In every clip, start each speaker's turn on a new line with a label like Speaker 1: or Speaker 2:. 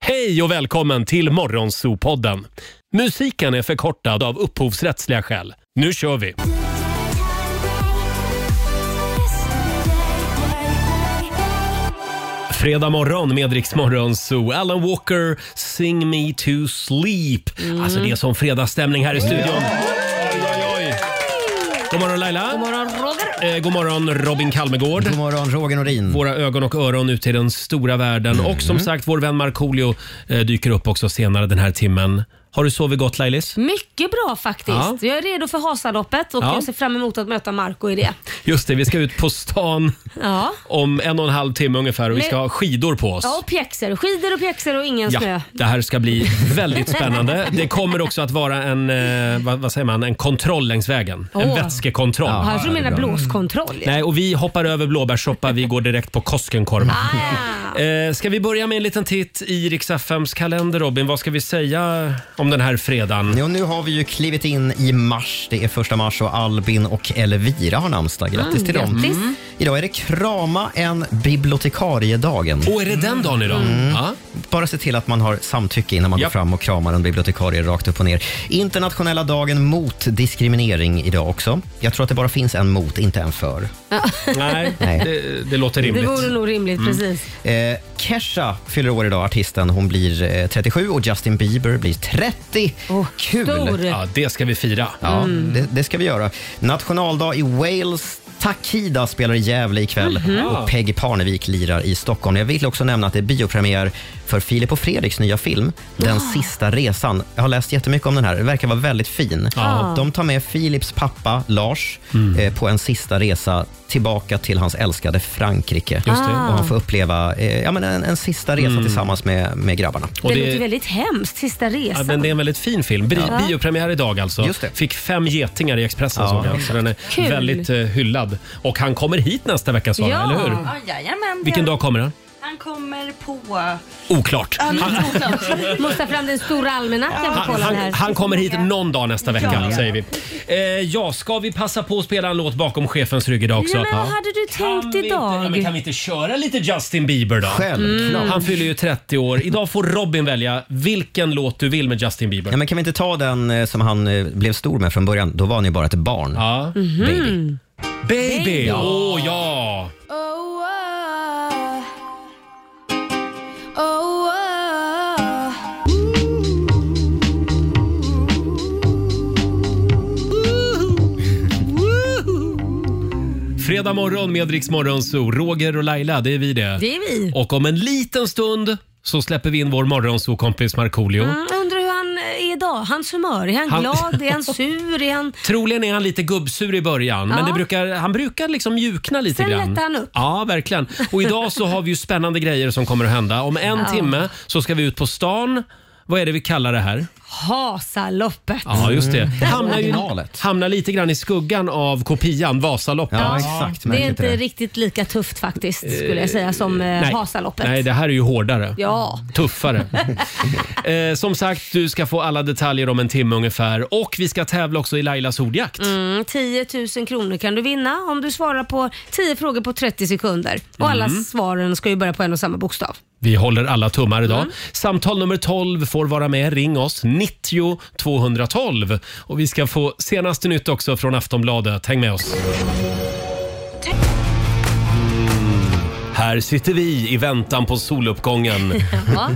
Speaker 1: Hej och välkommen till Morgonzoo-podden. Musiken är förkortad av upphovsrättsliga skäl. Nu kör vi! Fredag morgon med Rix Morgon Zoo. Alan Walker, Sing Me To Sleep. Alltså det är som fredagsstämning här i studion. God morgon Laila. God morgon Roger. Eh, god morgon Robin Kalmegård.
Speaker 2: God morgon, Roger Norin.
Speaker 1: Våra ögon och öron ut i den stora världen. Och
Speaker 2: Mm.
Speaker 1: som sagt, vår vän Markoolio eh, dyker upp också senare den här timmen. Har du sovit gott Lailis?
Speaker 3: Mycket bra faktiskt.
Speaker 1: Ja.
Speaker 3: Jag är redo för Hasaloppet och
Speaker 1: Ja.
Speaker 3: jag ser fram emot att möta Marco i det.
Speaker 1: Just det, vi ska ut på stan
Speaker 3: Ja.
Speaker 1: om en och en halv timme ungefär och vi
Speaker 3: Men-
Speaker 1: ska ha skidor på oss.
Speaker 3: Ja, och pjäxor. Skidor och pjäxor och ingen snö.
Speaker 1: Ja, det här ska bli väldigt spännande. Det kommer också att vara en, eh, vad, vad säger man, en kontroll längs vägen. En
Speaker 3: Åh.
Speaker 1: vätskekontroll.
Speaker 3: Ja,
Speaker 2: Ja,
Speaker 3: jag tror du
Speaker 2: det är
Speaker 3: menar
Speaker 2: bra.
Speaker 3: blåskontroll.
Speaker 1: Nej, och vi hoppar över blåbärssoppa. Vi går direkt på Koskenkorva.
Speaker 3: Ah,
Speaker 1: Eh, ska vi börja med en liten titt i Rix FMs kalender, Robin? Vad ska vi säga om den här fredagen?
Speaker 2: Ja, nu har vi ju klivit in i mars. Det är första mars och Albin och Elvira har namnsdag. Grattis till dem.
Speaker 3: Ah,
Speaker 2: Mm.
Speaker 3: grattis.
Speaker 2: Idag är det krama en bibliotekariedagen. Mm.
Speaker 1: Åh, är det den dagen idag? Ja.
Speaker 2: Bara se till att man har samtycke innan man
Speaker 1: Japp.
Speaker 2: går fram och kramar en bibliotekarie rakt upp och ner. Internationella dagen mot diskriminering idag också. Jag tror att det bara finns en mot, inte en för.
Speaker 1: Nej,
Speaker 2: Nej.
Speaker 1: Det, det låter
Speaker 3: det vore
Speaker 1: rimligt. Mm.
Speaker 3: nog rimligt precis.
Speaker 2: Eh, Kesha fyller år idag, artisten. Hon blir eh, 37 och Justin Bieber blir 30.
Speaker 3: Åh,
Speaker 2: Kul!
Speaker 3: Stor.
Speaker 1: Ja, det ska vi fira.
Speaker 2: Ja,
Speaker 1: Mm.
Speaker 2: det, det ska vi göra. Nationaldag i Wales. Takida spelar i Gävle ikväll
Speaker 1: Mhm.
Speaker 2: och Peggy Parnevik lirar i Stockholm. Jag vill också nämna att det är biopremiär för Filip och Fredriks nya film Den sista resan. Jag har läst jättemycket om den här. Den verkar vara väldigt fin.
Speaker 1: Ja. Mm.
Speaker 2: De tar med Filips pappa Lars eh, på en sista resa tillbaka till hans älskade Frankrike.
Speaker 1: Just det. Mm.
Speaker 2: Och han får uppleva eh, ja, men en, en sista resa tillsammans med, med grabbarna.
Speaker 1: Och
Speaker 3: det,
Speaker 1: det-
Speaker 3: låter väldigt hemskt. Sista
Speaker 1: Ja,
Speaker 3: resan.
Speaker 1: men det är en väldigt fin film. Bri- Biopremiär idag alltså.
Speaker 2: Just det.
Speaker 1: Fick fem getingar i Expressen
Speaker 2: Ja.
Speaker 1: såg jag. Så den är
Speaker 3: Kul.
Speaker 1: väldigt eh, hyllad. Och han kommer hit nästa vecka Sara,
Speaker 3: Ja.
Speaker 1: eller hur?
Speaker 4: Ja, jajamän.
Speaker 1: Vilken
Speaker 4: det-
Speaker 1: dag kommer han?
Speaker 4: Han kommer på... Ja,
Speaker 1: Oklart.
Speaker 4: det är oklart.
Speaker 3: Måste ta fram den stora almanackan och
Speaker 1: Han,
Speaker 3: kolla den
Speaker 1: han,
Speaker 3: här.
Speaker 1: han kommer hit någon dag nästa vecka,
Speaker 4: Ja.
Speaker 1: säger vi. Eh, ja, ska vi passa på att spela en låt bakom chefens rygg idag också?
Speaker 3: Nej, men vad
Speaker 1: Ja.
Speaker 3: hade du
Speaker 1: Kan
Speaker 3: tänkt
Speaker 1: vi, inte, ja,
Speaker 3: idag?
Speaker 1: men kan vi inte köra lite Justin Bieber då?
Speaker 2: Självklart.
Speaker 1: Han fyller ju 30 år. Idag får Robin välja vilken låt du vill med Justin Bieber.
Speaker 2: Ja, men kan vi inte ta den eh, som han eh, blev stor med från början? Då var han ju bara ett barn.
Speaker 1: Ja.
Speaker 2: Baby.
Speaker 1: Mhm. Baby! Åh ja! Fredag morgon med Rix Morgon Zoo. Roger och Laila, det är vi det.
Speaker 3: Det är vi.
Speaker 1: Och om en liten stund så släpper vi in vår morgonsokompis Markoolio.
Speaker 3: Mm, undrar hur han är idag. Hans humör. Är han,
Speaker 1: Han-
Speaker 3: glad? Är han sur? Är han...
Speaker 1: Troligen är han lite gubbsur i början, men
Speaker 3: Ja.
Speaker 1: det brukar, han brukar liksom mjukna lite
Speaker 3: Sen
Speaker 1: grann.
Speaker 3: lättar han upp.
Speaker 1: Ja, verkligen. Och idag så har vi ju spännande grejer som kommer att hända. Om en timme så ska vi ut på stan. Vad är det vi kallar det här?
Speaker 3: Hasaloppet. Mm.
Speaker 1: Ja, just det.
Speaker 2: Mm.
Speaker 1: Hamnar, ju,
Speaker 2: originalet.
Speaker 1: hamnar lite grann i skuggan av kopian Vasaloppet.
Speaker 2: Ja, exakt.
Speaker 3: Det är
Speaker 2: Märkligt
Speaker 3: inte
Speaker 2: det.
Speaker 3: riktigt lika tufft faktiskt skulle jag säga som eh,
Speaker 1: Nej.
Speaker 3: Hasaloppet.
Speaker 1: Nej, det här är ju hårdare.
Speaker 3: Ja.
Speaker 1: Tuffare. eh, som sagt, du ska få alla detaljer om en timme ungefär. Och vi ska tävla också i Lailas ordjakt.
Speaker 3: Mm, 10 000 kronor kan du vinna om du svarar på 10 frågor på 30 sekunder. Och alla
Speaker 1: Mm.
Speaker 3: svaren ska ju börja på en och samma bokstav.
Speaker 1: Vi håller alla tummar idag. Samtal nummer 12 får vara med. Ring oss, 90 212. Och vi ska få senaste nytt också från Aftonbladet. Häng med oss. Mm. Här sitter vi i väntan på soluppgången.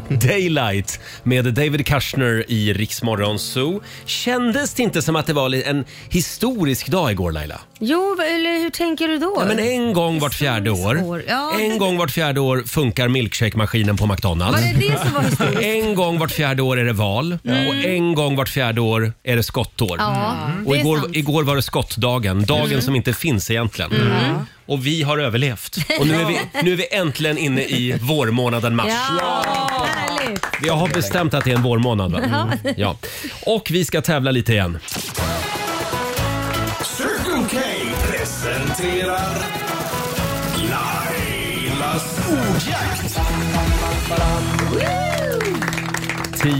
Speaker 1: Daylight med David Kushner i Riksmorgon Zoo. Kändes det inte som att det var li- en historisk dag igår Laila?
Speaker 3: Jo, eller hur tänker du då?
Speaker 1: Ja, men en gång vart fjärde
Speaker 3: Historiskt
Speaker 1: år.
Speaker 3: år, ja.
Speaker 1: En gång vart fjärde år funkar milkshake-maskinen på
Speaker 3: Var
Speaker 1: McDonalds.
Speaker 3: det det som var historiskt? Mm.
Speaker 1: En gång vart fjärde år är det val och en gång vart fjärde år är det skottår.
Speaker 3: Ja,
Speaker 1: Mm. Och
Speaker 3: det är
Speaker 1: igår,
Speaker 3: sant. Mm.
Speaker 1: igår var det skottdagen, dagen som inte finns egentligen. Mm. Och vi har överlevt. Och nu är vi, nu är vi äntligen inne i vårmånaden mars.
Speaker 3: Ja, härligt.
Speaker 1: Jag har bestämt att det är en vårmånad. Va? Mm. Ja. Och vi ska tävla lite igen.
Speaker 5: Circle K presenterar Lailas ordjakt.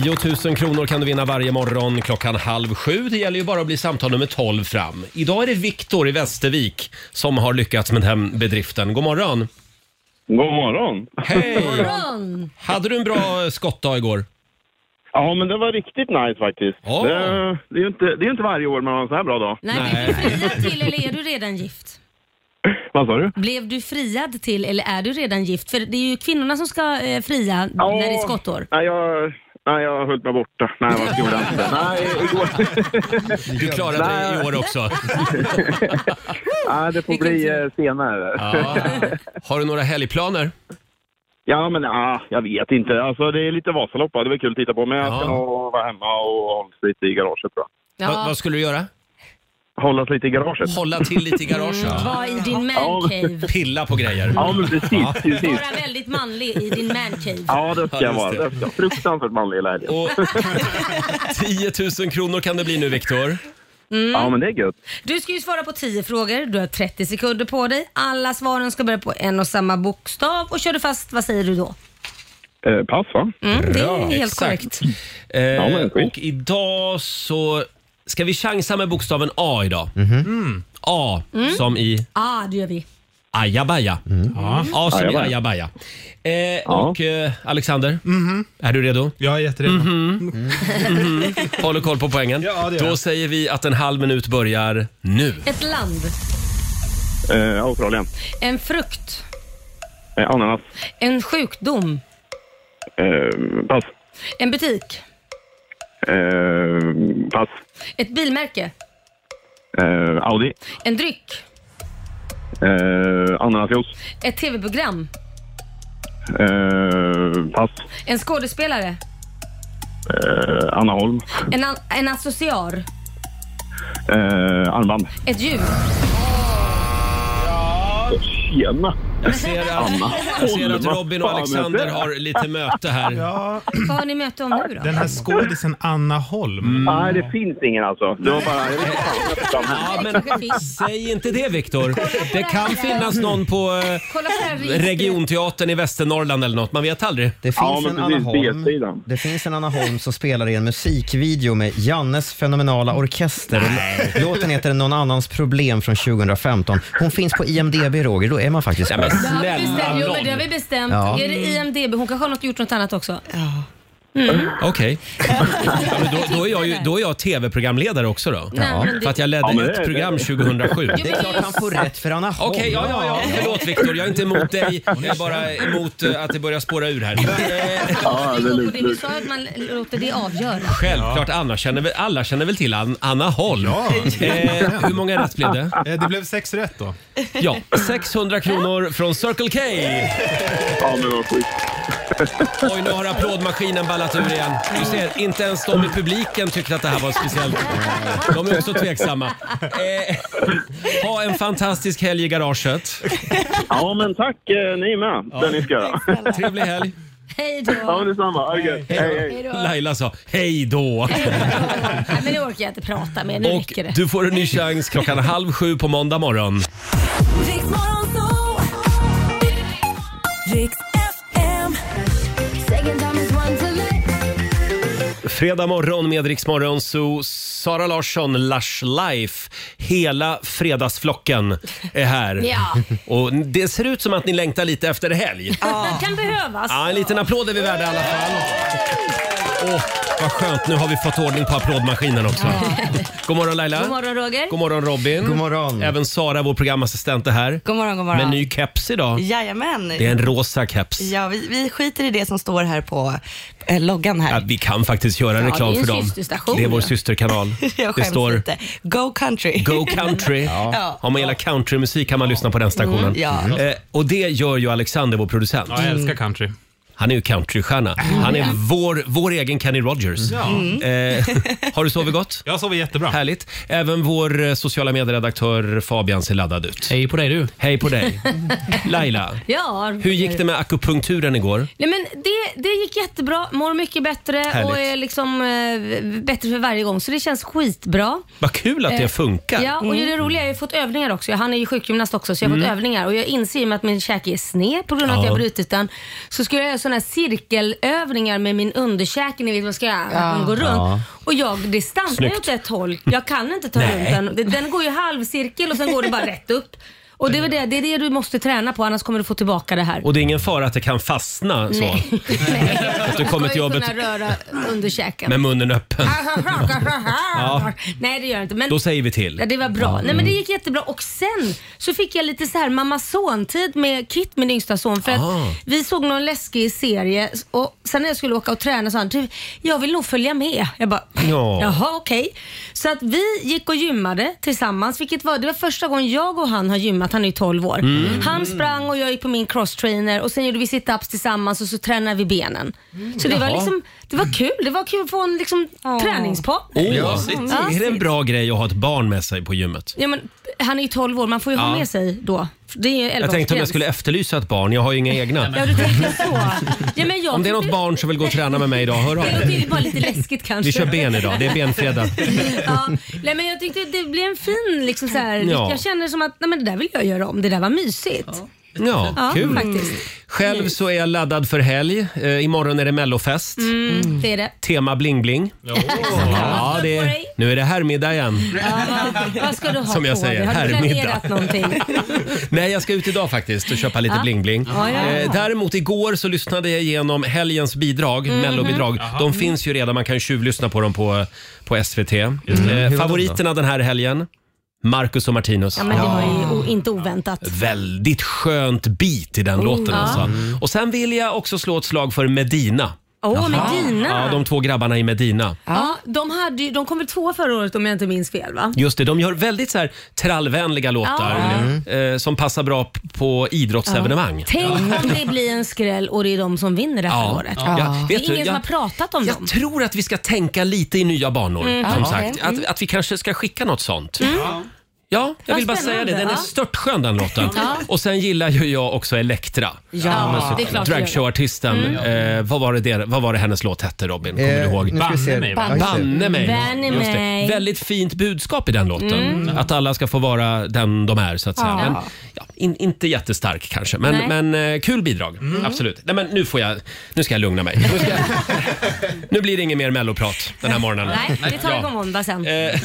Speaker 1: 10 000 kronor kan du vinna varje morgon klockan halv sju. Det gäller ju bara att bli samtal nummer 12 fram. Idag är det Viktor i Västervik som har lyckats med den här bedriften. God morgon!
Speaker 6: God morgon.
Speaker 1: Hej!
Speaker 3: Ron!
Speaker 1: Hade du en bra skottdag igår?
Speaker 6: Ja, men det var riktigt nice faktiskt.
Speaker 1: Åh.
Speaker 6: Det, det är ju inte, det är ju inte varje år man har en så här bra dag.
Speaker 3: Nej,
Speaker 1: Nej.
Speaker 3: Blev du friad till eller är du redan gift?
Speaker 6: Vad sa du?
Speaker 3: Blev du friad till eller är du redan gift? För det är ju kvinnorna som ska eh, fria när det är skottår.
Speaker 6: Nej, jag... Nej, jag har höll mig borta. Nej, vad gjorde jag inte. Nej, igår.
Speaker 1: Du klarade det i år också.
Speaker 6: Nej, det får
Speaker 3: Vilken
Speaker 6: bli
Speaker 3: tur.
Speaker 6: eh, senare.
Speaker 1: Ja. Ah. Har du några helgplaner?
Speaker 6: Ja, men ah, jag vet inte. Alltså, det är lite Vasalopp, va? det var kul att titta på. Men jag ska
Speaker 1: Ja.
Speaker 6: nog vara hemma och hållas lite i garaget. Bra.
Speaker 1: Va,
Speaker 3: Ja,
Speaker 1: vad skulle du göra?
Speaker 6: Hållas lite i garaget?
Speaker 1: Hålla till lite i garaget?
Speaker 3: var Mm, i din mancave.
Speaker 1: Pilla på grejer?
Speaker 6: Ja, men precis. precis.
Speaker 3: Vara väldigt manlig i din mancave.
Speaker 6: Ja, det ska jag
Speaker 1: Ja, just
Speaker 6: vara.
Speaker 1: det.
Speaker 6: Det ska. jag. Fruktansvärt manlig hela helgen.
Speaker 1: Och 10 000 kronor kan det bli nu,
Speaker 3: Mm.
Speaker 1: Viktor.
Speaker 6: Mm. Ja, men det är gött.
Speaker 3: Du ska ju svara på 10 frågor, du har 30 sekunder på dig. Alla svaren ska börja på en och samma bokstav och kör du fast, vad säger du då?
Speaker 6: Eh, pass, va?
Speaker 3: Mm, det är helt
Speaker 1: Exakt.
Speaker 3: korrekt.
Speaker 1: Eh,
Speaker 6: men skit.
Speaker 1: och idag så ska vi chansa med bokstaven A idag.
Speaker 5: Mhm.
Speaker 1: Mm. A som i
Speaker 3: Ja, ah, det gör vi.
Speaker 1: ajabaja.
Speaker 5: Mm.
Speaker 1: Ja. A som i
Speaker 6: Ajabaja.
Speaker 1: ajabaja. Eh, Och eh, Alexander, är du redo? Mhm.
Speaker 5: Jag är jätteredo. Mm.
Speaker 1: Håller koll på poängen.
Speaker 5: Ja, det gör
Speaker 1: Då
Speaker 5: jag.
Speaker 1: säger vi att en halv minut börjar nu.
Speaker 3: Ett land,
Speaker 6: Eh, Australien.
Speaker 3: en frukt,
Speaker 6: Eh, ananas.
Speaker 3: en sjukdom,
Speaker 6: Eh, pass.
Speaker 3: en butik,
Speaker 6: Eh, pass.
Speaker 3: ett bilmärke,
Speaker 6: Eh, Audi.
Speaker 3: en dryck,
Speaker 6: Eh, Ananasjuice.
Speaker 3: ett tv-program,
Speaker 6: Eh, pass.
Speaker 3: en skådespelare,
Speaker 6: Eh, Anna Holm.
Speaker 3: en, an- en associar,
Speaker 6: Eh, armband.
Speaker 3: ett djur.
Speaker 6: Tjena!
Speaker 1: Jag ser att, jag ser att Robin och
Speaker 6: Fan,
Speaker 1: Alexander
Speaker 6: det-
Speaker 1: har lite möte här.
Speaker 5: Ja,
Speaker 3: Vad har ni möte om nu då?
Speaker 5: den här skådisen Anna Holm.
Speaker 6: Mm. Nej, det finns ingen alltså. Det var bara... Jag vet inte fan, jag vet inte fan.
Speaker 1: Ja, men
Speaker 3: kanske finns.
Speaker 1: säg inte det, Viktor. Det kan finnas någon på eh,
Speaker 3: Kolla på det här registret.
Speaker 1: Regionteatern i Västernorrland eller något. Man vet aldrig.
Speaker 2: Det finns
Speaker 6: Ja, men
Speaker 2: en Anna
Speaker 6: precis,
Speaker 2: Holm.
Speaker 6: B-sidan.
Speaker 2: Det finns en Anna Holm som spelar i en musikvideo med Jannes fenomenala orkester. Låten heter Någon annans problem från 2015. Hon finns på IMDB, Roger. Då är man faktiskt
Speaker 1: Ja, men
Speaker 3: Det har vi bestämt. Jo,
Speaker 1: snälla
Speaker 3: men det har vi
Speaker 1: nån.
Speaker 3: bestämt.
Speaker 2: Ja.
Speaker 3: Är det IMDB? Hon kanske har något, gjort något annat också. Mm.
Speaker 1: Okej. Ja, men då, då är jag ju då är jag tv-programledare också då.
Speaker 3: Nej, men
Speaker 1: För
Speaker 3: det-
Speaker 1: att jag ledde
Speaker 6: Ja, men det-
Speaker 1: ett program 2007.
Speaker 3: Jo,
Speaker 1: Okej,
Speaker 2: Det är
Speaker 3: men
Speaker 2: klart han får rätt för Anna Holm.
Speaker 1: ja, ja, ja. Förlåt Viktor, jag är inte emot dig. Jag är bara emot eh, att det börjar spåra ur här. eh,
Speaker 6: Ja, det är
Speaker 3: Och det du
Speaker 6: lugnt.
Speaker 3: sa att man låter det avgöra.
Speaker 1: Självklart, Anna känner väl, alla känner väl till An- Anna Holm.
Speaker 5: Ja.
Speaker 1: Eh, hur många rätt blev det?
Speaker 5: Eh, Det blev sex rätt då.
Speaker 1: Ja, 600 kronor från Circle K.
Speaker 6: Ja, men vad skit.
Speaker 1: Oj, nu har applådmaskinen ballat ur igen. Du ser, inte ens de i publiken tyckte att det här var speciellt. De är också tveksamma. Eh, ha en fantastisk helg i garaget.
Speaker 6: Ja, men tack eh, ni med, det ni ska göra.
Speaker 1: Trevlig helg.
Speaker 3: Hej då.
Speaker 6: Ja, men detsamma. Ha det gött. Hej, hej.
Speaker 3: Hej då.
Speaker 1: Laila sa hej då.
Speaker 3: Nej, men det orkar jag inte prata med. Nu
Speaker 1: Och
Speaker 3: räcker det.
Speaker 1: du får en ny chans klockan halv sju på måndag morgon. Fredag morgon med Rix Morgon, så Sara Larsson, Lush Life. Hela fredagsflocken är här.
Speaker 3: Ja.
Speaker 1: Och det ser ut som att ni längtar lite efter helg.
Speaker 3: Det kan behövas.
Speaker 1: Ja, en liten applåd är vi värda i alla fall. Åh, vad skönt. Nu har vi fått ordning på applådmaskinen också. God morgon Laila.
Speaker 3: God morgon Roger.
Speaker 1: God morgon, Robin.
Speaker 2: God morgon.
Speaker 1: Även Sara, vår programassistent, är här.
Speaker 7: God morgon, god morgon.
Speaker 1: Med ny keps idag.
Speaker 7: Jajamän.
Speaker 1: Det är en rosa keps.
Speaker 7: Ja, vi, vi skiter i det som står här på eh, loggan här.
Speaker 1: Ja, vi kan faktiskt göra
Speaker 3: det
Speaker 1: reklam
Speaker 3: är en
Speaker 1: för dem.
Speaker 3: systerstation.
Speaker 1: Det är vår systerkanal.
Speaker 7: Jag
Speaker 1: Det
Speaker 7: skäms
Speaker 1: står
Speaker 7: lite. Go country.
Speaker 1: Go country.
Speaker 7: Ja.
Speaker 1: Om man gillar countrymusik kan man lyssna på den stationen.
Speaker 7: Ja.
Speaker 1: Eh, och det gör ju Alexander, vår producent.
Speaker 5: Ja, jag älskar country. Mm.
Speaker 1: Han är ju countrystjärna. Han är vår, vår egen Kenny Rogers. Eh, har du sovit gott?
Speaker 5: Mm. Jag sover jättebra.
Speaker 1: Härligt. Även vår eh, sociala medieredaktör Fabian ser laddad ut.
Speaker 5: Hej på dig du.
Speaker 1: Hej på dig. Laila,
Speaker 3: Ja,
Speaker 1: hur gick det med akupunkturen igår?
Speaker 3: Nej, men det, det gick jättebra, mår mycket bättre
Speaker 1: Härligt.
Speaker 3: och är liksom eh, bättre för varje gång. Så det känns skitbra.
Speaker 1: Vad kul att det
Speaker 3: Eh,
Speaker 1: funkar. Mm.
Speaker 3: Ja, och det roliga är att jag har fått övningar också. Han är ju sjukgymnast också så jag har fått övningar. Och jag inser ju med att min käke är sned på grund av att
Speaker 1: Ja.
Speaker 3: jag har brutit den. Så skulle jag göra sådana här cirkelövningar med min underkäke, ni vet vad jag ska göra, ja. man går runt. Och jag, det stampar ju
Speaker 1: Snyggt.
Speaker 3: åt ett håll. Jag kan inte ta
Speaker 1: Nej.
Speaker 3: runt den. Den går ju halvcirkel och sen går det bara rätt upp. Och det är, väl det, det är det du måste träna på, annars kommer du få tillbaka det här.
Speaker 1: Och det är ingen fara att det kan fastna så?
Speaker 3: Nej. Nej.
Speaker 1: Att du kommer till jobbet
Speaker 3: kunna röra under käken.
Speaker 1: med munnen öppen?
Speaker 3: Nej, det gör jag inte. Men
Speaker 1: Då säger vi
Speaker 3: Ja,
Speaker 1: till. Mm.
Speaker 3: det var bra. Nej, men det gick jättebra. Och sen så fick jag lite så här mamma-son-tid med Kit, min yngsta son. För
Speaker 1: Ah.
Speaker 3: att vi såg någon läskig serie och sen när jag skulle åka och träna sa han du, jag vill nog följa med. Jag bara,
Speaker 1: Ja.
Speaker 3: jaha okej. Så att vi gick och gymmade tillsammans, vilket var, det var första gången jag och han har gymmat, han är ju 12 år.
Speaker 1: Mm.
Speaker 3: Han sprang och jag gick på min cross-trainer och sen gjorde vi sit-ups tillsammans och så tränade vi benen. Så det var,
Speaker 1: Jaha.
Speaker 3: liksom, det var kul, det var kul att få en liksom, träningspartner.
Speaker 1: Åh,
Speaker 3: Ja.
Speaker 1: är det en bra grej att ha ett barn med sig på gymmet?
Speaker 3: Ja, men, han är ju 12 år, man får ju ha
Speaker 1: Ja.
Speaker 3: med sig då. Det är ju 11
Speaker 1: Jag tänkte om jag skulle efterlysa ett barn, jag har ju inga egna.
Speaker 3: Ja, du tänker så. Ja, men jag
Speaker 1: Om det är något
Speaker 3: tyckte-
Speaker 1: barn som vill gå och träna med mig idag, hör av
Speaker 3: Det låter
Speaker 1: dig.
Speaker 3: ju bara lite läskigt kanske.
Speaker 1: Vi kör ben idag, det är benfredag.
Speaker 3: Ja. Nej, men jag tyckte det blev en fin liksom så här.
Speaker 1: Ja.
Speaker 3: Jag känner som att nej, men det där vill jag göra om. Det där var mysigt. Ja,
Speaker 1: Ja, kul.
Speaker 3: faktiskt.
Speaker 1: Själv så är jag laddad för helg. Eh, imorgon är det mellofest.
Speaker 3: Mm. Det är det.
Speaker 1: Tema bling bling. Ja, det är, nu är det herrmiddag igen.
Speaker 3: Ja, vad, vad ska du ha
Speaker 1: Som jag
Speaker 3: på dig?
Speaker 1: säger,
Speaker 3: Har du
Speaker 1: herrmiddag.
Speaker 3: planerat någonting?
Speaker 1: Nej, jag ska ut idag faktiskt och köpa lite
Speaker 3: Ja.
Speaker 1: bling-bling.
Speaker 3: Ja, ja, ja.
Speaker 1: Eh, däremot igår så lyssnade jag igenom helgens bidrag,
Speaker 3: Mhm.
Speaker 1: mellobidrag. De finns ju redan, man kan ju tjuvlyssna på dem på, på SVT. Eh, favoriterna den här helgen? Marcus och Martinus.
Speaker 3: Ja, men det var ju o- inte oväntat.
Speaker 1: Väldigt skönt beat i
Speaker 3: Oh,
Speaker 1: den låten alltså. Och sen vill jag också slå ett slag för Medina.
Speaker 3: Mm. Åh, Medina.
Speaker 1: Ja, de två grabbarna i Medina.
Speaker 3: Ja, de, hade, ju- de kom väl två förra året om jag inte minns fel va?
Speaker 1: Just det, de gör väldigt så här trallvänliga låtar eh, som passar bra p- på idrottsevenemang.
Speaker 3: Tänk om det blir en skräll och det är de som vinner det här
Speaker 1: Ja.
Speaker 3: året.
Speaker 1: Ja.
Speaker 3: Det är
Speaker 1: Vet du,
Speaker 3: ingen som
Speaker 1: jag-
Speaker 3: har pratat om
Speaker 1: Jag
Speaker 3: dem. Mm.
Speaker 1: tror att vi ska tänka lite i nya banor. Som sagt. Att, att vi kanske ska skicka något sånt. Ja, jag
Speaker 3: Vad
Speaker 1: vill bara säga
Speaker 3: spännande,
Speaker 1: det. Den är
Speaker 3: ja.
Speaker 1: störtskön den låten. Och sen gillar ju jag också Elektra.
Speaker 3: Ja, det Mm. är klart du gör.
Speaker 1: Dragshowartisten. Eh, vad, var det där, vad var det hennes låt hette Robin? Kommer du ihåg?
Speaker 2: Eh, nu ska vi
Speaker 5: Banne mig,
Speaker 2: se.
Speaker 5: va?
Speaker 2: Ja, just det.
Speaker 1: Banne mig.
Speaker 3: Banne
Speaker 1: Just det.
Speaker 3: mig. Mm.
Speaker 1: Väldigt fint budskap i den låten. Att alla ska få vara den de är så att säga.
Speaker 3: Ja.
Speaker 1: Men, ja, in, inte jättestark kanske, men,
Speaker 3: Nej. Mm.
Speaker 1: men eh, kul bidrag. Absolut. Nej, men nu, får jag, nu ska jag lugna mig. Nu, ska jag, nu blir det inget mer melloprat den här morgonen.
Speaker 3: Nej, det tar vi på
Speaker 1: Ja.
Speaker 3: måndag sen.
Speaker 1: Eh,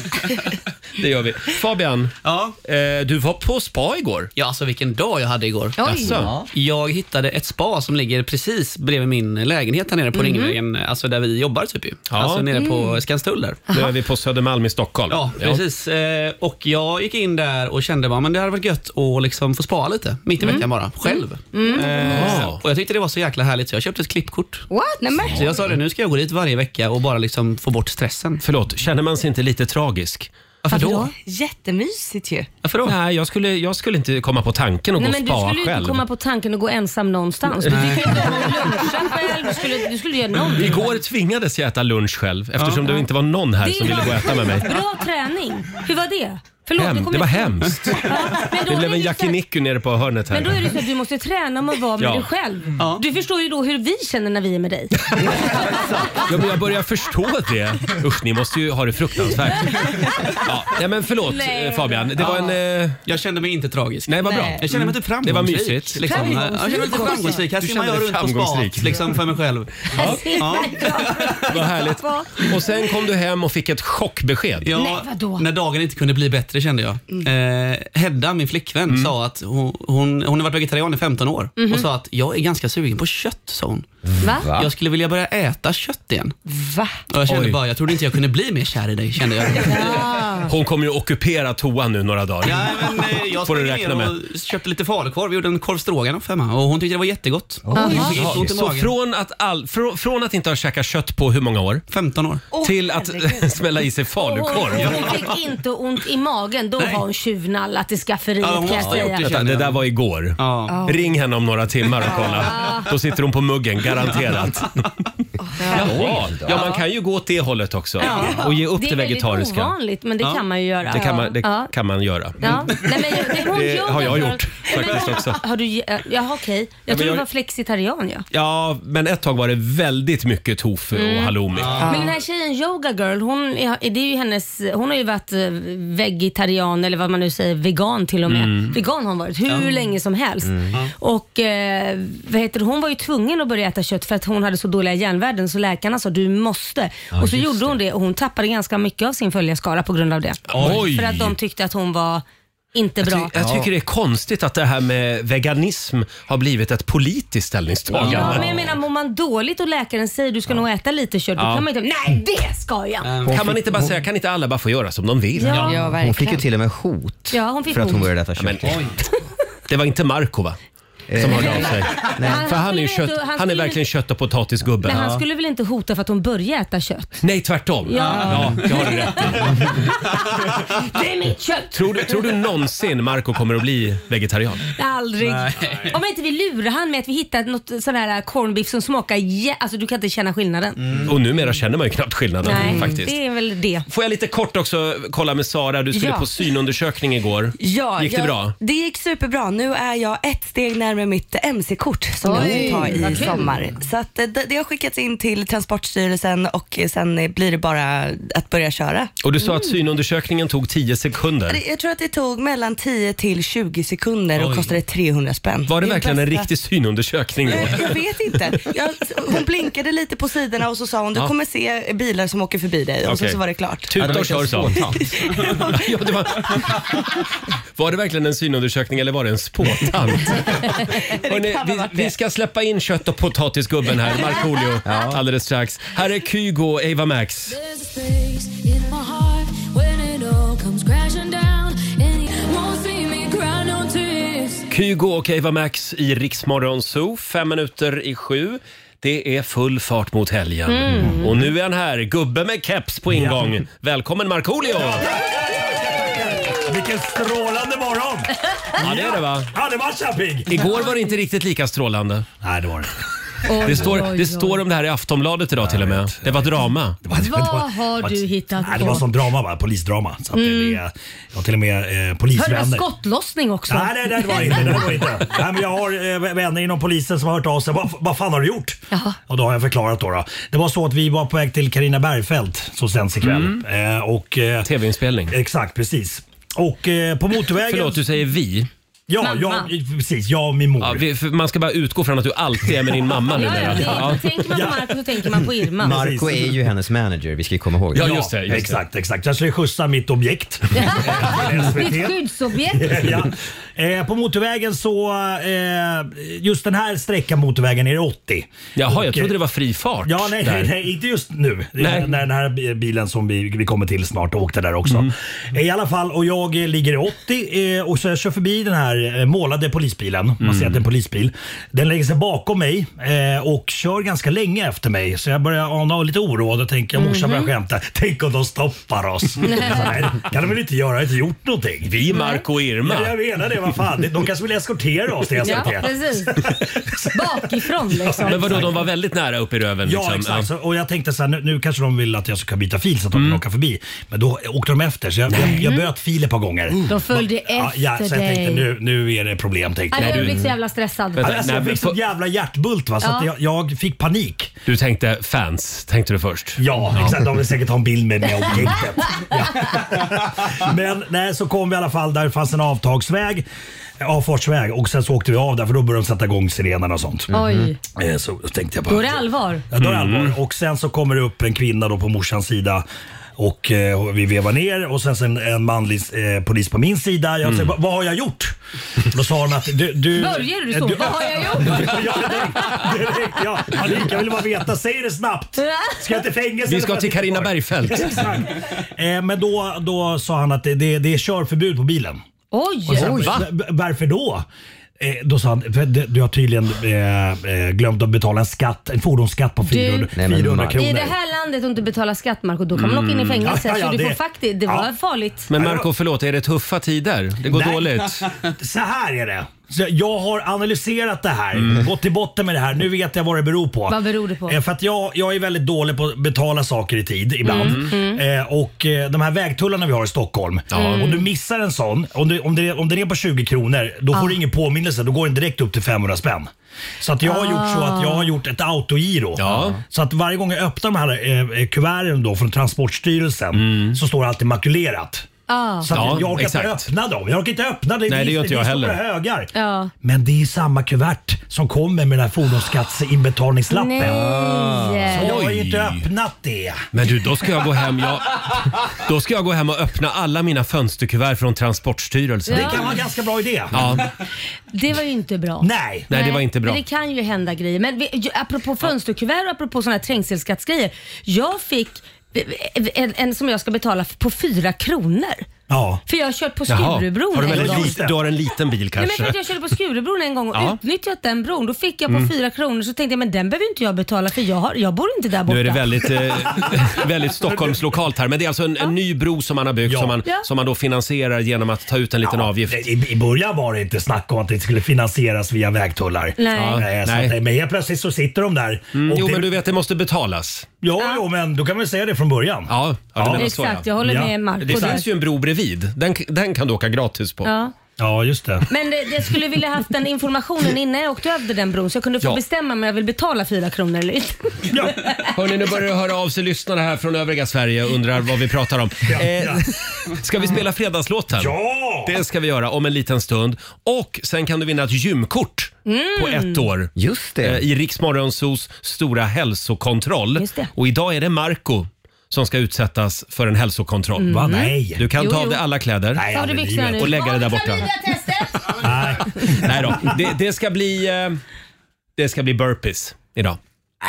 Speaker 1: det gör vi. Fabian,
Speaker 8: Ja.
Speaker 1: eh, du var på spa igår.
Speaker 8: Ja, alltså vilken dag jag hade igår.
Speaker 3: Oj.
Speaker 1: Jaså?
Speaker 8: Jag hittade ett spa som ligger precis bredvid min lägenhet här nere
Speaker 1: Mhm.
Speaker 8: på Ringvägen, alltså där vi jobbar typ ju.
Speaker 1: Ja.
Speaker 8: Alltså nere
Speaker 3: Mm.
Speaker 8: på Skanstull där.
Speaker 1: Nu är vi på Södermalm i Stockholm.
Speaker 8: Ja, precis. Eh, Och jag gick in där och kände bara, men det hade varit gött att liksom få spa lite, mitt i
Speaker 1: Mm.
Speaker 8: veckan bara, själv.
Speaker 3: Mm.
Speaker 1: Eh,
Speaker 8: Eh,
Speaker 1: Ja.
Speaker 8: Och jag tyckte det var så jäkla härligt så jag köpte ett klippkort.
Speaker 7: What? Nej, men.
Speaker 8: Så jag sa det, nu ska jag gå dit varje vecka och bara liksom få bort stressen.
Speaker 1: Förlåt, känner man sig inte lite tragisk?
Speaker 8: Varför då?
Speaker 7: Jättemysigt ju.
Speaker 8: Varför då?
Speaker 1: Nej, jag skulle, jag skulle inte komma på tanken att
Speaker 3: Nej,
Speaker 1: gå
Speaker 3: men
Speaker 1: och
Speaker 3: du
Speaker 1: spa
Speaker 3: skulle ju
Speaker 1: själv.
Speaker 3: inte komma på tanken att gå ensam någonstans. Du skulle ju gå och luncha själv. Du skulle, du skulle göra någonting.
Speaker 1: Igår tvingades jag äta lunch själv eftersom det inte var någon här
Speaker 3: Det
Speaker 1: som ville gå och äta med mig.
Speaker 3: Bra träning. Hur var det? Förlåt, nu
Speaker 1: Hem.
Speaker 3: kommer
Speaker 1: Det var
Speaker 3: jag-
Speaker 1: hemskt.
Speaker 3: Ja, men då
Speaker 1: Det
Speaker 3: är
Speaker 1: blev en
Speaker 3: ju så här-
Speaker 1: jackiniku nere på hörnet
Speaker 3: Men då är
Speaker 1: här.
Speaker 3: det så att du måste träna om att vara med
Speaker 1: Ja.
Speaker 3: dig själv. Du förstår ju då hur vi känner när vi är med dig.
Speaker 1: Ja, men jag börjar förstå det. Usch, ni måste ju ha det fruktansvärt. Ja, nej, men förlåt
Speaker 3: Nej.
Speaker 1: eh, Fabian. Det var en... eh,
Speaker 8: Jag kände mig inte tragisk.
Speaker 1: Nej, vad bra. Mm.
Speaker 8: Jag kände mig typ
Speaker 1: Det
Speaker 8: framgångsrik.
Speaker 1: var mysigt.
Speaker 8: Liksom.
Speaker 3: Framgångsrik.
Speaker 8: Ja, Jag kände mig lite framgångsrik. Här
Speaker 1: Du
Speaker 8: simmar
Speaker 1: kände
Speaker 8: jag
Speaker 1: dig
Speaker 8: runt på
Speaker 1: framgångsrik.
Speaker 8: spat liksom för mig själv.
Speaker 1: Vad härligt. Och sen kom du hem och fick ett chockbesked.
Speaker 8: Jag,
Speaker 3: Nej, vadå? Mm.
Speaker 8: När dagen inte kunde bli bättre kände jag. Eh, Hedda, min flickvän,
Speaker 1: Mm.
Speaker 8: sa att hon, hon, hon har varit vegetarian i 15 år och sa att jag är ganska sugen på kött, sa hon.
Speaker 3: Mhm. Va?
Speaker 8: Jag skulle vilja börja äta kött igen.
Speaker 7: Va?
Speaker 8: Och jag kände
Speaker 1: Oj.
Speaker 8: bara, jag trodde inte jag kunde bli mer kär i dig, kände jag.
Speaker 1: Hon kommer ju ockupera toan nu några dagar.
Speaker 8: Ja, men, eh, jag
Speaker 1: Får du
Speaker 8: sprang
Speaker 1: räkna
Speaker 8: ner
Speaker 1: med.
Speaker 8: och köpte lite falukorv. Vi gjorde en korv stroganoff hemma och hon tyckte det var jättegott. Hon fick
Speaker 1: Ja,
Speaker 8: ont i
Speaker 1: så
Speaker 8: magen.
Speaker 1: från att, all, frå- från att inte ha käkat kött på hur många år
Speaker 8: 15 år.
Speaker 1: till att smälla i sig falukorv.
Speaker 3: Hon, hon fick inte ont i magen. Då har hon tjuvnallat i skafferiet
Speaker 8: Ja, hon
Speaker 3: kan jag
Speaker 8: måste ha gjort
Speaker 3: säga.
Speaker 8: det.
Speaker 1: Vänta, det där var igår.
Speaker 8: Ja.
Speaker 1: Ring henne om några timmar och kolla. Då sitter hon på muggen, garanterat. Jaha. Ja, man kan ju gå åt det hållet också och ge upp det,
Speaker 3: Det är väldigt
Speaker 1: vegetariska.
Speaker 3: ovanligt men det kan man ju göra.
Speaker 1: Det kan man, det
Speaker 3: Ja.
Speaker 1: kan man göra.
Speaker 3: Ja. Nej, men jag, det, hon
Speaker 1: Det
Speaker 3: gör
Speaker 1: har jag
Speaker 3: väl-
Speaker 1: gjort
Speaker 3: Men-
Speaker 1: faktiskt också.
Speaker 3: Har du, ge- eh, jaha okej. Jag
Speaker 1: men
Speaker 3: trodde
Speaker 1: jag-
Speaker 3: du var flexitarian ja.
Speaker 1: Ja, men ett tag var det väldigt mycket tofu och halloumi.
Speaker 3: Mm. Men den här tjejen Yoga Girl, hon, är, det är ju hennes, hon har ju varit eh, vegetarian eller vad man nu säger, vegan till och med.
Speaker 1: Mm.
Speaker 3: Vegan har hon varit hur länge som helst. Och eh, vad heter det, hon var ju tvungen att börja äta kött för att hon hade så dåliga järnvärden så läkarna sa du måste. och så gjorde hon det och hon tappade ganska mycket av sin följarskara på grund av det.
Speaker 1: Oj!
Speaker 3: För att de tyckte att hon var Inte bra.
Speaker 1: Jag tycker det är konstigt att det här med veganism har blivit ett politiskt ställningstagande.
Speaker 3: Ja, men jag menar mår man dåligt och läkaren säger du ska nog äta lite kött, då kan man inte, nej det ska jag inte.
Speaker 1: Äh, Kan man inte bara säga, kan inte alla bara få göra som de vill?
Speaker 3: Ja.
Speaker 7: Ja,
Speaker 2: Hon fick ju
Speaker 7: verkligen.
Speaker 2: till och med hot
Speaker 3: Ja, hon fick
Speaker 2: för att hon
Speaker 3: hot.
Speaker 2: började äta
Speaker 1: Ja,
Speaker 2: kött. Eh,
Speaker 1: men, det var inte Marco va? Som hörde av sig. För han är ju
Speaker 3: skulle
Speaker 1: kött,
Speaker 3: inte-
Speaker 1: han är
Speaker 3: skulle-
Speaker 1: verkligen kött och potatisgubbe.
Speaker 3: Men han skulle väl inte hota för att hon började äta kött?
Speaker 1: Nej, tvärtom. Ja, det har du rätt i.
Speaker 3: Det är mitt kött!
Speaker 1: tror, du, tror du någonsin Marco kommer att bli vegetarian?
Speaker 3: Aldrig. Om inte vi lurar han med att vi hittar något sån här corned beef som smakar jä- Alltså du kan inte känna skillnaden.
Speaker 1: Och numera känner man ju knappt skillnaden
Speaker 3: Nej,
Speaker 1: Mm. faktiskt.
Speaker 3: det är väl det.
Speaker 1: Får jag lite kort också kolla med Sara, du skulle
Speaker 7: Ja.
Speaker 1: på synundersökning igår.
Speaker 7: Ja,
Speaker 1: Gick det
Speaker 7: jag,
Speaker 1: bra?
Speaker 7: Det gick superbra. Nu är jag ett steg närmare mitt mc-kort som jag jag ta i sommar. Så att eh, det, det har skickats in till Transportstyrelsen och eh, sen eh, blir det bara att börja köra.
Speaker 1: Och du sa
Speaker 7: Mm.
Speaker 1: att synundersökningen tog 10 sekunder.
Speaker 7: Det- Jag tror att det tog mellan 10 till 20 sekunder och
Speaker 1: Oj.
Speaker 7: kostade 300 spänn.
Speaker 1: Var det
Speaker 7: är
Speaker 1: verkligen en
Speaker 7: bästa- Eh,
Speaker 1: riktig synundersökning? då?
Speaker 7: Jag, jag vet inte. Jag, hon blinkade lite på sidorna och så sa hon du
Speaker 1: Ja.
Speaker 7: kommer se bilar som åker förbi dig och så,
Speaker 1: Okej.
Speaker 7: så var det klart.
Speaker 1: Tuta och kör sa hon. ja, det var... var det verkligen en synundersökning eller var det en spåtant? Hörrni,
Speaker 7: kan ha varit
Speaker 1: vi, vi
Speaker 7: det.
Speaker 1: ska släppa in kött och potatisgubben här, Markoolio, alldeles strax. Här är Kygo och Eva Max. Kygo och Eva Max i Riksmorgon Zoo, fem minuter i sju. Det är full fart mot helgen.
Speaker 9: Mm.
Speaker 1: Och nu är han här, gubbe med keps på ingång. Välkommen Markoolio!
Speaker 9: Vilken strålande morgon!
Speaker 1: Ja, det är det va?
Speaker 9: Ja, det var Köping!
Speaker 1: Igår var det inte riktigt lika strålande.
Speaker 9: Nej, det var det.
Speaker 1: Det står, det står om det här i Aftonbladet idag till och med. Det var drama.
Speaker 9: det, var, det
Speaker 3: Vad
Speaker 9: var-
Speaker 3: har
Speaker 9: det var-
Speaker 3: du hittat
Speaker 9: nej, Det var
Speaker 3: på?
Speaker 9: som drama, va? polisdrama. Så att
Speaker 1: Mm.
Speaker 9: det, är- jag har till och med eh,
Speaker 3: Hörde du det var
Speaker 9: polisvänner.
Speaker 3: skottlossning också?
Speaker 9: Nej, nej, nej, det var det inte. Det var det inte. Nej, men jag har eh, vänner inom polisen som har hört av sig. Vad, vad fan har du gjort? Och då har jag förklarat då, då. Det var så att vi var på väg till Carina Bergfeldt som sänds ikväll.
Speaker 1: Mm.
Speaker 9: Eh, och, eh,
Speaker 1: Tv-inspelning.
Speaker 9: exakt, precis. Och eh, på motorvägen...
Speaker 1: Förlåt, du säger vi.
Speaker 9: ja,
Speaker 3: Mamma.
Speaker 9: jag, precis. Jag och min mor.
Speaker 1: Ja, vi för man ska bara utgå från att du alltid är med din mamma
Speaker 3: Ja, ja,
Speaker 1: numera.
Speaker 3: det,
Speaker 1: Ja.
Speaker 3: Tänker man på Marco så tänker man på Irma.
Speaker 2: Marco är ju hennes manager, vi ska ju komma ihåg det.
Speaker 1: Ja, just det, just det.
Speaker 9: exakt, exakt. Jag skulle skjutsa mitt objekt. Till
Speaker 3: Ditt
Speaker 9: SVT.
Speaker 3: skyddsobjekt.
Speaker 9: ja. eh, på motorvägen så, eh, just den här sträckan motorvägen är det 80.
Speaker 1: Jaha, jag
Speaker 9: Och,
Speaker 1: trodde
Speaker 9: eh,
Speaker 1: det var fri fart
Speaker 9: Ja, nej,
Speaker 1: där.
Speaker 9: nej, inte just nu.
Speaker 1: Nej.
Speaker 9: Nej. När den här bilen som vi, vi kommer till snart åkte där också.
Speaker 1: Mm.
Speaker 9: I alla fall, och jag eh, ligger i 80 eh, och så jag kör förbi den här eh, målade polisbilen. Man ser
Speaker 1: Mm.
Speaker 9: att det är en polisbil. Den lägger sig bakom mig eh, och kör ganska länge efter mig. Så jag börjar ana lite oroad och tänker, jag
Speaker 3: Mhm.
Speaker 9: morsan börjar skämta. Tänk om de stoppar oss. nej, det kan de väl inte göra? Jag har inte gjort någonting.
Speaker 1: Vi, Marco och Irma.
Speaker 9: Ja, jag menar det, vad fan. De kanske vill eskortera oss till SVT.
Speaker 3: Ja, precis. Bakifrån liksom.
Speaker 1: Men vadå, de var väldigt nära upp i röven
Speaker 9: Alltså, Ja,
Speaker 1: liksom.
Speaker 9: exakt. Så, och jag tänkte så här, nu, nu kanske de vill att jag ska byta fil så att de
Speaker 1: Mm.
Speaker 9: kan åka förbi. Men då åkte de efter så jag, jag, jag böt fil ett par gånger.
Speaker 1: Mm.
Speaker 3: De följde
Speaker 9: Ja, ja,
Speaker 3: efter
Speaker 9: så jag tänkte
Speaker 3: dig.
Speaker 9: nu, nu är det problem tänkte
Speaker 3: Nej,
Speaker 9: jag.
Speaker 3: Jag blev så jävla stressad.
Speaker 1: Vänta,
Speaker 9: Alltså, jag
Speaker 1: nej,
Speaker 9: fick
Speaker 1: men-
Speaker 9: sån jävla hjärtbult va, så att jag, jag fick panik.
Speaker 1: Du tänkte fans, tänkte du först.
Speaker 9: Ja, exakt. De vill säkert ha en bild med mig objektet. Ja. Men nej, så kom vi i alla fall där det fanns en avtagsväg, avfartsväg och sen så åkte vi av där för då började de sätta igång sirenerna och sånt.
Speaker 3: Oj,
Speaker 9: Eh, Så tänkte jag bara,
Speaker 3: då är det allvar.
Speaker 9: Ja, då är det
Speaker 1: Mm.
Speaker 9: allvar. Och sen så kommer det upp en kvinna då på morsans sida och eh, vi vevar ner och sen, sen en manlig eh, polis på min sida. Jag
Speaker 1: Mm.
Speaker 9: säger, "Va- vad har jag gjort? Då sa hon att du... du
Speaker 3: Börjar du så?
Speaker 9: eh,
Speaker 3: Vad har jag gjort?
Speaker 9: ja, direkt, direkt, ja. Panik, jag vill bara veta. Säg det snabbt. Ska jag till fängelse?
Speaker 1: Vi
Speaker 9: eller
Speaker 1: ska
Speaker 9: jag
Speaker 1: till
Speaker 9: sitter
Speaker 1: Carina
Speaker 9: kvar?
Speaker 1: Bergfeldt.
Speaker 9: Exakt. Eh, men då, då sa han att det, det, det är körförbud på bilen.
Speaker 3: Oj!
Speaker 9: Sen, "Va- Varför då? Eh, Då sa han, "För du du har tydligen eh, eh, glömt att betala en skatt, en fordonsskatt på 400,
Speaker 2: Nej, men
Speaker 9: 400
Speaker 2: Mark.
Speaker 9: kronor. Mm.
Speaker 3: I det här landet och inte betala skatt Marco, då kan man åka in i fängelse.
Speaker 9: Ja, ja,
Speaker 3: så du
Speaker 9: det-
Speaker 3: får faktiskt, det var
Speaker 9: ja.
Speaker 3: farligt.
Speaker 1: Men Marco, förlåt, är det tuffa tider? Det går
Speaker 9: Nej.
Speaker 1: dåligt?
Speaker 9: Så här är det. Så jag har analyserat det här, gått till botten med det här. Nu vet jag vad det beror på.
Speaker 3: Vad beror det på?
Speaker 9: Eh, För att jag, jag är väldigt dålig på att betala saker i tid ibland.
Speaker 1: Mm.
Speaker 9: Eh, och eh, de här vägtullarna vi har i Stockholm.
Speaker 1: Mm.
Speaker 9: Om du missar en sån, om, du, om, det, om den är på 20 kronor, då får du ingen påminnelse. Då går den direkt upp till 500 spänn. Så att jag har gjort så att jag har gjort ett autogiro.
Speaker 1: Ja.
Speaker 9: Så att varje eh, gång jag öppnar de här eh, kuverten då från Transportstyrelsen så står det alltid makulerat.
Speaker 3: Ah.
Speaker 9: Så att
Speaker 1: Mm. Ja,
Speaker 9: jag orkar
Speaker 1: exakt.
Speaker 9: inte öppna dem. Jag orkar inte öppna det.
Speaker 1: Nej, det gör inte jag
Speaker 9: är stora
Speaker 1: heller.
Speaker 9: högar.
Speaker 3: Ja.
Speaker 9: Men det är samma kuvert som kommer med den här fordonsskatteinbetalningslappen.
Speaker 3: Nej.
Speaker 9: Så jag har ju
Speaker 1: Oj.
Speaker 9: inte öppnat det.
Speaker 1: Men du, då ska jag gå hem. Jag, då ska jag gå hem och öppna alla mina fönsterkuvert från Transportstyrelsen.
Speaker 9: Det kan vara en ganska bra idé.
Speaker 1: Ja,
Speaker 3: Det var ju inte bra.
Speaker 9: Nej.
Speaker 1: nej, det var inte bra.
Speaker 3: Men det kan ju hända grejer. Men vi, ju- apropå fönsterkuvert och apropå sådana här trängselskattsgrejer. Jag fick eh, en, en som jag ska betala på fyra kronor.
Speaker 9: Ja.
Speaker 3: För jag har kört på
Speaker 1: Jaha.
Speaker 3: Skurubron
Speaker 1: Har du,
Speaker 3: en
Speaker 1: väldigt
Speaker 3: gång.
Speaker 9: gång.
Speaker 1: lite, du har en liten bil
Speaker 3: Nej, men
Speaker 1: kanske?
Speaker 3: för att jag körde på Skurubron en gång och
Speaker 1: Ja. Mm.
Speaker 3: utnyttjat den bron. Då fick jag på fyra kronor så tänkte jag men den behöver inte jag betala för jag, har, jag bor inte där borta.
Speaker 1: Nu är det väldigt, eh, väldigt Stockholmslokalt här, men det är alltså en, en ny bro som man har byggt
Speaker 9: Ja.
Speaker 1: som, man,
Speaker 3: Ja.
Speaker 1: som man då finansierar genom att ta ut en liten avgift.
Speaker 9: I, I början var det inte snack om att det skulle finansieras via vägtullar.
Speaker 3: Nej.
Speaker 9: Ja, Nej. Så
Speaker 1: Nej. Mm.
Speaker 9: att, det- men helt plötsligt så sitter de där. och
Speaker 1: Jo,
Speaker 9: det,
Speaker 1: men du vet, det måste betalas.
Speaker 9: ja, jo, men då kan man säga det från början.
Speaker 1: Ja, ja, du menar så,
Speaker 3: Exakt,
Speaker 1: ja.
Speaker 3: jag håller
Speaker 9: Ja.
Speaker 3: med Marco
Speaker 1: Det
Speaker 3: där.
Speaker 1: finns ju en bro bredvid. Den, den kan du åka gratis på.
Speaker 3: Ja.
Speaker 9: Ja, just det.
Speaker 3: Men det, jag skulle vilja haft den informationen innan jag åkte över den bron så jag kunde få
Speaker 1: Ja.
Speaker 3: bestämma om jag vill betala fyra kronor eller inte.
Speaker 9: Ja.
Speaker 1: Hörni, nu börjar det höra av sig lyssnare här från övriga Sverige och undrar vad vi pratar om. Eh, ska vi spela fredagslåten?
Speaker 9: Ja!
Speaker 1: Det ska vi göra om en liten stund. Och sen kan du vinna ett gymkort på
Speaker 9: Mm.
Speaker 3: Mm.
Speaker 1: ett år.
Speaker 2: Just det.
Speaker 1: Eh, I Riksmorgonsos stora hälsokontroll.
Speaker 3: Just det.
Speaker 1: Och idag är det Marco som ska utsättas för en hälsokontroll.
Speaker 9: Va? Nej.
Speaker 1: Du kan
Speaker 3: Mm. Jo,
Speaker 1: ta av
Speaker 3: jo.
Speaker 1: dig alla kläder.
Speaker 9: Nej,
Speaker 3: Tar du
Speaker 9: aldrig i
Speaker 3: byxorna
Speaker 9: livet.
Speaker 3: nu?
Speaker 1: Och lägga det där
Speaker 3: Har du
Speaker 1: borta.
Speaker 3: klamydiatestet?
Speaker 9: Nej.
Speaker 1: Nej då. Det, det ska bli... Eh, det ska bli burpees idag.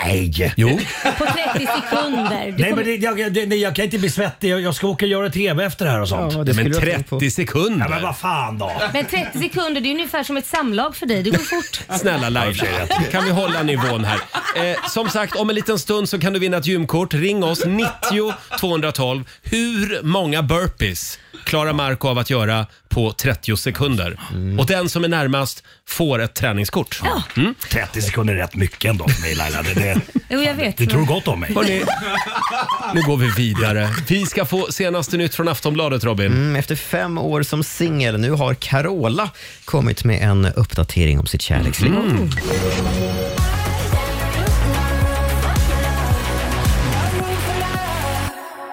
Speaker 9: Nej.
Speaker 1: Jo.
Speaker 3: På 30 sekunder. Du
Speaker 9: Nej,
Speaker 3: kommer-
Speaker 9: men det, jag, det, nej, jag kan inte bli svettig. Jag, jag ska åka och göra TV efter det här och sånt. Ja,
Speaker 2: det skulle
Speaker 1: Men
Speaker 2: du ha tänkt på.
Speaker 1: 30 sekunder.
Speaker 9: men vad fan då.
Speaker 3: men 30 sekunder det är ungefär som ett samlag för dig. Det går fort.
Speaker 1: Snälla Laila, kan vi hålla nivån här? Eh, som sagt, om en liten stund så kan du vinna ett gymkort. Ring oss, 90 212. Hur många burpees klarar Marco av att göra på 30 sekunder?
Speaker 9: Mm.
Speaker 1: Och den som är närmast får ett träningskort. Mm?
Speaker 9: 30 sekunder är rätt mycket ändå för mig Laila. Det, det,
Speaker 3: Jo, jag vet.
Speaker 9: du tror gott om mig.
Speaker 1: Hörrni, nu går vi vidare. Vi ska få senaste nytt från Aftonbladet, Robin.
Speaker 2: Mm, Efter fem år som singel, nu har Carola kommit med en uppdatering om sitt kärleksliv.
Speaker 9: Mm.
Speaker 1: Mm.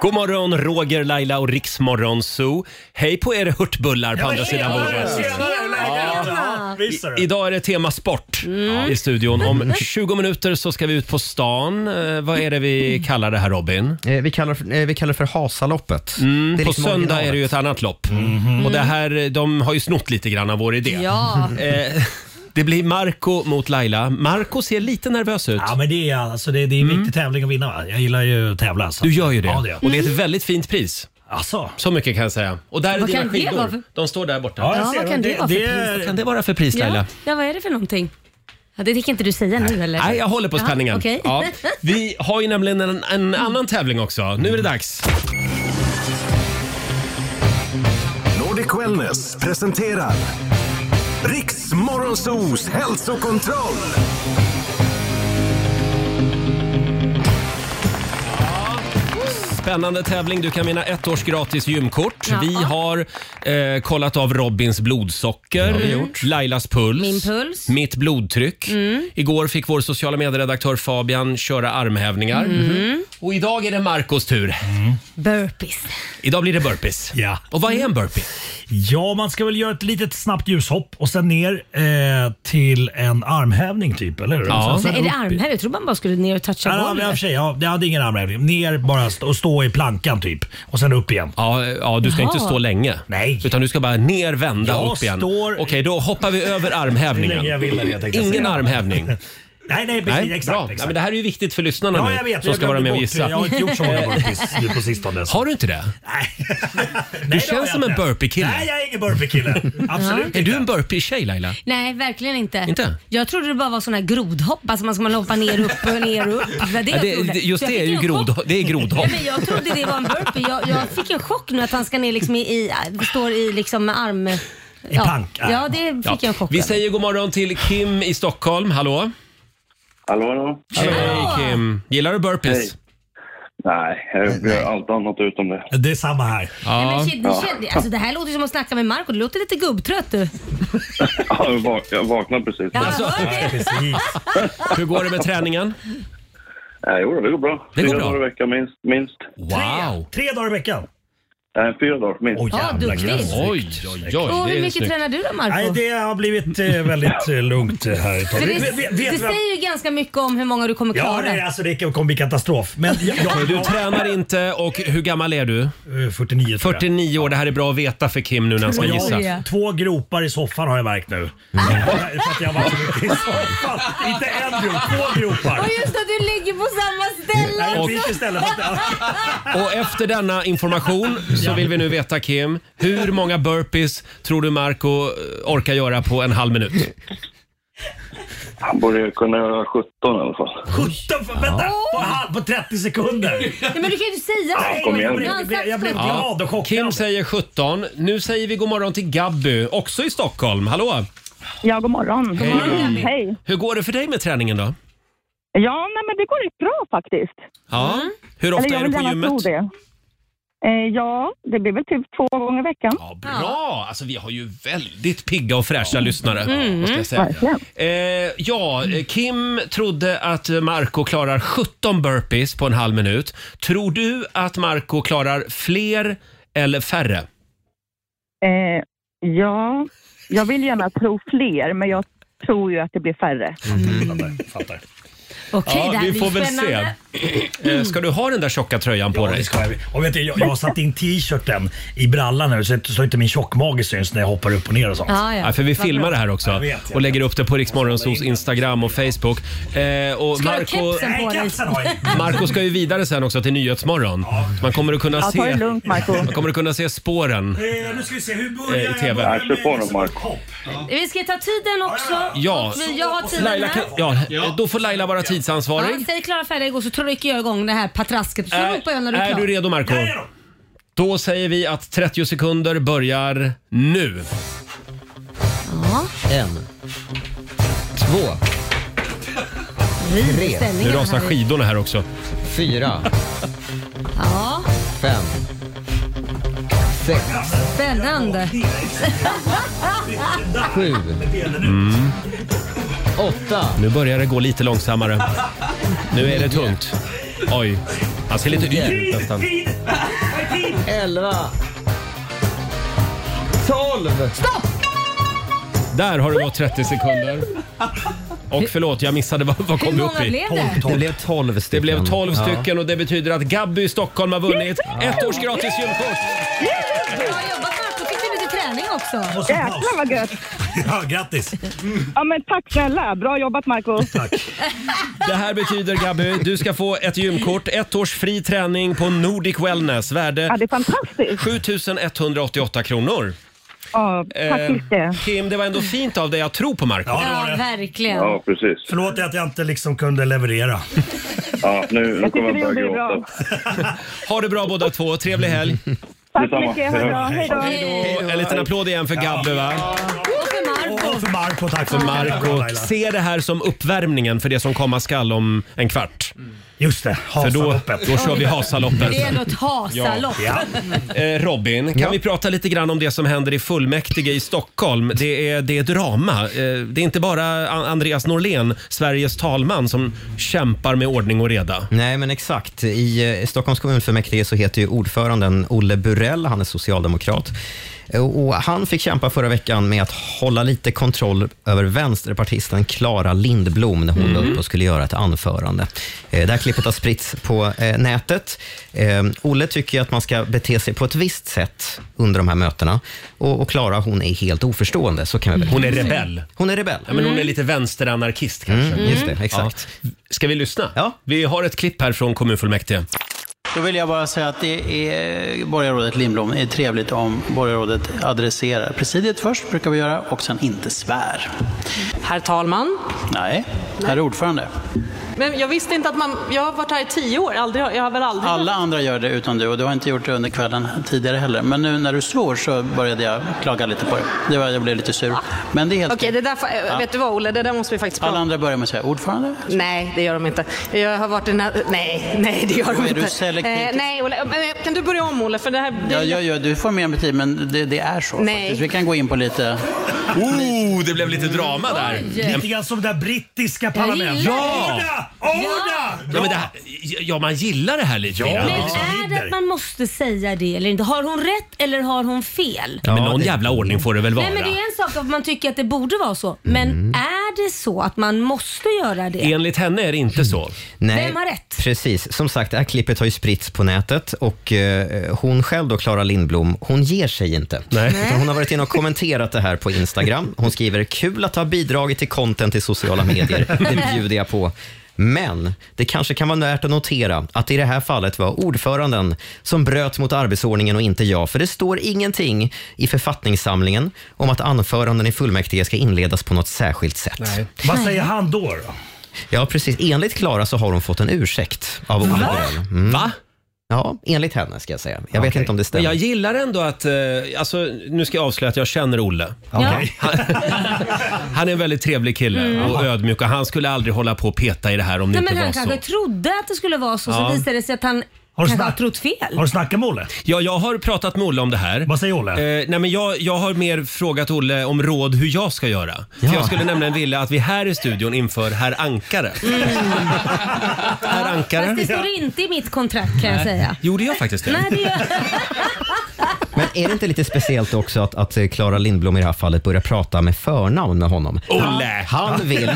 Speaker 1: God morgon, Roger, Laila och Riksmorgon Zoo. Hej på er hurtbullar på andra sidan bordet.
Speaker 9: Ja, visst är det.
Speaker 1: Idag är det tema sport i studion. Om 20 minuter så ska vi ut på stan. Eh, vad är det vi kallar det här Robin?
Speaker 2: Eh, Vi kallar, eh, vi kallar det för Hasaloppet. Det är
Speaker 1: Mm, På
Speaker 2: liksom
Speaker 1: söndag
Speaker 2: originalet.
Speaker 1: är det ju ett annat lopp. Och det här, eh, de har ju snott lite grann av vår idé.
Speaker 3: Ja.
Speaker 1: Eh, det blir Marco mot Laila. Marco ser lite nervös ut.
Speaker 9: Ja, men det är, alltså, det, det är en viktig tävling att vinna. Va? Jag gillar ju att tävla. Så.
Speaker 1: Mm. Du gör ju det.
Speaker 9: Ja, det gör jag.
Speaker 1: Och det är ett väldigt fint pris.
Speaker 9: Alltså.
Speaker 1: Så mycket kan jag säga. Och där är
Speaker 3: Vad
Speaker 1: dina
Speaker 3: kan det vara för-
Speaker 1: skidor. De står där borta.
Speaker 9: jag
Speaker 3: Ja,
Speaker 9: ser
Speaker 3: vad kan det vara för pris?
Speaker 9: är-
Speaker 1: Vad kan det vara för pris Laila?
Speaker 3: Ja. ja, vad är det för någonting? Ja, det tänker inte du säga nu eller?
Speaker 1: Nej, jag håller på
Speaker 3: Jaha,
Speaker 1: spänningen.
Speaker 3: okej.
Speaker 1: Ja. Vi har ju nämligen en, en annan tävling också. Nu är det dags.
Speaker 10: Nordic Wellness presenterar Riks Morgonzoos hälsokontroll.
Speaker 1: Spännande tävling. Du kan vinna ett års gratis gymkort.
Speaker 3: Ja.
Speaker 1: Vi har eh, kollat av Robins blodsocker, Lailas puls,
Speaker 3: Min puls. Mm.
Speaker 1: mitt blodtryck. Igår fick vår sociala medieredaktör Fabian köra armhävningar. Och idag är det Marcos tur.
Speaker 3: Mm. Burpees.
Speaker 1: Idag blir det burpees.
Speaker 9: Ja.
Speaker 1: Och vad är en burpee?
Speaker 9: Ja, man ska väl göra ett litet snabbt ljushopp och sen ner eh, till en armhävning typ, eller hur?
Speaker 1: Ja.
Speaker 9: Och sen-
Speaker 3: Nej, är
Speaker 9: sen
Speaker 3: det
Speaker 9: upp i-
Speaker 3: armhävning? Jag tror man bara skulle ner och toucha
Speaker 9: Ja, men i och för
Speaker 3: golvet.
Speaker 9: sig, ja, jag hade ingen armhävning. Ner bara st- och stå i plankan typ och sen upp igen.
Speaker 1: Ja, ja, du ska
Speaker 3: Jaha.
Speaker 1: inte stå länge.
Speaker 9: Nej.
Speaker 1: Utan du ska bara ner, vända
Speaker 9: Jag
Speaker 1: upp igen.
Speaker 9: står-
Speaker 1: Okej, då hoppar vi över
Speaker 9: Hur länge jag
Speaker 1: armhävningen.
Speaker 9: vill, eller jag tänkte
Speaker 1: Ingen
Speaker 9: säga.
Speaker 1: armhävning.
Speaker 9: Nej, nej, precis.
Speaker 1: Nej,
Speaker 9: exakt.
Speaker 1: bra. Ja,
Speaker 9: exakt.
Speaker 1: men det här är ju viktigt för lyssnarna
Speaker 9: Ja,
Speaker 1: nu
Speaker 9: jag vet.
Speaker 1: som
Speaker 9: jag
Speaker 1: ska vara
Speaker 9: glömde
Speaker 1: med och
Speaker 9: bort det.
Speaker 1: gissa.
Speaker 9: Jag har inte gjort så många burpees nu på sistone. så-
Speaker 1: Har du inte det?
Speaker 9: Nej. Nej, det
Speaker 1: Du
Speaker 9: har jag
Speaker 1: känns som en
Speaker 9: inte.
Speaker 1: burpee-kille.
Speaker 9: Nej, jag är ingen burpee-kille. Absolut
Speaker 1: Är du en
Speaker 9: inte.
Speaker 1: burpee-tjej Laila?
Speaker 3: Nej, verkligen inte.
Speaker 1: Inte?
Speaker 3: Jag trodde det bara var sådana här grodhopp, alltså man ska man hoppa ner, upp och ner och upp. Det var det
Speaker 1: Ja,
Speaker 3: jag
Speaker 1: det,
Speaker 3: trodde.
Speaker 1: det- just
Speaker 3: Så jag
Speaker 1: det är
Speaker 3: fick
Speaker 1: ju
Speaker 3: en chock.
Speaker 1: grod, det är
Speaker 3: Ja,
Speaker 1: grodhopp.
Speaker 3: men jag trodde det var en burpee. Jag, jag fick en chock nu att han ska ner liksom i, i står i liksom arm... I ja.
Speaker 9: plank.
Speaker 3: Ja, det fick jag en
Speaker 1: Ja.
Speaker 3: chock
Speaker 1: Vi
Speaker 3: över.
Speaker 1: säger god morgon till Kim i Stockholm. Hallå?
Speaker 6: Hallå, hallå?
Speaker 1: Hej Kim! Gillar du burpees?
Speaker 6: Nej, jag gör allt annat utom det.
Speaker 9: Det är samma här.
Speaker 3: Nej, men
Speaker 1: Ja.
Speaker 3: shit, det, kände, alltså, det här låter som att snacka med Marco. Det låter lite gubbtrött du.
Speaker 6: Ja, jag vak- jag vaknade precis.
Speaker 3: Ja, jag
Speaker 9: Alltså,
Speaker 3: hör det.
Speaker 9: Precis.
Speaker 1: Hur går det med träningen?
Speaker 6: Nej, jo, det går bra.
Speaker 1: Det går
Speaker 6: Fyra
Speaker 1: bra.
Speaker 6: dagar i veckan minst. minst.
Speaker 1: Wow!
Speaker 9: Tre dagar i veckan.
Speaker 6: Eh, Fyra dagar på minst.
Speaker 9: Oj,
Speaker 3: Ja, jävlar, duktig. grattis. och hur mycket tränar du då Marco?
Speaker 9: Nej, det har blivit eh, väldigt eh, lugnt eh, här ett tag.
Speaker 3: För det,
Speaker 9: Vet- vet- vet
Speaker 3: det
Speaker 9: vi vad-
Speaker 3: säger ju ganska mycket om hur många du kommer
Speaker 9: Ja,
Speaker 3: klara.
Speaker 9: det, alltså det kommer bli katastrof. Men jag,
Speaker 1: Så
Speaker 9: jag,
Speaker 1: Du tränar inte och hur gammal är du?
Speaker 9: 49 Eh, tror jag.
Speaker 1: 49 år, det här är bra att veta för Kim nu när han ska
Speaker 9: jag
Speaker 1: gissa.
Speaker 9: har två gropar i soffan har jag märkt
Speaker 1: Mm.
Speaker 9: nu. För att jag har varit så mycket i soffan. Inte en grop, två gropar.
Speaker 3: Och just att du ligger på samma
Speaker 9: Nej,
Speaker 3: ställe
Speaker 9: jag
Speaker 3: också.
Speaker 9: fick istället för att-
Speaker 1: Och efter denna information så vill vi nu veta Kim, hur många burpees tror du Marco eh, orkar göra på en halv minut?
Speaker 6: Han borde kunna göra 17 i alla fall.
Speaker 9: 17, för, vänta! På, halv- på 30 sekunder.
Speaker 3: Nej, men du kan ju inte säga
Speaker 6: Ja, kom igen.
Speaker 3: Du har
Speaker 9: Jag blev- jag blev
Speaker 3: sagt
Speaker 9: glad.
Speaker 3: sjutton.
Speaker 9: Ja, då chockar
Speaker 1: Kim
Speaker 9: jag.
Speaker 1: säger 17. Nu säger vi god morgon till Gabby, också i Stockholm. Hallå!
Speaker 11: Ja, god morgon.
Speaker 1: God morgon.
Speaker 11: Hej.
Speaker 1: Hur går det för dig med träningen då?
Speaker 11: Ja, nej, men det går rätt bra faktiskt.
Speaker 1: Ja. Hur ofta
Speaker 11: Eller jag
Speaker 1: är du
Speaker 11: vill
Speaker 1: på
Speaker 11: gärna
Speaker 1: gymmet?
Speaker 11: tro det. Eh, ja, det blir väl typ två gånger i veckan.
Speaker 1: Bra! Alltså vi har ju väldigt pigga och fräscha lyssnare.
Speaker 11: Mm.
Speaker 1: Måste jag säga.
Speaker 11: Verkligen.
Speaker 1: Eh, ja, eh, Kim trodde att Marco klarar 17 burpees på en halv minut. Tror du att Marco klarar fler eller färre?
Speaker 11: Eh, ja, jag vill gärna tro fler, men jag tror ju att det blir färre.
Speaker 9: Fattar.
Speaker 3: Okej, det här
Speaker 1: vi
Speaker 3: blir
Speaker 1: får väl
Speaker 3: spännande.
Speaker 1: se. Eh, ska du ha den där tjocka tröjan på
Speaker 9: Ja,
Speaker 1: dig?
Speaker 9: det ska jag. Och vet du, jag, jag har satt in t-shirten i brallan nu så att så inte min tjockmage syns när jag hoppar upp och ner och sånt.
Speaker 1: Ja, för vi
Speaker 9: Vad
Speaker 1: filmar
Speaker 9: bra.
Speaker 1: det här också
Speaker 9: Jag vet, jag
Speaker 1: och lägger upp det på Riksmorgonsos Instagram och Facebook. Eh, och
Speaker 3: Ska du ha
Speaker 1: Marco,
Speaker 3: kepsen på dig?
Speaker 1: Marco ska ju vidare sen också till Nyhetsmorgon. Man kommer att kunna
Speaker 11: Ja, ta det
Speaker 1: se,
Speaker 11: lugnt, Marco.
Speaker 1: man kommer att kunna se spåren
Speaker 9: Eh, nu ska vi se, hur
Speaker 1: eh,
Speaker 9: börjar
Speaker 1: i
Speaker 9: jag?
Speaker 1: TV.
Speaker 9: Börjar med-
Speaker 1: på dem Marco.
Speaker 3: Vi ska ta tiden också.
Speaker 1: Ja,
Speaker 3: Vi- Jag har tiden
Speaker 1: Laila,
Speaker 3: här.
Speaker 1: kan- ja, eh, då får Laila vara
Speaker 3: Ja,
Speaker 1: tidsansvarig.
Speaker 3: säg klara färdiga igår så trycker jag igång det här patrasket. Så ropar jag när du är
Speaker 1: Äh, Är
Speaker 3: klar.
Speaker 1: du redo Marco? Då säger vi att 30 sekunder börjar nu.
Speaker 2: En. Två. Tre.
Speaker 1: Nu rasar skidorna här också.
Speaker 2: Fyra.
Speaker 3: Ja,
Speaker 2: Fem. Sex.
Speaker 3: spännande.
Speaker 2: Sju.
Speaker 1: Mm.
Speaker 2: Åtta.
Speaker 1: Nu börjar det gå lite långsammare. Nu är det tungt. Oj, han ser lite yr ut nästan.
Speaker 2: Elva. Tolv.
Speaker 3: Stopp!
Speaker 1: Där har det gått 30 sekunder. Och förlåt, jag missade vad, vad kom
Speaker 3: Hur
Speaker 1: vi
Speaker 3: många
Speaker 1: upp i?
Speaker 3: blev det?
Speaker 2: Det blev tolv stycken.
Speaker 1: Det blev 12
Speaker 2: Ja.
Speaker 1: stycken och det betyder att Gabby i Stockholm har vunnit ett års gratis gymkort.
Speaker 3: Bra jobbat Marco, fick du lite träning också.
Speaker 11: Jäklar vad gött!
Speaker 9: Ja, grattis!
Speaker 11: Ja, men tack snälla. Bra jobbat, Marco.
Speaker 1: Det här betyder Gabby, du ska få ett gymkort, ett års fri träning på Nordic Wellness.
Speaker 11: Ja,
Speaker 1: Värde
Speaker 11: det är fantastiskt.
Speaker 1: 7188 kronor.
Speaker 11: Ja, tack
Speaker 1: Eh,
Speaker 11: Christer.
Speaker 1: Kim, det var ändå fint av dig att tro på Marco.
Speaker 3: Ja, verkligen.
Speaker 6: precis.
Speaker 9: Förlåt att jag inte liksom kunde leverera.
Speaker 6: Ja, nu, nu
Speaker 11: Jag
Speaker 6: kommer
Speaker 11: tycker
Speaker 6: jag
Speaker 11: det
Speaker 6: börja
Speaker 11: blir bra.
Speaker 6: gråta.
Speaker 1: Ha det bra båda två, trevlig helg.
Speaker 11: Tack så
Speaker 6: Detsamma.
Speaker 11: mycket. Ha det bra. Hej då.
Speaker 1: Och en liten applåd igen för Gabbe va?
Speaker 3: Och för Marco.
Speaker 9: Och för Marco, tack
Speaker 1: För
Speaker 9: Bra,
Speaker 1: Marco.
Speaker 9: Laila.
Speaker 1: Se det här som uppvärmningen för det som komma skall om en kvart.
Speaker 9: Mm. Just det,
Speaker 1: För då,
Speaker 9: Hasaloppet.
Speaker 1: då kör vi Hasaloppet.
Speaker 3: Det är ändå ett hasalopp.
Speaker 9: Ja.
Speaker 1: Eh, Robin, kan vi prata lite grann om det som händer i fullmäktige i Stockholm? Det är, det är drama. Eh, Det är inte bara An- Andreas Norlén, Sveriges talman, som kämpar med ordning och reda.
Speaker 2: Nej, men exakt. I eh, Stockholms kommunfullmäktige så heter ju ordföranden Olle Burell, han är socialdemokrat. Eh, Och han fick kämpa förra veckan med att hålla lite kontroll över vänsterpartisten Clara Lindblom när hon
Speaker 1: Mm.
Speaker 2: var uppe och skulle göra ett anförande. Eh, Det här klippet har spritts på eh, nätet. Eh, Olle tycker ju att man ska bete sig på ett visst sätt under de här mötena. Och, och Clara, hon är helt oförstående. Så kan vi väl.
Speaker 1: Hon är rebell.
Speaker 2: Hon är rebell.
Speaker 1: Ja, men
Speaker 3: Mm.
Speaker 1: hon är lite vänsteranarkist kanske.
Speaker 2: Mm, just det, exakt.
Speaker 1: Ja. Ska vi lyssna? Vi har ett klipp här från kommunfullmäktige.
Speaker 12: Då vill jag bara säga att det är borgarrådet Lindblom är trevligt om borgarrådet adresserar presidiet först, brukar vi göra, och sen inte svär.
Speaker 13: Herr talman.
Speaker 12: Nej, herr ordförande.
Speaker 13: Men jag visste inte att man... Jag har varit här i tio år. Aldrig, jag har väl aldrig...
Speaker 12: Alla andra gör det utom du och du har inte gjort det under kvällen tidigare heller. Men nu när du svor så började jag klaga lite på det. det var, jag blev lite sur. Men det är helt
Speaker 13: Okej, det där... fa-
Speaker 12: Ja.
Speaker 13: Vet du vad Olle, det där måste vi faktiskt prata
Speaker 12: Alla
Speaker 13: om.
Speaker 12: andra börjar med att säga ordförande.
Speaker 13: Nej, det gör de inte. Jag har varit i den här... Nej, nej, det gör de
Speaker 12: Är
Speaker 13: inte.
Speaker 12: du selektiv?
Speaker 13: Eh, nej, Olle. Men Kan du börja om, Olle? För det här... Det...
Speaker 12: Ja, ja, ja, du får mer med tid, men det, det är så
Speaker 13: Nej.
Speaker 12: faktiskt. Vi kan gå in på lite...
Speaker 1: Oh, det blev lite drama där.
Speaker 9: Lite grann som det där brittiska
Speaker 3: Jag
Speaker 9: parlamentet.
Speaker 3: gillar det.
Speaker 9: Ja! Oda!
Speaker 1: Ja, men det här, ja, man gillar det här lite
Speaker 3: Men
Speaker 1: grann. alltså.
Speaker 3: är det att man måste säga det eller inte? Har hon rätt eller har hon fel?
Speaker 1: Ja, men någon jävla ordning får det väl vara?
Speaker 3: Nej men det är en sak att man tycker att det borde vara så. Men är det så att man måste göra det?
Speaker 1: Enligt henne är det inte så.
Speaker 2: Nej,
Speaker 3: Vem har rätt?
Speaker 2: Precis. Som sagt, det här klippet har ju spritts på nätet och eh, hon själv då, Klara Lindblom, hon ger sig inte.
Speaker 1: Nej.
Speaker 2: Utan hon har varit inne och kommenterat det här på Instagram. Hon skriver “Kul att ha bidragit till content i sociala medier. Det bjuder jag på.” Men det kanske kan vara värt att notera att det i det här fallet var ordföranden som bröt mot arbetsordningen och inte jag. För det står ingenting i författningssamlingen om att anföranden i fullmäktige ska inledas på något särskilt sätt.
Speaker 9: Vad säger han då? då?
Speaker 2: Ja, precis. Enligt Klara så har hon fått en ursäkt av Olle
Speaker 1: Va?
Speaker 2: Borell. Va? Ja, enligt henne ska jag säga. Jag vet inte om det
Speaker 1: Men
Speaker 2: stämmer.
Speaker 1: jag gillar ändå att, eh, alltså, nu ska jag avslöja att jag känner Olle.
Speaker 2: Okej.
Speaker 1: Han, han är en väldigt trevlig kille
Speaker 3: Mm.
Speaker 1: och ödmjuk och han skulle aldrig hålla på och peta i det här om det
Speaker 3: Nej men
Speaker 1: inte
Speaker 3: han
Speaker 1: var
Speaker 3: kanske
Speaker 1: så.
Speaker 3: trodde att det skulle vara så,
Speaker 1: Ja.
Speaker 3: så visade det sig att han kanske har trott fel.
Speaker 1: du snackat med Olle? Ja, jag har pratat med Olle om det här. Vad säger Olle? Eh, nej, men jag, jag har mer frågat Olle om råd hur jag ska göra. För jag skulle nämligen vilja att vi här i studion inför herr Ankare. Herr Ankare.
Speaker 3: Mm. Fast det står inte i mitt kontrakt kan jag säga.
Speaker 1: Jo, det gör faktiskt det.
Speaker 3: Nej, det gör...
Speaker 2: Men är det inte lite speciellt också att, att eh, Clara Lindblom i det här fallet börjar prata med förnamn med honom?
Speaker 1: Olle!
Speaker 2: Han vill,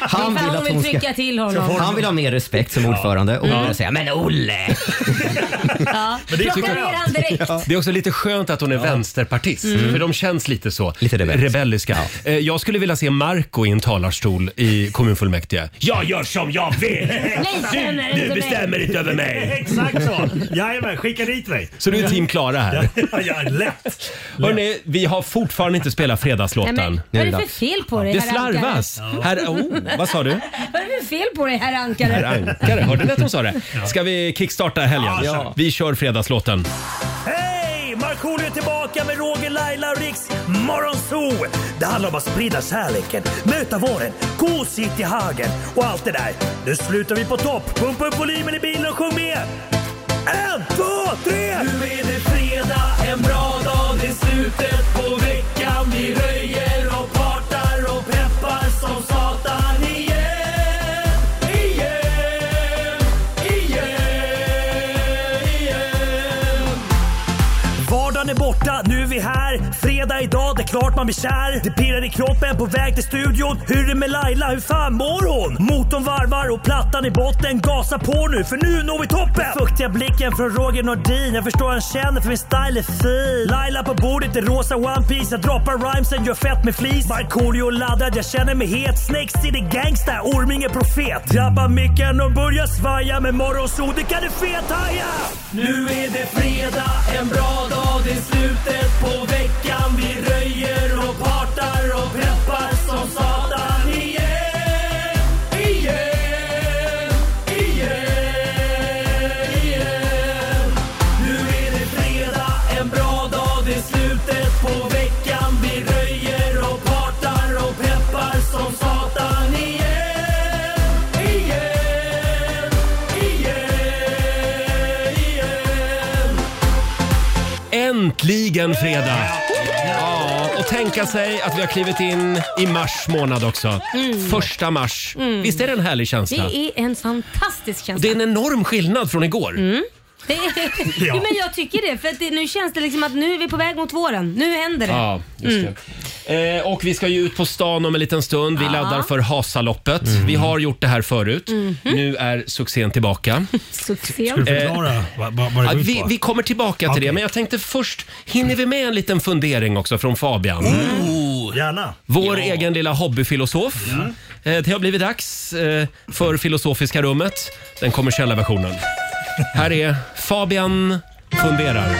Speaker 2: han
Speaker 3: Ifall
Speaker 2: vill
Speaker 3: hon
Speaker 2: att
Speaker 3: vill Mm.
Speaker 2: hon ska...
Speaker 3: trycka till honom.
Speaker 2: Han vill ha mer respekt som ordförande och
Speaker 1: Ja.
Speaker 2: börjar säga “Men Olle!”
Speaker 3: Ja.
Speaker 1: Men det
Speaker 3: Plocka
Speaker 1: tycker
Speaker 3: ner
Speaker 1: jag-
Speaker 3: han direkt.
Speaker 1: Det är också lite skönt att hon är vänsterpartist,
Speaker 3: Mm.
Speaker 1: för de känns lite så. Lite rebelliska. Eh, Jag skulle vilja se Marco i en talarstol i kommunfullmäktige. Jag gör som jag vill!
Speaker 9: bestämmer
Speaker 1: Du, du bestämmer inte över mig!
Speaker 9: Exakt så. Jajamän, skicka dit mig.
Speaker 1: Så du är team Klara här.
Speaker 9: Ja, ja, lätt.
Speaker 1: Hörrni, vi har fortfarande inte spelat
Speaker 3: Nej,
Speaker 1: fredagslåten.
Speaker 3: men, vad är det för fel på dig
Speaker 1: Det
Speaker 3: herr Ankare?
Speaker 1: slarvas. Herr, oh, vad sa du?
Speaker 3: Vad är det för fel på dig herr Ankare?
Speaker 1: Herr Ankare, hörde ni att hon sa det? Ska vi kickstarta helgen?
Speaker 9: Ja, kör.
Speaker 1: Vi kör fredagslåten.
Speaker 9: Hej! Markoolio är tillbaka med Roger, Laila och Riks Morgonzoo! Det handlar om att sprida kärleken, möta våren, gosigt i hagen och allt det där. Nu slutar vi på topp! Pumpa upp volymen i bilen och sjung med! En, två, tre! Nu är det fredag, en bra dag, det är slutet på veckan. Vi röjer och partar och peppar som satan igen! Igen! Igen! Igen! Vardagen är borta, nu är vi här. Fredag idag, det är klart man blir kär. Det pirrar i kroppen på väg till studion. Hur är det med Laila, hur fan mår hon? Motorn varvar och plattan i botten. Gasa på nu, för nu når vi toppen! Den Fuktiga blicken från Roger Nordin. Jag förstår han känner för min style är fin. Laila på bordet i rosa One Piece Jag droppar rhymesen, gör fett med flis. Markoolio laddad, jag känner mig het. Snakes city gangsta, Orminge profet. Drabbar micken och börjar svaja. Med morgonsol, det kan du fethaja! Nu är det fredag, en bra dag. Det är slutet på veckan. Vi röjer och partar och peppar som satan. Igen, igen, igen, igen. Nu är det fredag, en bra dag. Det är slutet på veckan. Vi röjer och partar och peppar som satan. Igen, igen, igen, igen.
Speaker 1: Äntligen fredag! Ja, och tänka sig att vi har klivit in i mars månad också.
Speaker 3: Mm.
Speaker 1: Första mars.
Speaker 3: Mm.
Speaker 1: Visst är det en härlig känsla?
Speaker 3: Det är en fantastisk känsla.
Speaker 1: Det är en enorm skillnad från igår.
Speaker 3: Det är...
Speaker 1: Ja.
Speaker 3: jo, men jag tycker det, för att det, nu känns det liksom att nu är vi på väg mot våren. Nu händer det.
Speaker 1: Ja, just
Speaker 3: Mm.
Speaker 1: det. Eh, och vi ska ju ut på stan om en liten stund. Vi
Speaker 3: Ja.
Speaker 1: laddar för Hasaloppet. Vi har gjort det här förut.
Speaker 3: Mhm.
Speaker 1: Nu är succén tillbaka.
Speaker 3: Succé.
Speaker 1: Ska du förklara
Speaker 3: Eh,
Speaker 9: vad, vad
Speaker 1: Ja,
Speaker 9: det går ut
Speaker 1: vi,
Speaker 9: på?
Speaker 1: vi kommer tillbaka till det, men jag tänkte först, hinner vi med en liten fundering också från Fabian?
Speaker 9: Gärna.
Speaker 1: Vår egen lilla hobbyfilosof.
Speaker 14: Mm.
Speaker 1: Eh, Det har blivit dags eh, för Filosofiska rummet, den kommersiella versionen. Här är Fabian funderar.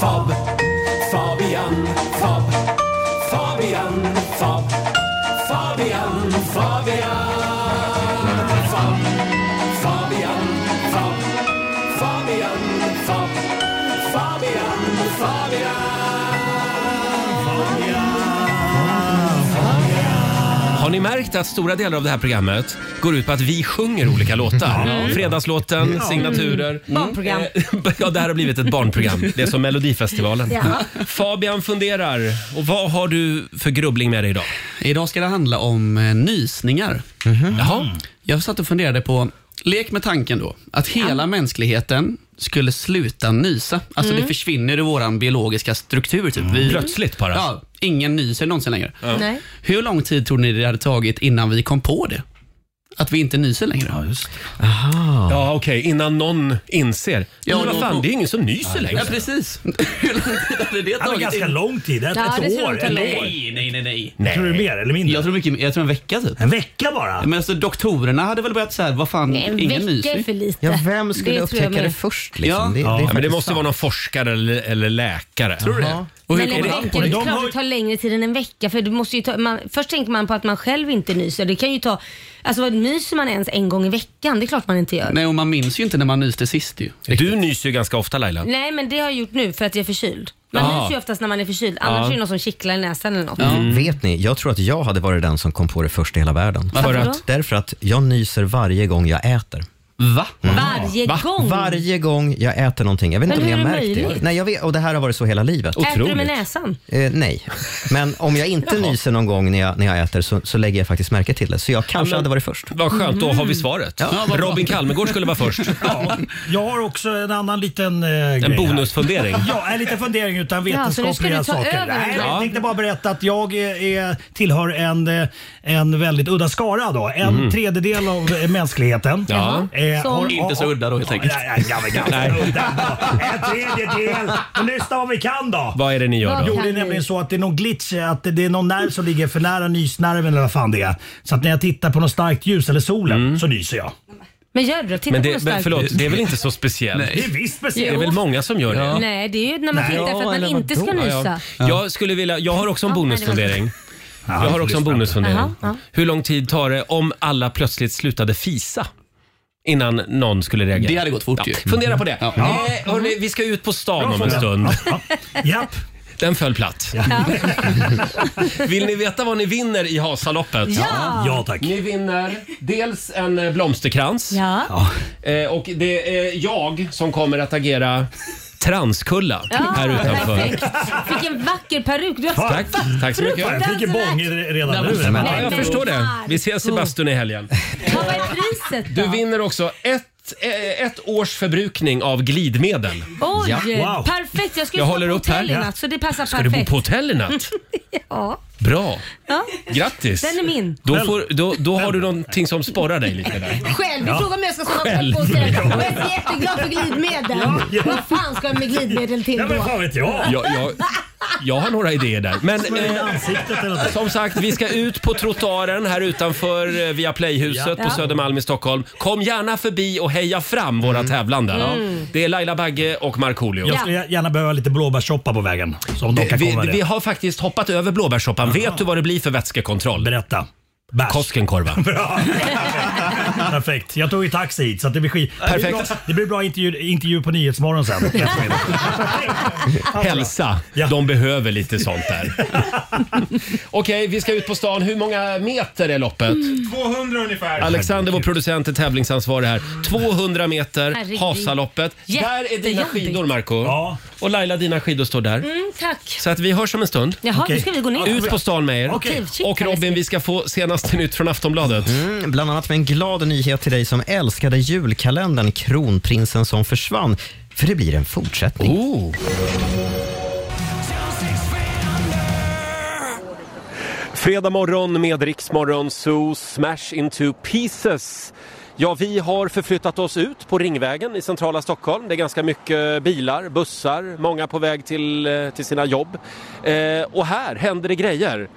Speaker 14: Fab, Fabian, Fab, Fabian, Fab, Fabian, Fabian, Fab, Fabian, Fab, Fabian, Fab, Fabian, Fabian.
Speaker 1: Har Har ni märkt att stora delar av det här programmet går ut på att vi sjunger olika låtar?
Speaker 14: Ja.
Speaker 1: Fredagslåten,
Speaker 14: Ja.
Speaker 1: signaturer.
Speaker 14: Mm. Barnprogram.
Speaker 1: Eh, Ja, det här har blivit ett barnprogram. Det är som Melodifestivalen.
Speaker 14: Ja.
Speaker 1: Fabian funderar. Och vad har du för grubbling med dig idag?
Speaker 8: Idag ska det handla om eh, nysningar.
Speaker 1: Jaha.
Speaker 8: Jag satt och funderade på, lek med tanken då, att hela mänskligheten skulle sluta nysa. Alltså
Speaker 14: Mm.
Speaker 8: det försvinner i vår biologiska struktur. Typ. Vi,
Speaker 1: Mm. Plötsligt bara.
Speaker 8: Ja, ingen nyser någonsin längre.
Speaker 14: Ja. Nej.
Speaker 8: Hur lång tid tror ni det hade tagit innan vi kom på det? Att vi inte nyser längre. Ja,
Speaker 9: just
Speaker 1: Aha. Ja, okej. Innan någon inser.
Speaker 8: Ja,
Speaker 1: Ja, men vad
Speaker 8: då-
Speaker 1: fan, det är ingen som nyser längre.
Speaker 8: Ja, precis. Hur lång tid hade det
Speaker 9: Ja, men
Speaker 8: tagit?
Speaker 9: ganska lång tid. Ett,
Speaker 8: Ja, det
Speaker 9: ett
Speaker 8: ser
Speaker 9: år.
Speaker 8: ut att
Speaker 9: ett
Speaker 8: ta
Speaker 9: år.
Speaker 8: Nej, nej, nej, nej.
Speaker 9: Nej. Tror du mer eller mindre?
Speaker 8: Jag tror, mycket, jag tror en vecka typ.
Speaker 9: En vecka bara?
Speaker 8: Men alltså doktorerna hade väl börjat säga, vad fan,
Speaker 3: Nej, en
Speaker 8: ingen
Speaker 3: vecka
Speaker 8: nyser.
Speaker 3: är för lite. Ja, vem skulle Det tror upptäcka jag med. det
Speaker 8: först?
Speaker 1: liksom?
Speaker 8: Ja.
Speaker 1: Det- det är Ja, men faktiskt det måste sant. vara någon forskare eller, läkare. Tror du det? Och hur
Speaker 3: Men en
Speaker 1: kommer han
Speaker 3: vecka,
Speaker 1: på
Speaker 3: det
Speaker 1: det?
Speaker 3: är
Speaker 1: De
Speaker 3: klart
Speaker 1: har-
Speaker 3: det tar längre tid än en vecka. För du måste ju ta, man, först tänker man på att man själv inte nyser. Det kan ju ta, alltså vad nyser man ens en gång i veckan? Det är klart man inte gör.
Speaker 8: Nej, och man minns ju inte när man nyste sist ju.
Speaker 1: Du nyser ju ganska ofta Laila.
Speaker 3: Nej men det har jag gjort nu för att jag är förkyld. Man
Speaker 2: Ah.
Speaker 3: nyser ju oftast när man är förkyld. Annars
Speaker 2: Ja.
Speaker 3: är det någon som kittlar i näsan eller något.
Speaker 2: Vet ni, jag tror att jag hade varit den som kom på det först i hela världen.
Speaker 3: Varför Varför då? då?
Speaker 2: Därför att jag nyser varje gång jag äter. Mm.
Speaker 8: Va?
Speaker 3: Varje gång?
Speaker 2: Varje gång jag äter någonting. Jag vet
Speaker 3: Men
Speaker 2: inte om ni har
Speaker 3: hur är det
Speaker 2: märkt
Speaker 3: möjligt?
Speaker 2: det. Nej, jag vet, och det här har varit så hela livet.
Speaker 3: Äter du med näsan?
Speaker 2: Eh, nej, men om jag inte nyser någon gång när jag, när jag äter så, så lägger jag faktiskt märke till det. Så jag kanske
Speaker 1: men-
Speaker 2: hade varit först.
Speaker 1: Vad skönt, då har
Speaker 3: Mm.
Speaker 1: vi svaret. Robin Kalmegård skulle vara först.
Speaker 9: Jag har också en annan liten eh, grej här.
Speaker 1: bonusfundering.
Speaker 9: ja, en liten fundering utan
Speaker 14: Ja, så nu ska
Speaker 9: vetenskapliga
Speaker 14: du ta
Speaker 9: saker.
Speaker 14: över
Speaker 9: Nej,
Speaker 14: den.
Speaker 9: jag tänkte bara berätta att jag eh, är, tillhör en, eh, en väldigt udda skara. Då. En
Speaker 8: Mhm.
Speaker 9: tredjedel av eh, mänskligheten.
Speaker 8: Ja.
Speaker 9: Eh, har-
Speaker 8: Inte så udda då helt enkelt.
Speaker 9: Nej, ja, men ganska udda. En tredjedel. Men lyssna om vi kan då.
Speaker 1: Vad är det ni gör då?
Speaker 9: Jo, det är nämligen så att det är någon glitch, att det är någon nerv som ligger för nära nysnerven eller vad fan det är. Så att när jag tittar på något starkt ljus eller solen
Speaker 1: Mm.
Speaker 9: så nyser jag.
Speaker 3: Men gör det då. Titta
Speaker 1: Men,
Speaker 3: på
Speaker 1: det,
Speaker 3: något
Speaker 1: men
Speaker 3: starkt.
Speaker 1: förlåt, det är väl inte så speciellt?
Speaker 9: Nej. Det är visst speciellt.
Speaker 1: Det är väl många som gör det?
Speaker 3: Nej, det är ju när man
Speaker 1: Nej.
Speaker 3: tittar för att man inte ska nysa.
Speaker 1: Ja, ja. Jag skulle vilja, jag har också en bonusfundering. Jag har också en bonusfundering.
Speaker 3: Jaha, ja.
Speaker 1: Hur lång tid tar det om alla plötsligt slutade fisa? Innan någon skulle reagera.
Speaker 8: Det hade gått fort
Speaker 1: ja.
Speaker 8: ju.
Speaker 1: Fundera på det.
Speaker 8: Ja.
Speaker 1: Eh, hörni, vi ska ut på stan
Speaker 8: Bra
Speaker 1: om en
Speaker 8: fråga.
Speaker 1: stund.
Speaker 9: Japp.
Speaker 1: Den föll platt. Vill ni veta vad ni vinner i Hasaloppet?
Speaker 14: Ja!
Speaker 9: Ja, tack.
Speaker 1: Ni vinner dels en eh, blomsterkrans. Eh, och det är jag som kommer att agera transkulla
Speaker 3: Ja,
Speaker 1: här utanför.
Speaker 3: perfekt. Vilken vacker peruk du har
Speaker 1: Tack,
Speaker 3: skaffat.
Speaker 1: tack så mycket.
Speaker 9: Jag fick ju bång i- redan nu. Mm.
Speaker 1: Ja, jag förstår det. Vi ses i bastun i helgen.
Speaker 3: Vad var priset då?
Speaker 1: Du vinner också ett, eh, ett års förbrukning av glidmedel.
Speaker 3: Oj,
Speaker 1: Ja.
Speaker 3: perfekt. Jag ska ju sova
Speaker 1: Jag håller
Speaker 3: på
Speaker 1: upp här.
Speaker 3: hotell i
Speaker 1: Ja.
Speaker 3: natt så det passar
Speaker 1: Ska du
Speaker 3: perfekt.
Speaker 1: bo på hotell i natt?
Speaker 3: ja.
Speaker 1: Bra.
Speaker 3: ja.
Speaker 1: Grattis.
Speaker 3: Den är min.
Speaker 1: Då, får, då, då har du någonting som sporrar dig lite där.
Speaker 15: Själv? Du
Speaker 1: Ja.
Speaker 15: frågar om jag ska sova
Speaker 1: Själv.
Speaker 15: på hotell. Jag är så jätteglad för glidmedel.
Speaker 1: Ja, ja.
Speaker 15: Vad fan ska jag med glidmedel till då?
Speaker 1: Jag, jag, jag har några idéer där. Men eh,
Speaker 9: Som är i ansiktet eller något.
Speaker 1: som sagt, vi ska ut på trottoaren här utanför eh, via Playhuset
Speaker 9: Ja.
Speaker 1: på
Speaker 9: Ja.
Speaker 1: Södermalm i Stockholm. Kom gärna förbi och heja fram våra tävlande.
Speaker 9: Mm.
Speaker 1: Det är Laila Bagge och Markoolio.
Speaker 9: Jag skulle gärna behöva lite blåbärssoppa på vägen. Så om de kan komma
Speaker 1: Vi,
Speaker 9: det.
Speaker 1: vi har faktiskt hoppat över blåbärssoppan. Vet du vad det blir för vätskekontroll?
Speaker 9: Berätta.
Speaker 1: Koskenkorva.
Speaker 9: Bra. Perfekt. Jag tog ju taxi hit så att det blir skit. Det blir bra,
Speaker 1: Perfekt.
Speaker 9: det blir bra intervju, intervju på Nyhetsmorgon sen.
Speaker 1: Hälsa. De behöver lite sånt där. Okej, vi ska ut på stan. Hur många meter är loppet?
Speaker 5: 200 ungefär.
Speaker 1: Alexander, vår producent, är tävlingsansvarig här. 200 meter,
Speaker 3: Herregud.
Speaker 1: Hasaloppet. Där är dina
Speaker 3: Jättejobbigt.
Speaker 1: skidor, Marco. Och Laila, dina skidor står där.
Speaker 3: Mm, tack.
Speaker 1: Så att vi hörs om en stund.
Speaker 3: Jaha, nu ska vi gå ner.
Speaker 1: Ut på stan med er.
Speaker 3: Okej. Shit,
Speaker 1: Och
Speaker 3: vad
Speaker 1: Robin, vi ska få senaste nytt från Aftonbladet.
Speaker 2: Mm, bland annat med en glad nyhet till dig som älskade julkalendern Kronprinsen som försvann. För det blir en fortsättning.
Speaker 1: Oh. Fredag morgon med Riksmorgon Zoo, Smash into pieces. Ja, vi har förflyttat oss ut på Ringvägen i centrala Stockholm. Det är ganska mycket bilar, bussar, många på väg till, eh, till sina jobb. Eh, och här händer det grejer.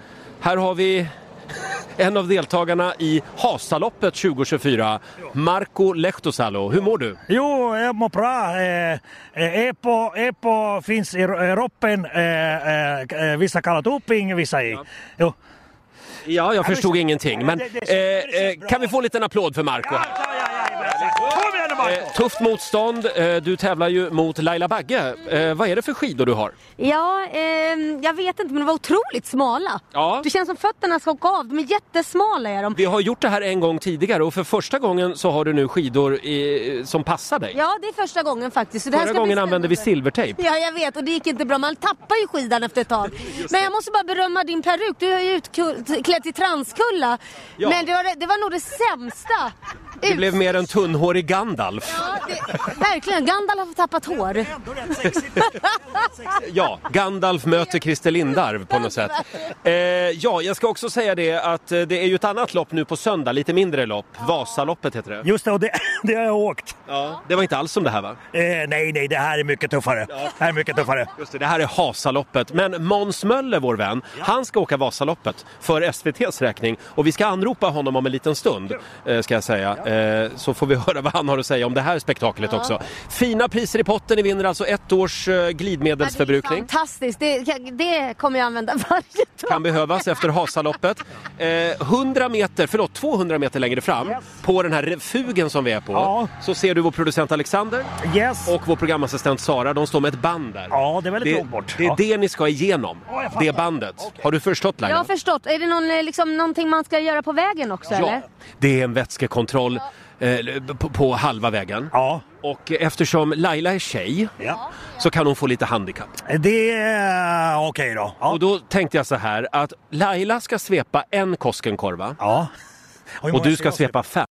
Speaker 1: Här har vi en av deltagarna i Hasaloppet 2024, Marco Lehtosalo. Hur mår du?
Speaker 16: Jo, jag mår bra. Eh, eh, EPO, EPO finns i ro- eh, roppen. Eh, eh, vissa kallar doping, vissa i... Jo.
Speaker 1: Ja, jag
Speaker 16: men-
Speaker 1: förstod ingenting. Men
Speaker 16: Ja, det-
Speaker 1: eh, eh, kan vi få en liten applåd för Marco? här?
Speaker 17: Kom igen nu Marco!
Speaker 1: Tufft motstånd. Eh, Du tävlar ju mot Laila Bagge. Eh, Vad är det för skidor du har?
Speaker 3: Ja, ehm, jag vet inte men de var otroligt smala.
Speaker 1: Ja.
Speaker 3: Det känns som fötterna ska åka av. De är jättesmala är de.
Speaker 1: Vi har gjort det här en gång tidigare och för första gången så har du nu skidor i, som passar dig.
Speaker 3: Ja, det är första gången faktiskt. Så det här
Speaker 1: Förra
Speaker 3: ska bli
Speaker 1: gången använde vi
Speaker 3: spännande.
Speaker 1: silvertejp.
Speaker 3: Ja, jag vet och det gick inte bra. Man tappar ju skidan efter ett tag. Men jag måste bara berömma din peruk. Du är ju utklädd till transkulla.
Speaker 1: Ja.
Speaker 3: Men det var, det var nog det sämsta.
Speaker 1: Det blev mer en tunnhårig Gandalf.
Speaker 3: Ja, det, verkligen. Gandalf har tappat hår.
Speaker 1: Ja, Gandalf möter Christer Lindarw på något sätt. Eh, ja, jag ska också säga det att eh, det är ju ett annat lopp nu på söndag, lite mindre lopp. Vasaloppet heter det.
Speaker 9: Just det, och det, det har jag åkt.
Speaker 1: Ja. Det var inte alls som det här va?
Speaker 9: Eh, nej, nej, det här är mycket tuffare. Det här är mycket tuffare.
Speaker 1: Just det, det här är Hasaloppet. Men Måns Möller, vår vän, han ska åka Vasaloppet för SVTs räkning. Och vi ska anropa honom om en liten stund, eh, ska jag säga. Eh, Så får vi höra vad han har att säga om det här spektaklet
Speaker 3: Ja.
Speaker 1: också. Fina priser i potten, ni vinner alltså ett års eh, glidmedelsförbrukning.
Speaker 3: Fantastiskt. Det, det kommer jag använda varje dag.
Speaker 1: Kan behövas efter Hasaloppet. Eh, 100 meter, förlåt, 200 meter längre fram, på den här refugen som vi är på,
Speaker 9: Ja.
Speaker 1: så ser du vår producent Alexander och vår programassistent Sara. De står med ett band där.
Speaker 9: Ja, det är väldigt långt bort.
Speaker 1: Det är
Speaker 9: Ja.
Speaker 1: det ni ska igenom.
Speaker 3: Ja, jag fattar.
Speaker 1: det bandet. Har du förstått
Speaker 3: Jag har
Speaker 1: Laila?
Speaker 3: förstått. Är det någon, eh, liksom, någonting man ska göra på vägen också eller?
Speaker 1: Det är en vätskekontroll eh, på, på halva vägen.
Speaker 9: Ja.
Speaker 1: Och eftersom Laila är tjej så kan hon få lite handikapp.
Speaker 9: Det är okej då.
Speaker 1: Och då tänkte jag så här att Laila ska svepa en Koskenkorva.
Speaker 9: Ja. hur
Speaker 1: Och
Speaker 9: många
Speaker 1: du
Speaker 9: ska
Speaker 1: ska
Speaker 9: jag
Speaker 1: svepa fem.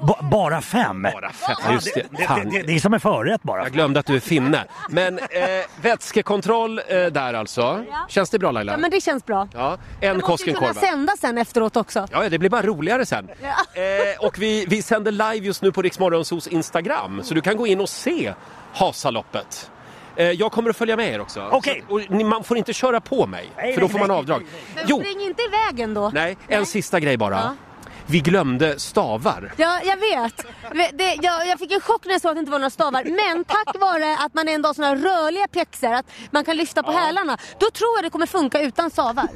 Speaker 9: Ba- bara fem?
Speaker 1: Bara fem. Ja, just det.
Speaker 9: Det,
Speaker 1: Fan.
Speaker 9: det, det, det är som en förrätt bara.
Speaker 1: Jag glömde att du är finne. Men eh, vätskekontroll eh, där alltså. Känns det bra Laila?
Speaker 3: Ja men det känns bra.
Speaker 1: Ja, en
Speaker 3: Jag måste ju kunna
Speaker 1: Koskenkorva.
Speaker 3: sända sen efteråt också.
Speaker 1: Ja, ja, det blir bara roligare sen. Eh, och vi, vi sänder live just nu på Riksmorgonsos Instagram, så du kan gå in och se Hasaloppet. Eh, jag kommer att följa med er också.
Speaker 9: Okej.
Speaker 1: Så- och ni- Man får inte köra på mig,
Speaker 3: Nej,
Speaker 1: för då
Speaker 3: nej,
Speaker 1: får man
Speaker 3: nej.
Speaker 1: avdrag.
Speaker 3: Men
Speaker 1: Jo,
Speaker 3: spring inte i vägen då.
Speaker 1: nej, en sista grej bara.
Speaker 3: Ja.
Speaker 1: Vi glömde stavar.
Speaker 3: Ja, jag vet. Det, jag, jag fick en chock när jag såg att det inte var några stavar. Men tack vare att man ändå har såna här rörliga pjäxor, att man kan lyfta på hälarna, då tror jag det kommer funka utan stavar.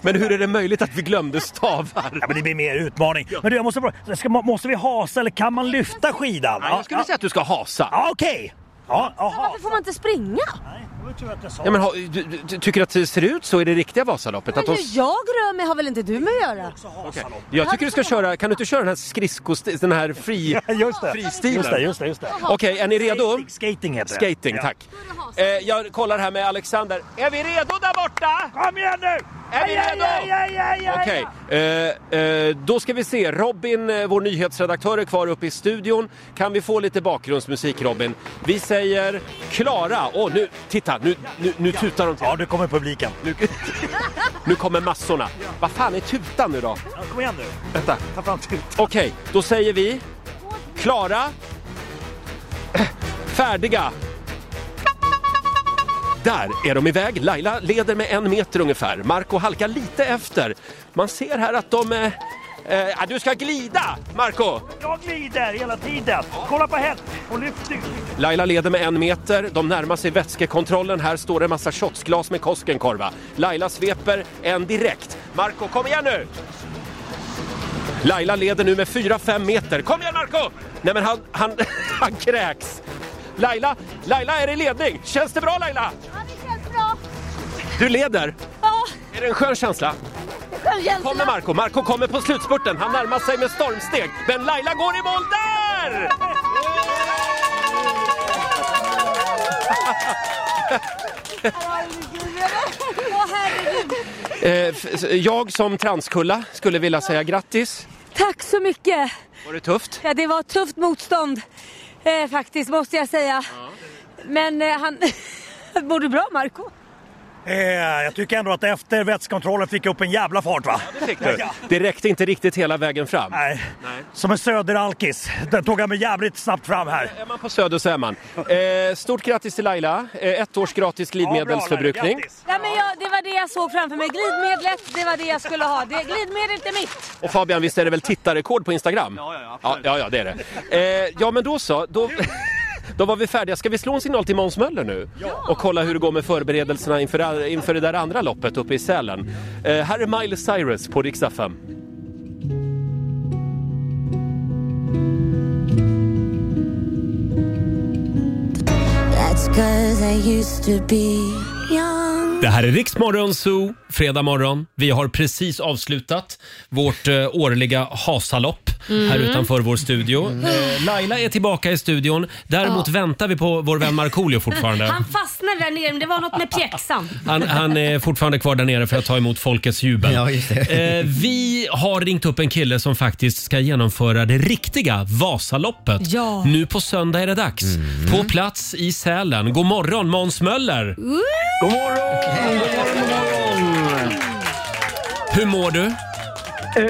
Speaker 1: Men hur är det möjligt att vi glömde stavar?
Speaker 9: Ja, men det blir mer utmaning. Men du, jag måste fråga, ska, måste vi hasa eller kan man lyfta skidan?
Speaker 1: Nej, jag skulle säga att du ska hasa.
Speaker 9: Ja, okej. Ja, aha.
Speaker 3: Varför får man inte springa?
Speaker 1: Ja, men, ha- du, du, du tycker att det ser ut så i det riktiga Vasaloppet?
Speaker 3: Men
Speaker 1: att de-
Speaker 3: hur jag rör mig har väl inte du med att göra?
Speaker 1: Okej. Jag tycker du ska köra, kan du inte köra den här skridskostilen, den här fri,
Speaker 9: just det.
Speaker 1: fristilen?
Speaker 9: Just det, just det, just det.
Speaker 1: Okej, är ni redo?
Speaker 9: Skating, skating heter det.
Speaker 1: Skating,
Speaker 9: Ja.
Speaker 1: tack. Eh, jag kollar här med Alexander. Är vi redo där borta?
Speaker 9: Kom igen nu!
Speaker 1: Är vi redo? Okej, eh, eh, då ska vi se. Robin, eh, vår nyhetsredaktör, är kvar uppe i studion. Kan vi få lite bakgrundsmusik, Robin? Vi säger Klara. Åh, nu, titta, nu, nu, nu tutar de till. Ja,
Speaker 9: nu kommer publiken.
Speaker 1: Nu, nu kommer massorna. Vad fan är tutan nu då?
Speaker 9: Ja, kom igen nu.
Speaker 1: Vänta.
Speaker 9: Ta fram tutan.
Speaker 1: Okej, då säger vi klara, färdiga. Där är de iväg. Laila leder med en meter ungefär. Marco halkar lite efter. Man ser här att de... Eh, eh, ja, du ska glida, Marco!
Speaker 9: Jag glider hela tiden. Kolla på henne. Hon lyfter.
Speaker 1: Laila leder med en meter. De närmar sig vätskekontrollen. Här står det en massa shotsglas med Koskenkorva. Laila sveper en direkt. Marco, kom igen nu! Laila leder nu med 4-5 meter. Kom igen Marco! Nej men han, han, han kräks. Laila, Laila är i ledning. Känns det bra Laila?
Speaker 3: Ja, det känns bra.
Speaker 1: Du leder.
Speaker 3: Ja,
Speaker 1: Är det en skön känsla?
Speaker 3: det känns jättebra.
Speaker 1: Kommer Marco. Marco kommer på slutspurten. Han närmar sig med stormsteg. Men Laila går i mål där!
Speaker 3: Åh herregud.
Speaker 1: Eh, f- s- jag som transkulla skulle vilja säga grattis.
Speaker 3: Tack så mycket.
Speaker 1: Var det tufft?
Speaker 3: Ja, det var ett tufft motstånd eh, faktiskt, måste jag säga. Men eh, han... Mår du bra, Marco?
Speaker 9: Eh, jag tycker ändå att efter vätskekontrollen fick jag upp en jävla fart va?
Speaker 1: det fick du. Det räckte inte riktigt hela vägen fram.
Speaker 9: Nej. Som en söderalkis. Den tog jag mig jävligt snabbt fram här.
Speaker 1: Är man på Söder så är man. Eh, stort grattis till Laila. Eh, ett års gratis glidmedelsförbrukning.
Speaker 3: Ja, men jag, det var det jag såg framför mig. Glidmedlet, det var det jag skulle ha. Det, glidmedlet är mitt.
Speaker 1: Och Fabian, visst är det väl tittarrekord på Instagram? Ja, ja, ja. Ja, ja, det är det. Eh, ja, men då så. Då, då var vi färdiga. Ska vi slå en signal till Måns Möller nu? Och kolla hur det går med förberedelserna inför, inför det där andra loppet uppe i Sälen. Eh, här är Miley Cyrus på Rix FM.
Speaker 14: Cause I used to be young
Speaker 1: Det här är Riksmorgon Zoo, fredag morgon. Vi har precis avslutat vårt eh, årliga Hasalopp här
Speaker 14: Mm.
Speaker 1: utanför vår studio. Eh, Laila är tillbaka i studion. Däremot
Speaker 3: Ja.
Speaker 1: väntar vi på vår vän Markoolio fortfarande.
Speaker 3: Han fastnade där nere, men det var något med pjäxan.
Speaker 1: Han, han är fortfarande kvar där nere för att ta emot folkets jubel. Eh, vi har ringt upp en kille som faktiskt ska genomföra det riktiga Vasaloppet.
Speaker 14: Ja.
Speaker 1: Nu på söndag är det dags. På plats i Sälen. God morgon Måns Möller!
Speaker 14: God morgon!
Speaker 1: Hur mår du?
Speaker 18: Eh,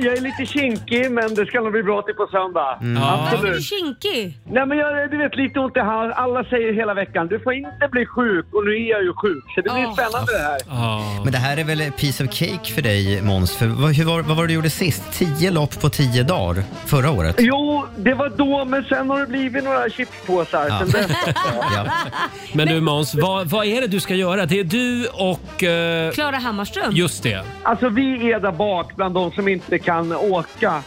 Speaker 18: jag är lite kinkig, men det ska nog bli bra till på söndag.
Speaker 1: Mm.
Speaker 3: Varför är du
Speaker 18: Absolut.
Speaker 3: kinkig?
Speaker 18: Nej, men jag, du vet, lite ont i halsen. Alla säger hela veckan, du får inte bli sjuk. Och nu är jag ju sjuk, så det blir
Speaker 3: Ah.
Speaker 18: spännande det här.
Speaker 1: Ah.
Speaker 2: Men det här är väl ett piece of cake för dig Måns? För vad, hur var, vad var det du gjorde sist? Tio lopp på tio dagar förra året?
Speaker 18: Jo, det var då, men sen har det blivit några chipspåsar
Speaker 2: Ja.
Speaker 18: sen dess.
Speaker 1: Men du Måns, vad, vad är det du ska göra? Det är du och... eh,
Speaker 3: Klara Hammarström.
Speaker 1: Just det.
Speaker 18: Alltså, vi är där bak bland de som inte kan åka.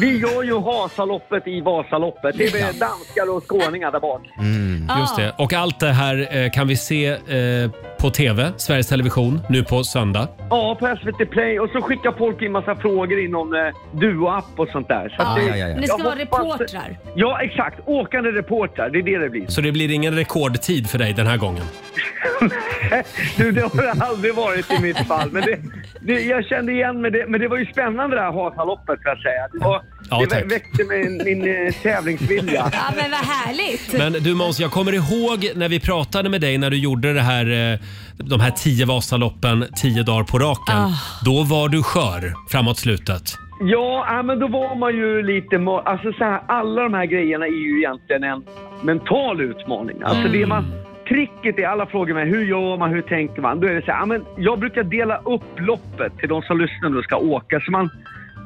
Speaker 18: Vi gör ju Hasaloppet i Vasaloppet. Det är väl danskar och skåningar där bak.
Speaker 1: Just det. Och allt det här eh, kan vi se eh, på TV, Sveriges Television, nu på söndag.
Speaker 18: Ja, på SVT Play. Och så skickar folk in massa frågor inom eh, Duo-app och sånt där. Så att det-
Speaker 3: Ni ska
Speaker 18: jag
Speaker 3: vara
Speaker 18: hoppas-
Speaker 3: reportrar.
Speaker 18: Ja, exakt. Åkande reportrar, det är det det blir.
Speaker 1: Så det blir ingen rekordtid för dig den här gången.
Speaker 18: Du, det har det aldrig varit i mitt fall. Men det, det, jag kände igen mig. det. Men det var ju spännande det här Hasaloppet, för att säga. Det, var,
Speaker 1: Ja,
Speaker 18: det
Speaker 1: tack.
Speaker 18: vä- väckte min, min eh, tävlingsvilja.
Speaker 3: Ja, men vad härligt.
Speaker 1: Men du Måns, jag kommer ihåg när vi pratade med dig när du gjorde det här, eh, de här tio Vasaloppen tio dagar på raken.
Speaker 18: Ah.
Speaker 1: Då var du skör framåt slutet.
Speaker 18: Ja, ja, men då var man ju lite... ma- Alltså så här, alla de här grejerna är ju egentligen en mental utmaning. Alltså
Speaker 1: Mm.
Speaker 18: det man... Tricket är, alla frågar mig, hur gör man, hur tänker man? Då är det så här, ja, men jag brukar dela upp loppet till de som lyssnar och ska åka. Så man,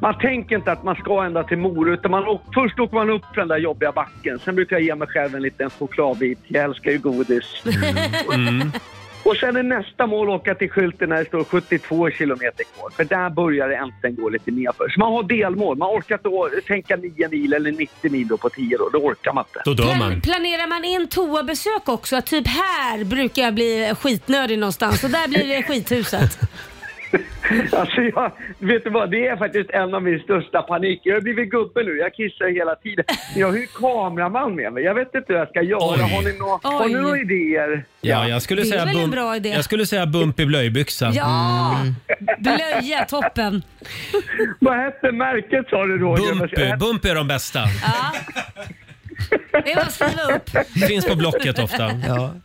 Speaker 18: man tänker inte att man ska ända till Mora, utan man, åk- först åker man upp för den där jobbiga backen. Sen brukar jag ge mig själv en liten chokladbit. Jag älskar ju godis.
Speaker 1: Mm,
Speaker 18: Och sen är nästa mål åka till skylten när det står 72 kilometer kvar. För där börjar det äntligen gå lite nerför. Så man har delmål. Man orkar inte å- tänka 9 mil eller 90 mil då på 10 då. Då orkar man inte.
Speaker 1: Då dör
Speaker 3: Plan- planerar man in toabesök också? Att Typ här brukar jag bli skitnödig någonstans och där blir det skithuset.
Speaker 18: Alltså jag, vet du vad, det är faktiskt en av min största panik. Jag har blivit gubbe nu, jag kissar hela tiden. Jag har ju kameraman med mig, jag vet inte hur jag ska göra. Har ni nå- har ni
Speaker 3: Oj.
Speaker 18: några idéer?
Speaker 1: Ja, jag skulle
Speaker 3: Det är
Speaker 1: säga
Speaker 3: väl en
Speaker 1: bump,
Speaker 3: bra idé.
Speaker 1: Jag skulle säga bump i Mm. blöjbyxa.
Speaker 3: Ja! Blöja, toppen.
Speaker 18: Vad hette märket sa du Roger?
Speaker 1: Bumpy, Bumpy är de bästa.
Speaker 3: Det var att skriva upp.
Speaker 1: Finns på Blocket ofta.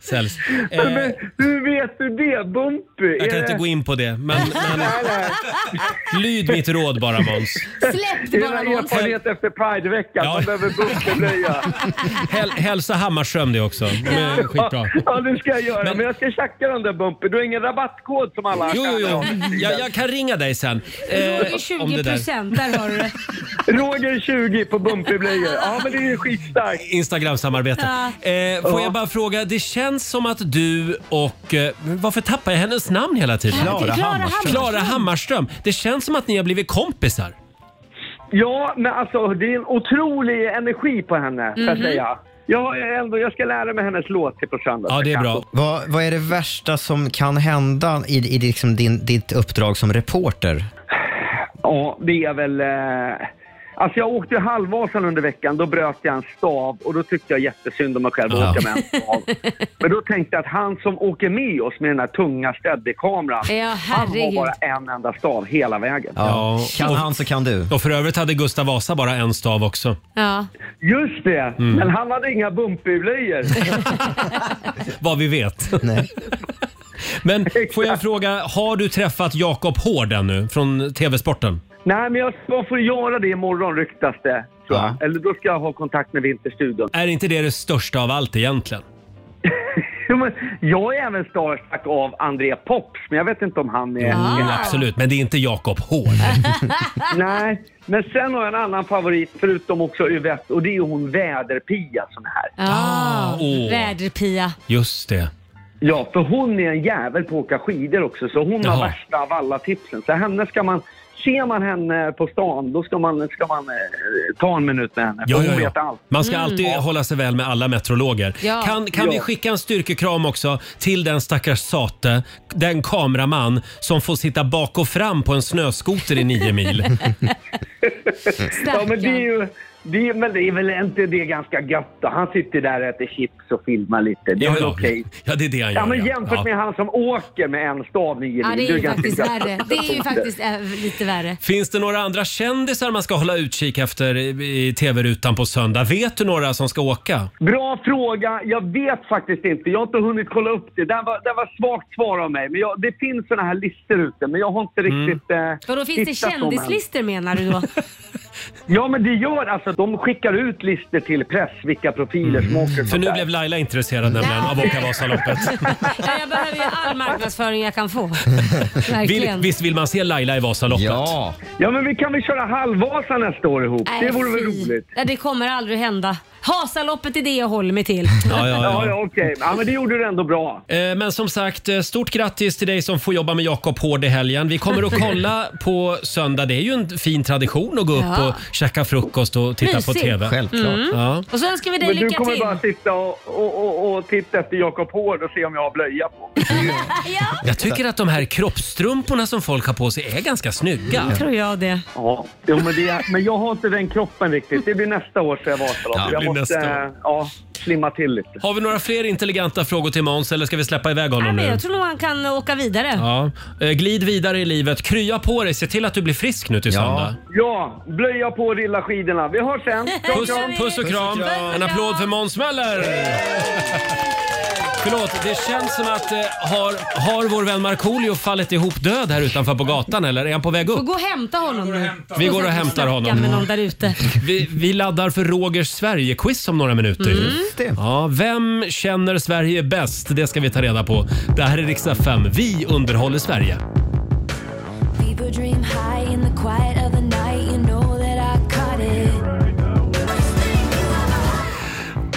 Speaker 1: Säljs. Eh,
Speaker 18: Men, hur vet du det? Bumpy?
Speaker 1: jag kan inte gå in på det, men, men lyd mitt råd bara Måns.
Speaker 18: Släpp bara Det är en erfarenhet efter Prideveckan. Man behöver bumpblöja.
Speaker 1: Häl, hälsa Hammarström det också. De är skitbra.
Speaker 18: Ja, det ska jag göra. Men, jag ska tjacka den där bumpen. Du har ingen rabattkod som alla
Speaker 1: Jo, jo, jo. Jag, jag kan ringa dig sen.
Speaker 3: Roger
Speaker 1: Eh, om det
Speaker 3: 20
Speaker 1: där.
Speaker 3: procent, där har du det.
Speaker 18: Roger 20 på bumpyblöjor. Ja, men det är ju skitstarkt.
Speaker 1: Instagram-samarbete. Eh, får jag bara fråga, det känns som att du och... Eh, varför tappar jag hennes namn hela tiden?
Speaker 18: Klara Det är Klara Hammarström.
Speaker 1: Klara Hammarström. Det känns som att ni har blivit kompisar.
Speaker 18: Ja, men alltså det är en otrolig energi på henne, får jag
Speaker 1: Mhm.
Speaker 18: säga. Jag, är ändå, jag ska lära mig hennes låt till på söndag.
Speaker 2: Vad, vad är det värsta som kan hända i, i liksom din, ditt uppdrag som reporter?
Speaker 18: Ja, det är väl... Eh... Alltså jag åkte ju halvvasan under veckan, då bröt jag en stav och då tyckte jag jättesynd om mig själv att
Speaker 14: Ja.
Speaker 18: åka med en stav. Men då tänkte jag att han som åker med oss med den här tunga steadykameran,
Speaker 3: Ja,
Speaker 18: han har
Speaker 3: herregud.
Speaker 18: bara en enda stav hela vägen.
Speaker 1: och-
Speaker 2: så kan du.
Speaker 1: Och för övrigt hade Gustav Vasa bara en stav också.
Speaker 3: Ja.
Speaker 18: Just det,
Speaker 1: Mm.
Speaker 18: men han hade inga bumpyblöjor.
Speaker 1: Vad vi vet. Men får jag fråga, har du träffat Jakob Hård ännu från TV-sporten?
Speaker 18: Nej, men jag ska få göra det imorgon ryktas det. Tror jag. Eller då ska jag ha kontakt med Vinterstudion.
Speaker 1: Är inte det det största av allt egentligen?
Speaker 18: Jo, men jag är även starstruck av André Pops, men jag vet inte om han är...
Speaker 1: Jo,
Speaker 18: är-
Speaker 1: absolut, men det är inte Jakob Hård.
Speaker 18: Nej, men sen har jag en annan favorit förutom också Yvette och det är ju hon Väderpia som är här.
Speaker 3: Ah,
Speaker 18: åh.
Speaker 3: Väderpia.
Speaker 1: Just det.
Speaker 18: Ja, för hon är en jävel på att åka skidor också så hon har värsta av alla tipsen. Så henne ska man Ser man henne på stan, då ska man, ska man eh, ta en minut med henne. för
Speaker 1: Ja, ja,
Speaker 18: Hon vet
Speaker 1: ja.
Speaker 18: allt.
Speaker 1: Man
Speaker 3: Mm.
Speaker 1: ska alltid
Speaker 18: Mm. Ja.
Speaker 1: hålla sig väl med alla meteorologer.
Speaker 18: Ja.
Speaker 1: Kan, kan vi
Speaker 18: Ja.
Speaker 1: skicka en styrkekram också till den stackars Sate, den kameraman som får sitta bak och fram på en snöskoter i nio mil?
Speaker 18: Ja, men det är ju... Det är, men det är väl inte det ganska gött då? Han sitter där och äter chips och filmar lite. Det är
Speaker 1: Ja,
Speaker 18: väl
Speaker 1: ja.
Speaker 18: okej?
Speaker 1: Ja, det är det han gör.
Speaker 18: Ja, men
Speaker 1: ja.
Speaker 18: jämfört
Speaker 1: Ja.
Speaker 18: med han som åker med en stav nio
Speaker 3: Ja,
Speaker 18: mil,
Speaker 3: det är ju
Speaker 18: ganska
Speaker 3: faktiskt
Speaker 18: gött.
Speaker 3: värre. Det är
Speaker 18: Alltså,
Speaker 3: ju faktiskt eh, lite värre.
Speaker 1: Finns det några andra kändisar man ska hålla utkik efter i i tv-rutan på söndag? Vet du några som ska åka?
Speaker 18: Bra fråga. Jag vet faktiskt inte. Jag har inte hunnit kolla upp det. Det här var, det här var svagt svar av mig. Men jag, det finns såna här listor ute, men jag har inte
Speaker 1: Mm.
Speaker 18: riktigt eh,
Speaker 3: Vadå, finns det
Speaker 18: hittat dem än.
Speaker 3: kändislistor menar du då?
Speaker 18: Ja, men det gör alltså. De skickar ut listor till press, vilka profiler som åker. och
Speaker 1: Mm. För
Speaker 18: sånt
Speaker 1: nu
Speaker 18: där.
Speaker 1: blev Laila intresserad nämligen av att åka Vasaloppet.
Speaker 3: Ja, jag behöver ju all marknadsföring jag kan få.
Speaker 1: Vill,
Speaker 3: Verkligen.
Speaker 1: visst vill man se Laila i Vasaloppet?
Speaker 2: Ja.
Speaker 18: ja, men vi kan väl köra Halvvasa nästa år ihop?
Speaker 3: Nej,
Speaker 18: det vore väl
Speaker 3: Äh, fy.
Speaker 18: roligt?
Speaker 3: Ja, det kommer aldrig hända. Hasaloppet är det jag håller mig till.
Speaker 18: ja, ja okej. Ja, men det gjorde du ändå bra.
Speaker 1: Eh, Men som sagt, eh, stort grattis till dig som får jobba med Jakob Hård i helgen. Vi kommer att kolla på söndag. Det är ju en fin tradition att gå upp
Speaker 3: Ja.
Speaker 1: och käka frukost och titta på
Speaker 3: Mysigt.
Speaker 1: TV.
Speaker 3: Mm.
Speaker 1: Ja.
Speaker 3: Och så önskar vi dig
Speaker 18: Men du
Speaker 3: lycka
Speaker 18: kommer
Speaker 3: till.
Speaker 18: bara sitta och, och, och, och titta efter Jakob Hård och se om jag har blöja på.
Speaker 1: Jag tycker att de här kroppstrumporna som folk har på sig är ganska snygga.
Speaker 3: Tror jag det.
Speaker 18: Ja, jo, men, det, men jag har inte den kroppen riktigt. Det blir nästa år så jag Vasaloppet.
Speaker 1: Ja, det
Speaker 18: jag
Speaker 1: blir
Speaker 18: måste
Speaker 1: nästa år.
Speaker 18: eh, ja, slimma till lite.
Speaker 1: Har vi några fler intelligenta frågor till Måns eller ska vi släppa iväg honom
Speaker 3: Nej, men
Speaker 1: nu?
Speaker 3: jag tror nog han kan åka vidare.
Speaker 1: Ja. Eh, Glid vidare i livet. Krya på dig. Se till att du blir frisk nu till söndag.
Speaker 18: Ja, blöja på och rilla skidorna. Vi hörs sen. Kram,
Speaker 1: Puss,
Speaker 18: kram.
Speaker 1: puss och kram. En applåd för Måns Möller. Förlåt, det känns som att eh, har, har vår vän Markoolio fallit ihop död här utanför på gatan eller är han på väg
Speaker 3: Får
Speaker 1: upp?
Speaker 3: gå och hämta honom nu.
Speaker 1: Vi går och
Speaker 3: Får
Speaker 1: hämtar
Speaker 3: snacka
Speaker 1: honom.
Speaker 3: med någon där ute.
Speaker 1: Vi, vi laddar för Rogers Sverige-quiz om några minuter.
Speaker 3: Mm.
Speaker 1: Ja, vem känner Sverige bäst? Det ska vi ta reda på. Det här är Riksdag 5. Vi underhåller Sverige.
Speaker 14: People dream high in the quiet of the night. You know that I caught it.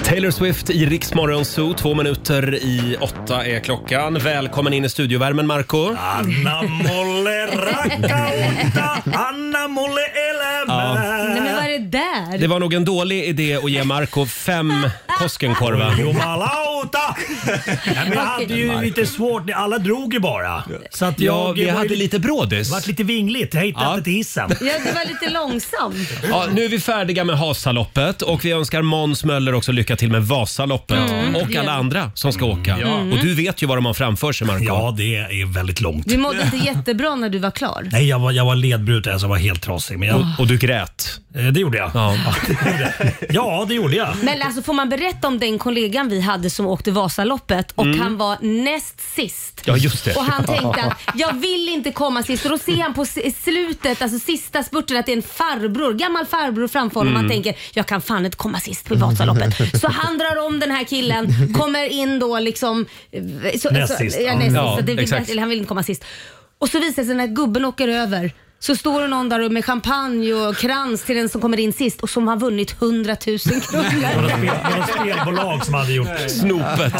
Speaker 1: Taylor Swift i Rix Morgon Zoo. Två minuter i åtta är klockan. Välkommen in i studiovärmen, Marco.
Speaker 9: Anna Molle rackaonta, Anna Molle elämä.
Speaker 3: Nej, men vad är det där?
Speaker 1: Det var nog en dålig idé att ge Marco fem Koskenkorva.
Speaker 9: Jumalauta! Nej, men jag hade ju lite svårt, alla drog ju bara. Så att jag,
Speaker 1: Ja, vi
Speaker 9: jag var ju
Speaker 1: hade lite brådis.
Speaker 9: Vart lite vingligt, jag hittade
Speaker 1: Ja.
Speaker 9: inte till hissen.
Speaker 3: Ja, det var lite långsamt.
Speaker 1: Ja, nu är vi färdiga med Hasaloppet och vi önskar Måns Möller också lycka till med Vasaloppet
Speaker 3: Mm.
Speaker 1: och alla andra som ska åka.
Speaker 3: Ja. Mm.
Speaker 1: Och du vet ju vad de har framför sig, Marco.
Speaker 9: Ja, det är väldigt långt.
Speaker 3: Du mådde inte jättebra när du var klar.
Speaker 9: Nej, jag var, jag var ledbruten, så jag var helt trasig. Men jag, Eh,
Speaker 1: Och- och du grät?
Speaker 9: Det gjorde jag. Ja, det, gjorde jag. ja det gjorde jag.
Speaker 3: Men alltså får man berätta om den kollegan vi hade som åkte Vasaloppet och
Speaker 9: Mm.
Speaker 3: han var näst sist.
Speaker 1: Ja, just det.
Speaker 3: Och han tänkte att jag vill inte komma sist och då ser han på s- slutet, alltså sista spurten att det är en farbror, gammal farbror framför honom.
Speaker 15: Mm.
Speaker 3: Han tänker jag kan fan inte komma sist på Vasaloppet. Så han drar om den här killen, kommer in då liksom eh, så,
Speaker 15: Näst
Speaker 3: så,
Speaker 15: sist.
Speaker 1: Mm.
Speaker 3: Ja, näst
Speaker 15: Ja,
Speaker 3: sist. Så det, vill,
Speaker 15: exakt.
Speaker 3: eller han vill inte komma sist. Och så visar det sig när gubben åker över så står det någon där med champagne och krans till den som kommer in sist och som har vunnit 100 000 kronor.
Speaker 9: Något spelbolag som hade gjort...
Speaker 1: Snopet.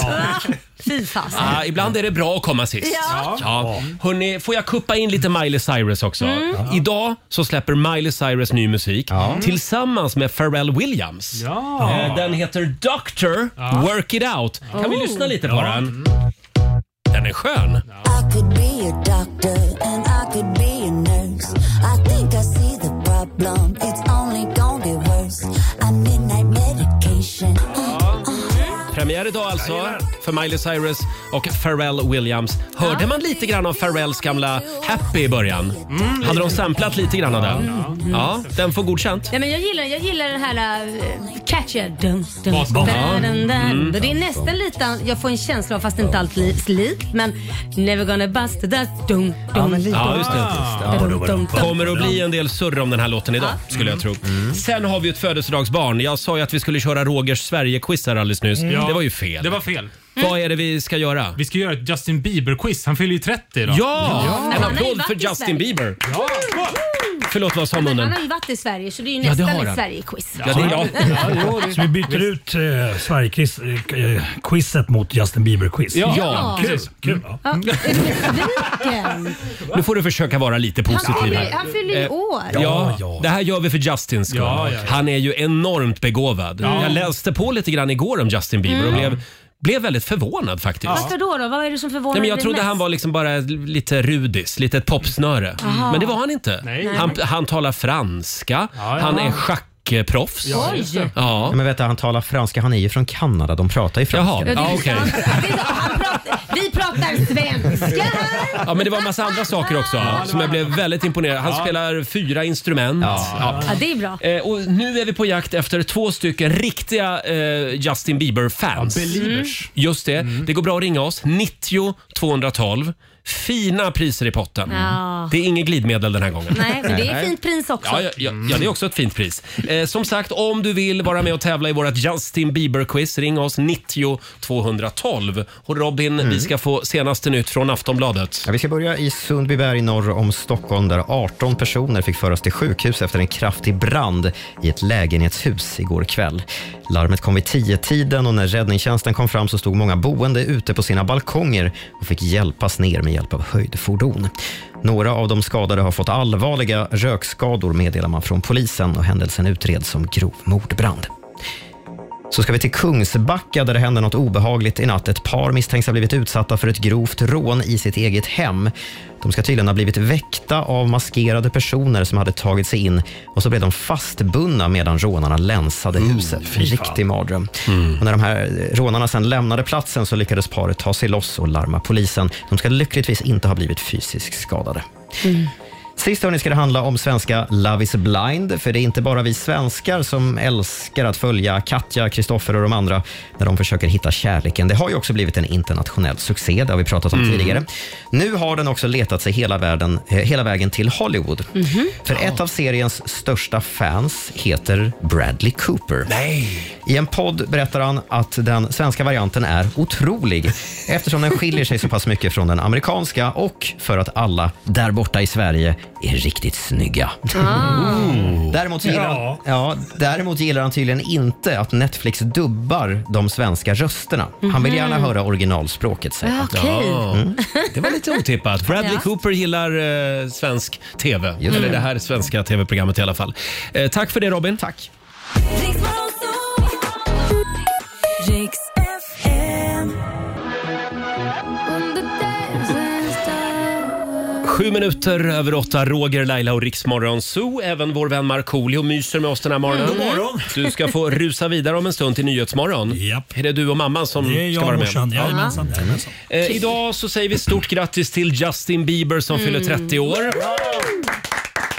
Speaker 3: Fy fast.
Speaker 1: Ah, ibland är det bra att komma sist.
Speaker 3: Ja.
Speaker 1: Hörrni, får jag kuppa in lite Miley Cyrus också?
Speaker 3: Mm.
Speaker 1: Idag så släpper Miley Cyrus ny musik tillsammans med Pharrell Williams.
Speaker 19: Ja.
Speaker 1: Eh, Den heter Doctor Work It Out. Kan vi
Speaker 19: Oh.
Speaker 1: lyssna lite på den? Den är skön.
Speaker 14: I could be a doctor and I could be a nurse. I think I see the problem. It's only gonna get worse. I need night medication.
Speaker 1: Premiär idag alltså för Miley Cyrus och Pharrell Williams. Hörde man lite grann av Pharrells gamla Happy i början?
Speaker 5: Mm.
Speaker 1: Hade de samplat lite grann av den? Ja, den får godkänt.
Speaker 3: Nej, men jag, gillar, jag gillar den här äh, catchen. Dun, dun,
Speaker 1: Bas-
Speaker 3: dun,
Speaker 1: Ja.
Speaker 3: dun, dun.
Speaker 1: Mm.
Speaker 3: Det är nästan lite, jag får en känsla av, fast inte allt li, slik, men Never gonna bust the dust. Dun, dun,
Speaker 1: Ja, just det.
Speaker 3: Dun, dun, dun.
Speaker 1: Kommer att bli en del surr om den här låten idag, skulle jag tro.
Speaker 5: Mm.
Speaker 1: Sen har vi ett födelsedagsbarn. Jag sa ju att vi skulle köra Rogers Sverige-quiz här alldeles nyss.
Speaker 5: Ja.
Speaker 1: Det var ju fel.
Speaker 5: Mm. Det var fel.
Speaker 1: Vad är det vi ska göra?
Speaker 5: Vi ska göra ett Justin Bieber-quiz. Han fyller ju 30 idag.
Speaker 1: Ja!
Speaker 5: Han
Speaker 1: En
Speaker 5: har ju
Speaker 1: applåd
Speaker 5: varit
Speaker 1: för
Speaker 5: i
Speaker 1: Justin
Speaker 5: Sverige.
Speaker 1: Bieber.
Speaker 5: Ja.
Speaker 1: Förlåt, vad sa
Speaker 3: Men
Speaker 1: munnen?
Speaker 3: han har ju varit i Sverige så det är ju
Speaker 1: Ja, det
Speaker 3: nästan
Speaker 1: har
Speaker 3: ett
Speaker 1: han.
Speaker 3: Sverige-quiz.
Speaker 1: Ja, det är bra. Ja, jo, det-
Speaker 9: Så vi byter ut eh, Sverige-quizet mot Justin Bieber-quiz.
Speaker 1: Ja, Ja.
Speaker 9: kul.
Speaker 1: precis. Mm.
Speaker 9: kul.
Speaker 3: Ja, är du besviken?
Speaker 1: Nu får du försöka vara lite
Speaker 3: Han
Speaker 1: positiv
Speaker 3: fyller-
Speaker 1: här.
Speaker 3: han fyller ju
Speaker 1: Eh,
Speaker 3: år.
Speaker 1: Ja,
Speaker 3: Ja,
Speaker 1: det här gör vi för Justins skull.
Speaker 5: Ja, ja, ja.
Speaker 1: Han är ju enormt begåvad.
Speaker 5: Ja.
Speaker 1: Jag läste på lite grann igår om Justin Bieber och
Speaker 3: Mm.
Speaker 1: blev, blev väldigt förvånad faktiskt.
Speaker 3: Varför då, då? Vad är det som förvånar
Speaker 1: Nej, men
Speaker 3: dig
Speaker 1: jag trodde
Speaker 3: mest?
Speaker 1: han var liksom bara lite rudis, lite ett popsnöre.
Speaker 3: Aha.
Speaker 1: Men det var han inte.
Speaker 3: Nej.
Speaker 1: Han, han talar franska,
Speaker 2: Ja, ja.
Speaker 1: han
Speaker 2: Ja.
Speaker 1: är schackproffs.
Speaker 2: Ja, just det.
Speaker 1: Ja.
Speaker 2: Men vet du, han talar franska. Han är ju från Kanada. De pratar ju
Speaker 1: Ja,
Speaker 2: franska.
Speaker 1: det är Ja, okej. sant.
Speaker 3: Vi pratar svenska här.
Speaker 1: Ja, men det var en massa andra saker också som jag blev väldigt imponerad. Han
Speaker 3: Ja.
Speaker 1: spelar fyra instrument. Ja.
Speaker 3: Ja, det är bra.
Speaker 1: Eh, och nu är vi på jakt efter två stycken riktiga eh, Justin Bieber-fans.
Speaker 5: Ja, believers.
Speaker 3: Mm.
Speaker 5: Mm.
Speaker 1: Just det. Det går bra att ringa oss. 90 212. Fina priser i potten.
Speaker 3: Ja.
Speaker 1: Det är inget glidmedel den här gången.
Speaker 3: Nej, men det är ett fint pris också.
Speaker 1: Ja, ja, ja, ja,
Speaker 5: Mm.
Speaker 1: det är också ett fint pris. Eh, som sagt, om du vill vara med och tävla i vårt Justin Bieber-quiz, ring oss 90 212. Och Robin,
Speaker 5: Mm.
Speaker 1: vi ska få senaste nytt från Aftonbladet.
Speaker 2: Ja, vi ska börja i Sundbyberg norr om Stockholm där 18 personer fick föras till sjukhus efter en kraftig brand i ett lägenhetshus igår kväll. Larmet kom vid 10-tiden och när räddningstjänsten kom fram så stod många boende ute på sina balkonger och fick hjälpas ner med hjälp av höjdfordon. Några av de skadade har fått allvarliga rökskador meddelar man från polisen och händelsen utreds som grov mordbrand. Så ska vi till Kungsbacka där det hände något obehagligt i natt. Ett par misstänks ha blivit utsatta för ett grovt rån i sitt eget hem. De ska tydligen ha blivit väckta av maskerade personer som hade tagit sig in och så blev de fastbundna medan rånarna länsade huset. En riktig mardröm. Och när de här rånarna sen lämnade platsen så lyckades paret ta sig loss och larma polisen. De ska lyckligtvis inte ha blivit fysiskt skadade. Sist hörni ska det handla om svenska Love is blind, för det är inte bara vi svenskar som älskar att följa Katja, Kristoffer och de andra när de försöker hitta kärleken. Det har ju också blivit en internationell succé, det har vi pratat om
Speaker 20: Mm.
Speaker 2: tidigare. Nu har den också letat sig hela, världen, eh, hela vägen till Hollywood.
Speaker 1: Mhm.
Speaker 2: För ett av seriens största fans heter Bradley Cooper. I en podd berättar han att den svenska varianten är otrolig eftersom den skiljer sig så pass mycket från den amerikanska och för att alla där borta i Sverige är riktigt snygga.
Speaker 20: Ah.
Speaker 2: Däremot, så gillar han,
Speaker 20: Ja.
Speaker 2: ja, däremot gillar han tydligen inte att Netflix dubbar de svenska rösterna. Han vill gärna
Speaker 1: Mhm. Ah,
Speaker 2: höra originalspråket säger han. Mm.
Speaker 1: Okej. Det var lite otippat. Bradley
Speaker 2: Ja.
Speaker 1: Cooper gillar eh, svensk TV.
Speaker 9: Mm.
Speaker 2: Just
Speaker 1: Eller
Speaker 2: det.
Speaker 1: det här svenska TV-programmet i alla fall. Eh, tack för det Robin.
Speaker 2: Tack.
Speaker 1: Sju minuter över åtta, Roger, Laila och Riksmorgon Zoo. Även vår vän Markoolio myser med oss den här morgonen.
Speaker 9: Mm. God morgon.
Speaker 1: Du ska få rusa vidare om en stund till Nyhetsmorgon. Är det du och mamman som
Speaker 9: Det är jag
Speaker 1: ska vara
Speaker 9: och
Speaker 1: med?
Speaker 9: morsan.
Speaker 1: Ja.
Speaker 9: Jajamensan. jajamensan.
Speaker 1: Eh, idag så säger vi stort grattis till Justin Bieber som
Speaker 9: Mm.
Speaker 1: fyller 30 år.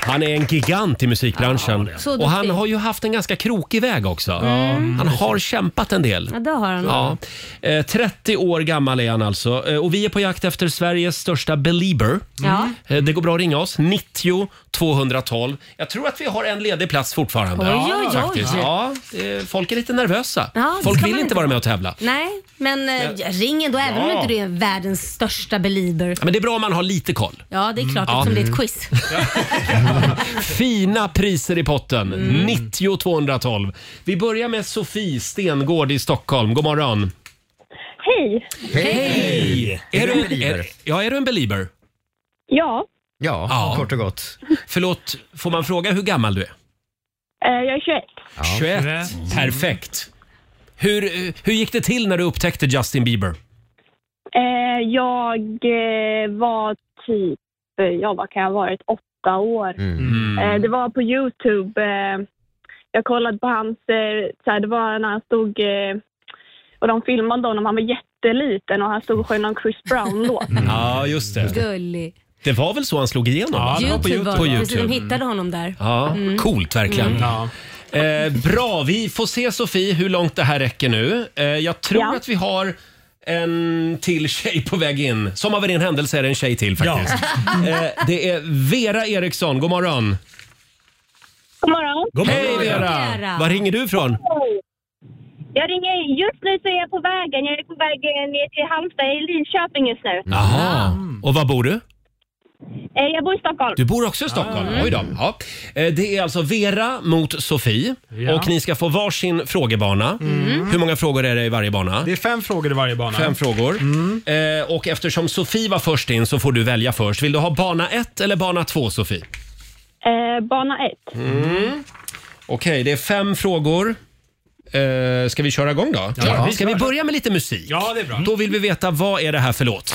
Speaker 1: Han är en gigant i musikbranschen.
Speaker 3: Så
Speaker 1: och
Speaker 3: duktig.
Speaker 1: han har ju haft en ganska krokig väg också.
Speaker 3: Mm.
Speaker 1: Han har kämpat en del.
Speaker 3: Ja, det har han.
Speaker 1: Ja. Eh, 30 år gammal är han alltså. Eh, och vi är på jakt efter Sveriges största belieber.
Speaker 3: Ja.
Speaker 1: Eh, det går bra att ringa oss. 90 212. Jag tror att vi har en ledig plats fortfarande.
Speaker 3: Oj, oj, oj.
Speaker 1: Faktiskt. Ja, eh, folk är lite nervösa.
Speaker 3: Ja, det
Speaker 1: folk
Speaker 3: ska
Speaker 1: vill
Speaker 3: man
Speaker 1: inte
Speaker 3: inte
Speaker 1: vara med och tävla.
Speaker 3: Nej, men, eh,
Speaker 1: Men-
Speaker 3: ring ändå även om
Speaker 1: Ja.
Speaker 3: inte du är världens största belieber.
Speaker 1: Ja, Men det är bra om man har lite koll.
Speaker 3: Ja, det är klart
Speaker 1: Ja.
Speaker 3: eftersom det är ett quiz.
Speaker 1: Fina priser i potten.
Speaker 3: Mm.
Speaker 1: 90 212. Vi börjar med Sofie Stengård i Stockholm. God morgon.
Speaker 21: Hej!
Speaker 1: Är, du en, är, ja, är du en belieber?
Speaker 21: Ja,
Speaker 2: Ja, kort och gott.
Speaker 1: Förlåt, får man fråga hur gammal du är?
Speaker 21: eh, jag är 21.
Speaker 1: 21. Perfekt. Hur, eh, hur gick det till när du upptäckte Justin Bieber?
Speaker 21: Eh, jag eh, var typ, eh, ja vad kan jag ha varit, åtta år.
Speaker 1: Mm.
Speaker 21: Eh, det var på Youtube. Eh, jag kollade på hans, eh, så här, det var när han stod eh, och de filmade honom, han var jätteliten och han stod och sjöng någon Chris Brown-låt.
Speaker 1: Ja, just det.
Speaker 3: Gullig.
Speaker 1: Det var väl så han slog igenom? va?
Speaker 3: YouTube var det.
Speaker 1: På
Speaker 3: Precis, de
Speaker 1: YouTube.
Speaker 3: hittade honom där.
Speaker 1: Ja,
Speaker 3: Mm.
Speaker 1: coolt verkligen.
Speaker 3: Mm.
Speaker 1: Eh, bra, vi får se Sofie hur långt det här räcker nu. Eh, jag tror
Speaker 21: Ja.
Speaker 1: att vi har en till tjej på väg in. Som av en ren händelse är det en tjej till faktiskt. Eh, det är Vera Eriksson, god morgon.
Speaker 21: God morgon!
Speaker 1: God morgon, Hej Vera! Var ringer du ifrån?
Speaker 21: Jag ringer, just nu så är jag på vägen. Jag är på eh, vägen ner till Halmstad, i Linköping just nu.
Speaker 1: Jaha, och var bor du?
Speaker 21: Eh, Jag bor i Stockholm.
Speaker 1: Du bor också i Stockholm?
Speaker 3: Ah.
Speaker 5: Ah.
Speaker 1: Oj då. Ja. Eh, Det är alltså Vera mot Sofie
Speaker 5: Ja. Mm.
Speaker 1: och ni ska få varsin frågebana. Hur många frågor är det i varje bana?
Speaker 5: Det är fem frågor i varje bana. Mm.
Speaker 1: Fem frågor. Eh, och eftersom Sofie var först in så får du välja först. Vill du ha bana 1 eller bana 2 Sofie?
Speaker 21: Eh, bana 1.
Speaker 1: Mm. Okej, det är fem frågor. Eh, ska vi köra igång då?
Speaker 5: Ja, vi
Speaker 1: ska vi
Speaker 5: kör.
Speaker 1: börja med lite musik?
Speaker 5: Ja, det är bra.
Speaker 1: Då vill vi veta vad är det här för låt?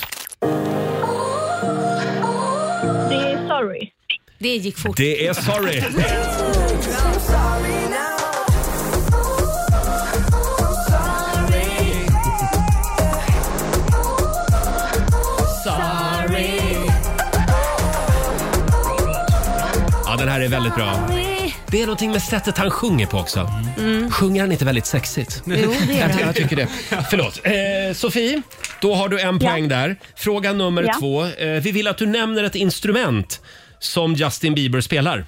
Speaker 21: Det är sorry.
Speaker 3: Det gick fort.
Speaker 1: Det är Sorry. Ja, den här är väldigt bra. Det är någonting med sättet han sjunger på också.
Speaker 3: Mm.
Speaker 1: Sjunger han inte väldigt sexigt?
Speaker 3: Jo, det gör
Speaker 1: jag,
Speaker 3: han.
Speaker 1: jag tycker det. Förlåt. Eh, Sofie, då har du en poäng där. Fråga nummer
Speaker 21: Ja.
Speaker 1: två. Eh, vi vill att du nämner ett instrument som Justin Bieber spelar.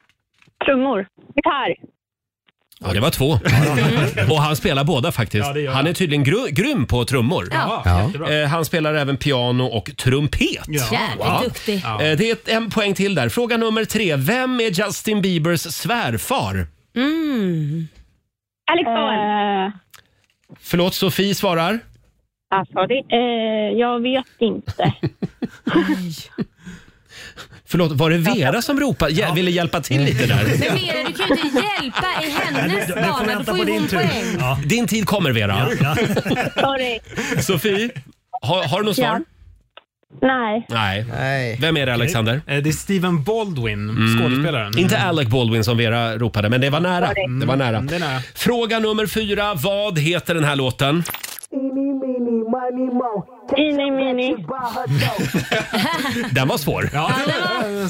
Speaker 21: Trummor. Gitarr.
Speaker 1: Ja, det var två. Och han spelar båda faktiskt.
Speaker 21: Ja, det gör
Speaker 1: han är tydligen gru- grym på trummor.
Speaker 21: Ja.
Speaker 1: Eh, han spelar även piano och trumpet.
Speaker 21: Ja. Jävligt duktig.
Speaker 1: Ja. Eh, det är ett, en poäng till där. Fråga nummer tre. Vem är Justin Biebers svärfar?
Speaker 3: Mm.
Speaker 21: Alex
Speaker 2: Eh,
Speaker 21: Bowen.
Speaker 1: Förlåt, Sofie svarar.
Speaker 2: ah,
Speaker 21: Alltså, det, eh, jag vet inte.
Speaker 1: Förlåt, var det Vera som ropade? Ja, Ville hjälpa till lite där?
Speaker 3: Men Vera, du kan ju inte hjälpa i hennes
Speaker 1: Du- du får
Speaker 3: bana. Då
Speaker 1: vänta
Speaker 3: får
Speaker 1: på
Speaker 3: ju hon
Speaker 1: din tur.
Speaker 3: poäng.
Speaker 1: Din tid kommer Vera.
Speaker 21: Sorry.
Speaker 1: Sofie, har, har du något svar?
Speaker 21: Nej.
Speaker 1: Nej. Vem är det Alexander? Mm.
Speaker 5: Eh, Det är Steven Baldwin, skådespelaren.
Speaker 1: Inte Alec Baldwin som Vera ropade, men det var nära.
Speaker 5: Sorry.
Speaker 1: Det var nära.
Speaker 5: Mm, det är nära.
Speaker 1: Fråga nummer fyra. Vad heter den här låten?
Speaker 21: Ini mini.
Speaker 1: Den var svår.
Speaker 5: Ja,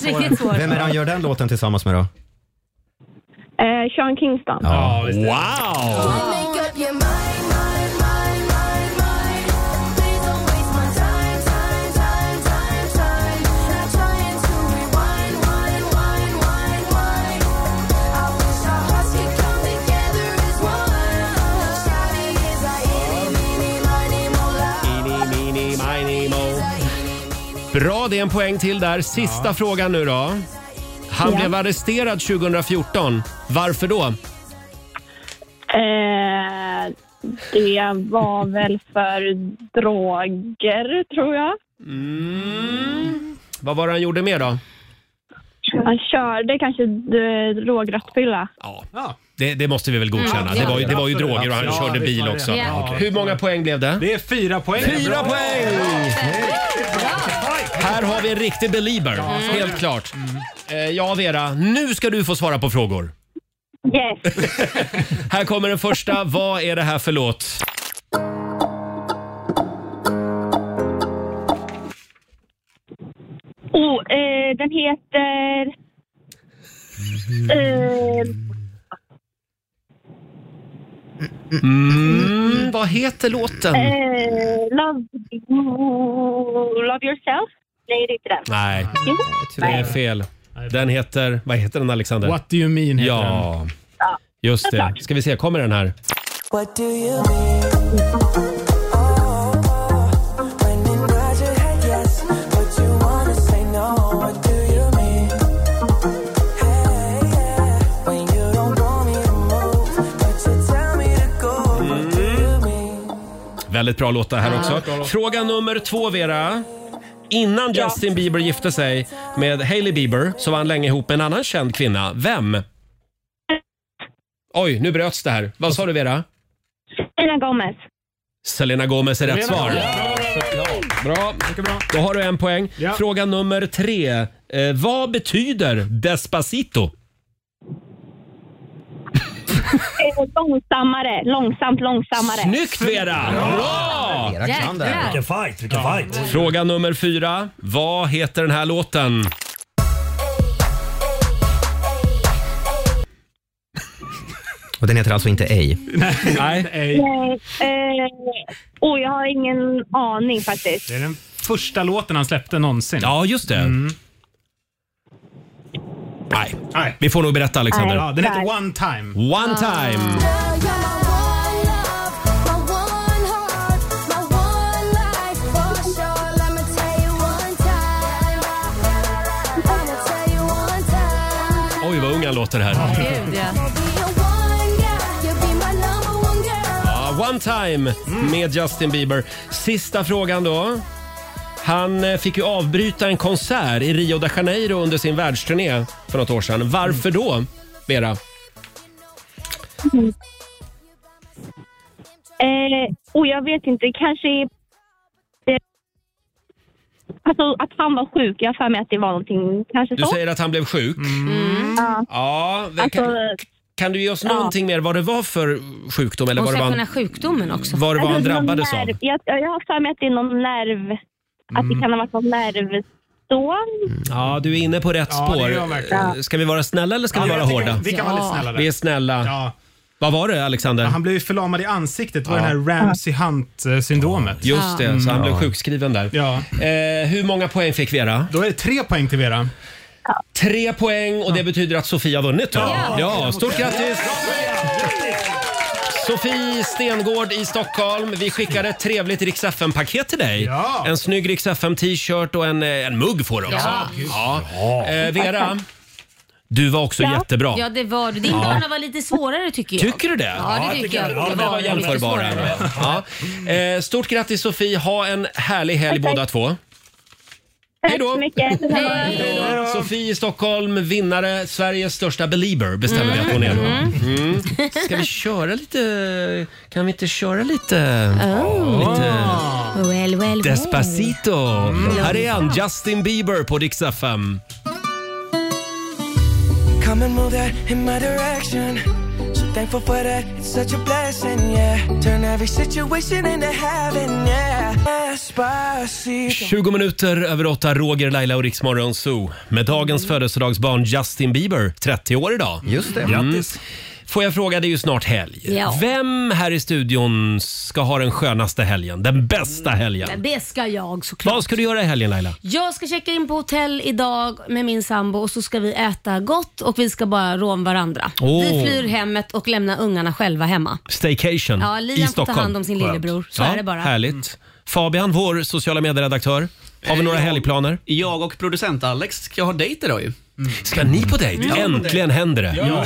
Speaker 21: riktigt svår.
Speaker 2: Vem är det han gör den låten tillsammans med då?
Speaker 21: Eh, Sean Kingston.
Speaker 2: Ja.
Speaker 1: Wow! Bra, det är en poäng till där. Sista frågan nu då. Han
Speaker 21: Ja.
Speaker 1: blev arresterad 2014. Varför då?
Speaker 21: Eh, det var väl för droger, tror jag.
Speaker 1: Mm. Vad var det han gjorde mer då?
Speaker 21: Han körde kanske eh, drograttfylla.
Speaker 5: Ja.
Speaker 1: Det, det måste vi väl godkänna.
Speaker 21: Ja.
Speaker 1: Det, var ju, det var ju
Speaker 5: Mm. Absolut,
Speaker 1: droger och han
Speaker 5: absolut.
Speaker 1: körde
Speaker 5: Ja,
Speaker 1: bil
Speaker 5: visst var
Speaker 1: också.
Speaker 5: det. Ja.
Speaker 1: Okej. Hur många poäng blev det?
Speaker 5: Det är fyra poäng.
Speaker 1: Fyra
Speaker 5: Bra.
Speaker 1: poäng! Här har vi en riktig belieber, helt klart. Eh, Ja, Vera, nu ska du få svara på frågor.
Speaker 21: Yes.
Speaker 1: Här kommer den första. Vad är det här för låt?
Speaker 21: Oh, eh, den heter... Eh,
Speaker 1: Mm, vad heter låten?
Speaker 21: eh, love, love yourself? Nej, det är inte den.
Speaker 1: Nej,
Speaker 21: Jo.
Speaker 1: det är fel. Den heter... Vad heter den, Alexander?
Speaker 5: What do you mean heter
Speaker 1: Ja, just det. Ska vi se, kommer den här?
Speaker 14: What do you mean? When in nod your head yes, but you wanna say no. What do you mean? Hey, yeah. When you don't want me to move, but you tell me to go. What do you mean?
Speaker 1: Väldigt bra låt det här
Speaker 14: Ja.
Speaker 1: också.
Speaker 14: Bra låt.
Speaker 1: Fråga nummer två, Vera. Innan Justin Bieber gifte sig med Hailey Bieber så var han länge ihop med en annan känd kvinna. Vem? Oj, nu bröts det här. Vad sa du, Vera?
Speaker 21: Selena Gomez.
Speaker 1: Selena Gomez är rätt
Speaker 21: Selena
Speaker 1: svar. Bra. Då har du en poäng. Fråga nummer tre. Eh, vad betyder Despacito?
Speaker 21: Eh, långsammare, långsamt, långsammare.
Speaker 1: Snyggt Vera! Bra!
Speaker 21: Vera kan det här. Vilken
Speaker 1: fight, vilken fight. Fråga nummer fyra. Vad heter den här låten?
Speaker 2: Och den heter alltså inte Ej.
Speaker 1: Nej.
Speaker 21: Nej, eh, oh, jag har ingen aning faktiskt.
Speaker 5: Det är den första låten han släppte någonsin. Mm.
Speaker 1: Ja, just det. Nej. Vi får nog berätta Alexander.
Speaker 5: Ja, den heter One Time.
Speaker 1: One
Speaker 14: My
Speaker 1: time.
Speaker 14: one life for sure. Let me tell you one time.
Speaker 1: Maria låter här.
Speaker 14: Gud, ja.
Speaker 1: Ja, one time
Speaker 5: Mm.
Speaker 1: med Justin Bieber. Sista frågan då. Han eh, fick ju avbryta en konsert i Rio de Janeiro under sin världsturné för något år sedan. Varför då, Vera?
Speaker 21: Eh, och jag vet inte, kanske... Eh, alltså att han var sjuk, jag har för mig att det var någonting, kanske
Speaker 1: Du
Speaker 21: så.
Speaker 1: säger att han blev sjuk.
Speaker 5: Mm.
Speaker 3: Mm.
Speaker 21: Ja.
Speaker 1: Ja, det kan,
Speaker 21: Alltså,
Speaker 1: kan du ge oss någonting mer vad det var för sjukdom? Eller
Speaker 3: Och
Speaker 1: vad det
Speaker 3: sen
Speaker 1: var
Speaker 3: kunna sjukdomen också.
Speaker 1: vad det var han
Speaker 21: alltså, någon
Speaker 1: drabbades av?
Speaker 21: nerv, Jag, jag har för mig att det är någon nerv, att
Speaker 1: Mm.
Speaker 21: det kan ha varit någon nervstånd.
Speaker 1: Ja, du är inne på rätt
Speaker 21: Ja, det
Speaker 1: spår.
Speaker 21: är jag verkligen.
Speaker 1: Eh, Ska vi vara snälla eller ska
Speaker 5: Ja,
Speaker 1: vi vara
Speaker 5: jag tycker
Speaker 1: hårda?
Speaker 5: vi kan vara lite Ja. snälla där.
Speaker 1: Vi är snälla. Vad var det, Alexander?
Speaker 5: Han blev ju förlamad i ansiktet. Det var
Speaker 1: Ja.
Speaker 5: den här Ramsey Hunt-syndromet.
Speaker 1: Just det, så han blev sjukskriven där. Eh,
Speaker 5: Ja.
Speaker 1: hur många poäng fick Vera?
Speaker 5: Då är det tre poäng till Vera.
Speaker 1: Tre poäng och det betyder att Sofia har vunnit. då.
Speaker 5: Ja.
Speaker 1: ja stort grattis! Sofie Stengård i Stockholm. Vi skickar ett trevligt Rix FM-paket till dig.
Speaker 14: Ja.
Speaker 1: En snygg Rix FM-t-shirt och en, eh, en mugg får du också.
Speaker 3: Ja.
Speaker 1: Ja. Eh, Vera, du var också jättebra.
Speaker 3: Ja, det var du. Din
Speaker 1: Ja.
Speaker 3: bana var lite svårare tycker jag.
Speaker 1: Tycker du det?
Speaker 3: Ja, det tycker jag.
Speaker 1: Ja, det var
Speaker 3: lite
Speaker 1: jämförbara.
Speaker 3: svårare.
Speaker 1: Ja. Eh, Stort grattis Sofie. Ha en härlig helg båda två.
Speaker 21: Hej då! Tack så mycket.
Speaker 1: Sofie i Stockholm, vinnare, Sveriges största belieber bestämmer vi att hon är. då. Mm. Ska vi köra lite... Kan vi inte köra lite...
Speaker 3: Oh.
Speaker 1: lite...
Speaker 3: Well, well,
Speaker 1: Despacito.
Speaker 3: Mm.
Speaker 1: Här är han, Justin Bieber på Dix FM.
Speaker 14: Come and move that in my direction. So thankful for that, it's such a blessing, yeah. Turn every situation into heaven, yeah. Despacito.
Speaker 1: 20 minuter över åtta, Roger, Laila och Riksmorgon Zoo. Med dagens födelsedagsbarn Justin Bieber, 30 år idag. Mm.
Speaker 2: Just det. Grattis.
Speaker 1: Får jag fråga, det är ju snart helg.
Speaker 3: Ja.
Speaker 1: Vem här i studion ska ha den skönaste helgen? Den bästa helgen?
Speaker 3: Men Det ska jag såklart.
Speaker 1: Vad ska du göra i helgen Laila?
Speaker 3: Jag ska checka in på hotell idag med min sambo och så ska vi äta gott och vi ska bara rån varandra.
Speaker 1: Åh.
Speaker 3: Vi flyr hemmet och lämnar ungarna själva hemma.
Speaker 1: Staycation
Speaker 3: Ja,
Speaker 1: i
Speaker 3: Liam får ta
Speaker 1: Stockholm.
Speaker 3: hand om sin lillebror. Så är det bara.
Speaker 1: Härligt. Fabian, vår sociala medieredaktör. Har vi några helgplaner?
Speaker 8: Eh,
Speaker 1: Mm.
Speaker 8: Jag och producent Alex ska ha dejt idag ju.
Speaker 1: Ska ni på dejt?
Speaker 8: Ja, på
Speaker 1: Äntligen
Speaker 8: dejt.
Speaker 1: händer det.
Speaker 8: Mm. Ja.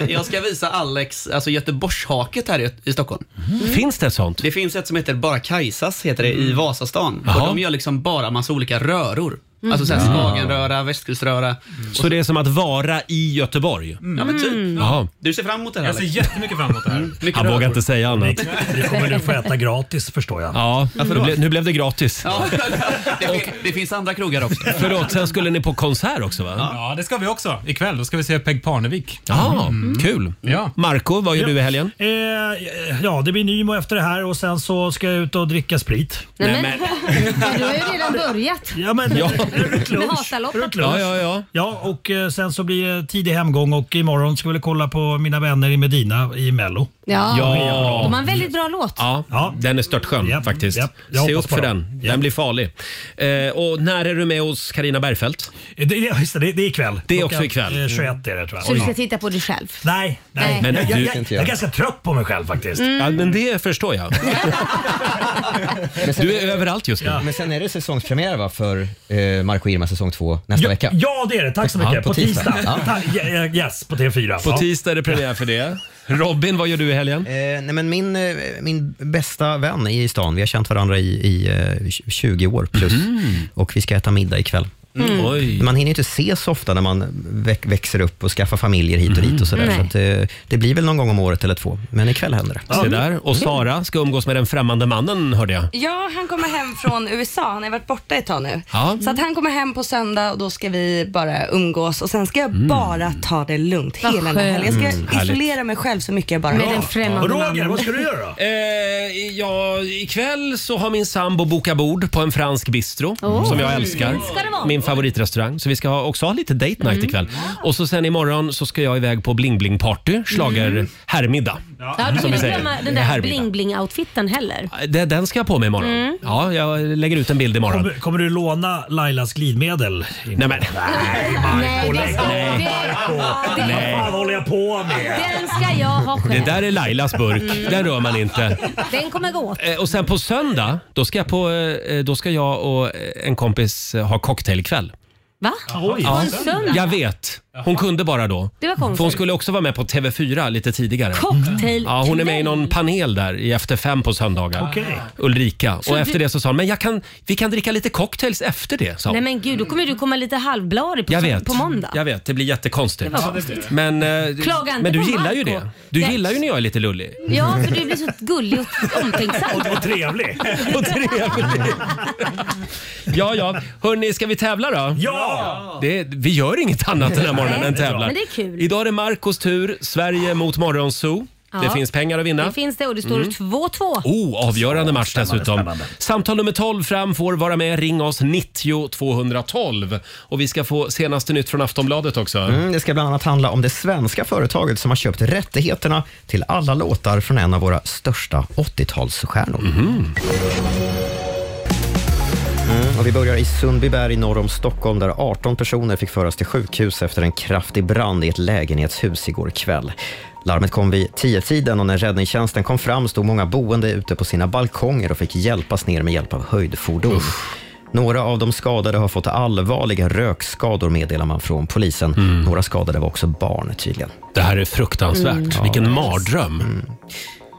Speaker 8: Jag, jag ska visa Alex alltså Göteborgshaket här i, i Stockholm.
Speaker 1: Mm. Finns det ett sånt? Mm.
Speaker 8: Det finns ett som heter Bara Kajsas heter det, i Vasastan.
Speaker 1: Jaha.
Speaker 8: Och de gör liksom bara massa olika röror. Alltså såhär
Speaker 1: Mhm.
Speaker 8: Skagenröra, Västkuströra.
Speaker 1: Mm. Så det är som att vara i Göteborg?
Speaker 8: Ja men typ.
Speaker 1: Jaha.
Speaker 8: Du ser fram emot det här Mm.
Speaker 1: Jag ser
Speaker 8: jättemycket fram emot det här.
Speaker 1: Han vågar inte säga annat.
Speaker 9: Det kommer du få äta gratis förstår jag.
Speaker 1: Ja,
Speaker 9: Varför
Speaker 1: nu,
Speaker 9: då?
Speaker 1: ble, nu blev det gratis.
Speaker 8: Det, det finns andra krogar också.
Speaker 1: Förlåt, sen skulle ni på konsert också va?
Speaker 5: Ja, det ska vi också. Ikväll. Då ska vi se Peg Parnevik. Mm.
Speaker 1: Ja, kul.
Speaker 5: Ja.
Speaker 1: Marco, vad gör
Speaker 5: Ja.
Speaker 1: du i helgen?
Speaker 9: Eh, ja, det blir Nymo efter det här och sen så ska jag ut och dricka sprit.
Speaker 3: Nej, men, du har ju redan börjat.
Speaker 9: Ja, men,
Speaker 3: Ja.
Speaker 9: Runt
Speaker 3: Med
Speaker 9: lunch.
Speaker 3: Hasaloppet.
Speaker 9: Runt lunch. Ja, och eh, sen så blir det tidig hemgång och imorgon ska vi väl kolla på Mina vänner i Medina i Mello.
Speaker 3: Ja.
Speaker 1: Ja.
Speaker 3: De har en väldigt bra låt.
Speaker 1: Ja, den är störtskön faktiskt.
Speaker 9: Jag
Speaker 1: Se
Speaker 9: hoppas
Speaker 1: upp
Speaker 9: på
Speaker 1: för
Speaker 9: dem.
Speaker 1: den. Den blir farlig. Eh, och när är du med hos Karina Bergfeldt?
Speaker 9: Eh, Det, det, just det, det, det är ikväll.
Speaker 1: Det är
Speaker 9: Klockan,
Speaker 1: också ikväll.
Speaker 9: eh, 21 är det tror jag.
Speaker 3: Så du ska titta på dig själv.
Speaker 9: Nej, nej.
Speaker 1: Men
Speaker 9: jag, jag,
Speaker 1: du-
Speaker 9: jag, jag är ganska trött på mig själv faktiskt.
Speaker 1: Mm. Ja, men det förstår jag. Du är överallt just nu.
Speaker 2: Men sen är det säsongspremiär va, för eh, Marco Irma säsong två nästa vecka?
Speaker 9: Ja, det är det. Tack så
Speaker 2: Ja,
Speaker 9: mycket.
Speaker 2: på
Speaker 9: på tisdag.
Speaker 2: tisdag. Ja.
Speaker 9: Ta- ja, ja, Yes, på TV4.
Speaker 1: På
Speaker 9: Ja.
Speaker 1: tisdag är det premiär för det. Robin, vad gör du i helgen?
Speaker 2: Eh, nej men min, eh, min bästa vän är i stan. Vi har känt varandra i, i eh, 20 år plus. Och vi ska äta middag ikväll.
Speaker 1: Mhm. Mm. Oj.
Speaker 2: Man hinner ju inte ses så ofta när man väx- växer upp och skaffar familjer hit och dit. och sådär.
Speaker 1: Nej.
Speaker 2: Så att, eh, Det blir väl någon gång om året eller två, men ikväll händer det. Mm.
Speaker 1: Se där. Och Sara ska umgås med den främmande mannen hörde jag.
Speaker 7: Ja, han kommer hem från USA. Han har varit borta ett tag nu.
Speaker 1: Ja.
Speaker 7: Så att han kommer hem på söndag och då ska vi bara umgås och sen ska jag bara ta det lugnt
Speaker 3: Vad
Speaker 7: hela den här helgen. Jag ska
Speaker 1: Mm, härligt.
Speaker 7: isolera mig själv så mycket jag bara
Speaker 3: Med
Speaker 7: kan.
Speaker 3: en främmande
Speaker 9: Roger, mannen. vad ska du göra då?
Speaker 1: Eh, ja, ikväll så har min sambo bokat bord på en fransk bistro
Speaker 14: Oj.
Speaker 1: som jag älskar.
Speaker 14: Ska det vara?
Speaker 1: Min favoritrestaurang. Så vi ska ha, också ha lite date night
Speaker 3: Mm.
Speaker 1: ikväll. Och så sen imorgon så ska jag iväg på Bling Bling Party, slager herrmiddag.
Speaker 3: Mm. Ja, du
Speaker 1: som
Speaker 3: kan
Speaker 1: vi
Speaker 3: inte
Speaker 1: säger.
Speaker 3: glömma den där
Speaker 1: Herrmiddag.
Speaker 3: bling-bling-outfiten heller.
Speaker 1: Det- Den ska jag på mig imorgon.
Speaker 3: Mm.
Speaker 1: Ja, jag lägger ut en bild imorgon.
Speaker 9: Kommer, kommer du låna Lailas glidmedel? Nej
Speaker 1: men.
Speaker 9: Nej Marco, lägg av Marco. Vad fan håller jag på med?
Speaker 3: Den ska jag ha
Speaker 1: Det
Speaker 3: själv.
Speaker 1: där är Lailas burk.
Speaker 3: Mm.
Speaker 1: Den rör man inte.
Speaker 3: Den kommer gå åt.
Speaker 1: Eh, Och sen på söndag, då ska jag, på, eh, då ska jag och eh, en kompis eh, ha cocktailkväll.
Speaker 3: Va? På en
Speaker 1: Jag
Speaker 3: söndag?
Speaker 1: vet. Hon kunde bara då.
Speaker 3: Det var konstigt.
Speaker 1: För hon skulle också vara med på TV4 lite tidigare.
Speaker 3: Cocktail
Speaker 1: Ja, hon är med i någon panel där i Efter fem på söndagar.
Speaker 3: Okej.
Speaker 1: Ulrika.
Speaker 3: Så
Speaker 1: och
Speaker 3: du-
Speaker 1: efter det så sa hon, men jag kan, vi kan dricka lite cocktails efter det. Sa hon.
Speaker 3: Nej men gud, då kommer du komma lite halvblarig på,
Speaker 1: jag
Speaker 3: sö-
Speaker 1: vet.
Speaker 3: på måndag.
Speaker 1: Jag vet, det blir jättekonstigt.
Speaker 3: Det var konstigt.
Speaker 1: Men, eh,
Speaker 3: Klaga inte
Speaker 1: men du
Speaker 3: på
Speaker 1: gillar ju
Speaker 3: Marco.
Speaker 1: det. Du
Speaker 3: Nej.
Speaker 1: gillar ju när jag är lite lullig.
Speaker 3: Ja, för du blir så gullig och omtänksam.
Speaker 1: Och- och trevlig. Och trevlig. Ja, ja. Hörni, ska vi tävla då?
Speaker 9: Ja!
Speaker 1: Det, vi gör inget annat den här morgonen
Speaker 3: Nej,
Speaker 1: än
Speaker 3: det är bra.
Speaker 1: tävlar.
Speaker 3: Men det är kul.
Speaker 1: Idag är det Marcos tur. Sverige mot Morgonzoo.
Speaker 3: Ja.
Speaker 1: Det finns pengar att vinna.
Speaker 3: Det finns det och det står
Speaker 1: Mm.
Speaker 3: 2-2.
Speaker 1: Oh, avgörande match dessutom. Samtal nummer 12 fram får vara med. Ring oss 90 212. Och vi ska få senaste nytt från Aftonbladet också.
Speaker 2: Mm, det ska bland annat handla om det svenska företaget som har köpt rättigheterna till alla låtar från en av våra största 80-talsstjärnor.
Speaker 1: Mhm.
Speaker 2: Mm, och vi börjar i Sundbyberg norr om Stockholm där 18 personer fick föras till sjukhus efter en kraftig brand i ett lägenhetshus igår kväll. Larmet kom vid 10-tiden och när räddningstjänsten kom fram stod många boende ute på sina balkonger och fick hjälpas ner med hjälp av höjdfordon. Några av de skadade har fått allvarliga rökskador meddelar man från polisen. Några skadade var också barn tydligen.
Speaker 1: Det här är fruktansvärt.
Speaker 2: Mm.
Speaker 1: Vilken mardröm.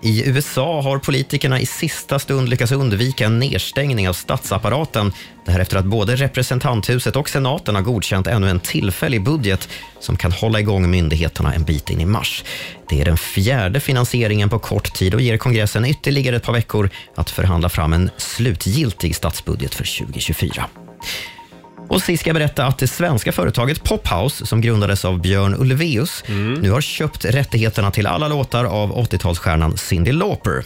Speaker 2: I USA har politikerna i sista stund lyckats undvika en nedstängning av statsapparaten. Det här efter att både representanthuset och senaten har godkänt ännu en tillfällig budget som kan hålla igång myndigheterna en bit in i mars. Det är den fjärde finansieringen på kort tid och ger kongressen ytterligare ett par veckor att förhandla fram en slutgiltig statsbudget för 2024. Och sist ska jag berätta att det svenska företaget Pophouse, som grundades av Björn Ulvaeus, nu har köpt rättigheterna till alla låtar av 80-talsstjärnan Cyndi Lauper.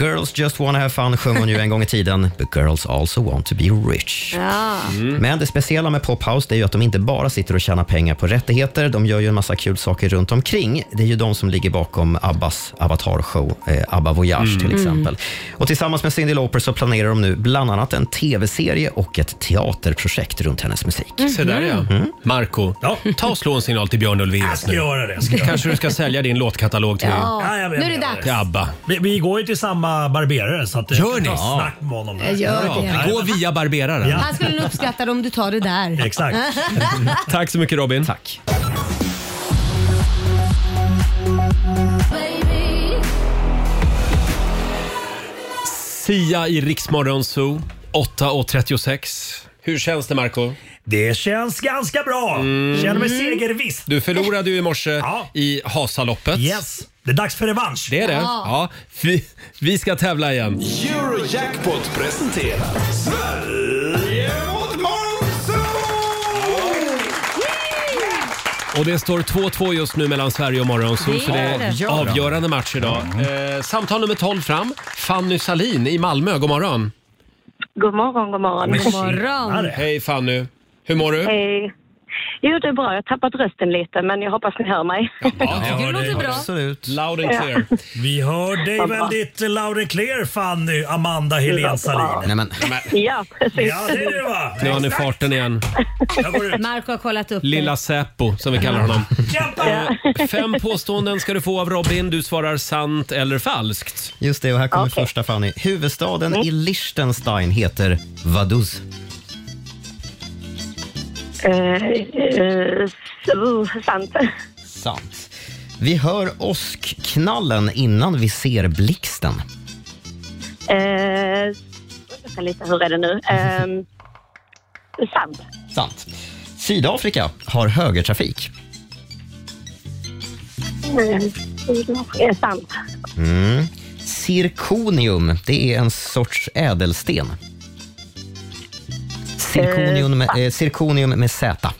Speaker 2: Girls just wanna have fun sjöng hon ju en gång i tiden, but girls also want to be rich.
Speaker 14: Ja.
Speaker 1: Mm.
Speaker 2: Men det speciella med Pophouse det är ju att de inte bara sitter och tjänar pengar på rättigheter, de gör ju en massa kul saker runt omkring. Det är ju de som ligger bakom Abbas Avatar-show, eh, Abba Voyage
Speaker 14: Mm.
Speaker 2: till
Speaker 14: Mm.
Speaker 2: exempel. Och tillsammans med Cyndi Lauper så planerar de nu bland annat en tv-serie och ett teaterprojekt runt hennes musik. Mm.
Speaker 1: Mm. Se där ja. Marco, ta och slå en signal till Björn Ulvaeus
Speaker 9: Mm. Jag ska
Speaker 1: nu.
Speaker 9: göra det, jag ska göra det.
Speaker 1: Kanske du ska sälja din låtkatalog till,
Speaker 9: Ja, jag vet.
Speaker 3: nu är det dags.
Speaker 1: till ABBA.
Speaker 9: Vi, vi går ju till samma barberare så att
Speaker 1: Gör ni?
Speaker 9: Jag
Speaker 1: Ja.
Speaker 9: snack med honom.
Speaker 3: Jag gör det.
Speaker 1: Gå via barberaren.
Speaker 3: Han skulle nog uppskatta det om du tar det där.
Speaker 1: Exakt. Tack så mycket Robin.
Speaker 2: Tack.
Speaker 1: Sia i Riksmorgon Zoo, 8.36. Hur känns det Marco? Mm.
Speaker 9: Det känns ganska bra. Känner mig segerviss.
Speaker 1: Du förlorade ju i morse i Hasaloppet.
Speaker 9: Yes. Det är dags för revansch.
Speaker 1: Det är det.
Speaker 9: Ja.
Speaker 1: Ja. Vi, vi ska tävla igen.
Speaker 10: Eurojackpot presenterar Sverige mot
Speaker 1: Och det står 2-2 just nu mellan Sverige och Morgonzoo,
Speaker 10: Det
Speaker 1: så det
Speaker 10: är det.
Speaker 1: är
Speaker 10: Ja, då.
Speaker 1: avgörande match idag.
Speaker 9: Mm.
Speaker 1: Eh, samtal nummer 12 fram. Fanny Salin i Malmö, god morgon.
Speaker 21: God morgon, god morgon.
Speaker 1: Men tjenare. Hej Fanny. Hur mår du?
Speaker 21: Hej. Jo, det är bra. Jag har tappat rösten lite, men jag hoppas ni hör mig.
Speaker 1: Ja,
Speaker 9: det låter bra.
Speaker 1: Absolut. Loud and
Speaker 21: Ja.
Speaker 1: clear.
Speaker 9: Vi hör dig
Speaker 21: Vad bra.
Speaker 9: väldigt loud and clear Fanny Amanda Helén
Speaker 2: Nej,
Speaker 9: Sahlin.
Speaker 2: men.
Speaker 21: ja, precis.
Speaker 9: Ja, det är det va?
Speaker 1: Nu har ni farten igen.
Speaker 3: Marco har kollat upp
Speaker 1: Lilla Säpo, som vi kallar honom. Eh,
Speaker 3: det.
Speaker 1: Fem påståenden ska du få av Robin. Du svarar sant eller falskt.
Speaker 2: Just det, och här kommer första Fanny. Huvudstaden i Liechtenstein heter Vaduz.
Speaker 21: Eh, eh, så, sant.
Speaker 2: Sant. Vi hör åskknallen innan vi ser blixten.
Speaker 21: Eh, vänta lite, hur är det nu? Eh, sant.
Speaker 2: Sant. Sydafrika har högertrafik.
Speaker 21: Eh, sant.
Speaker 2: Mm. Zirconium, det är en sorts ädelsten. Zirconium med, eh, zirconium med Z.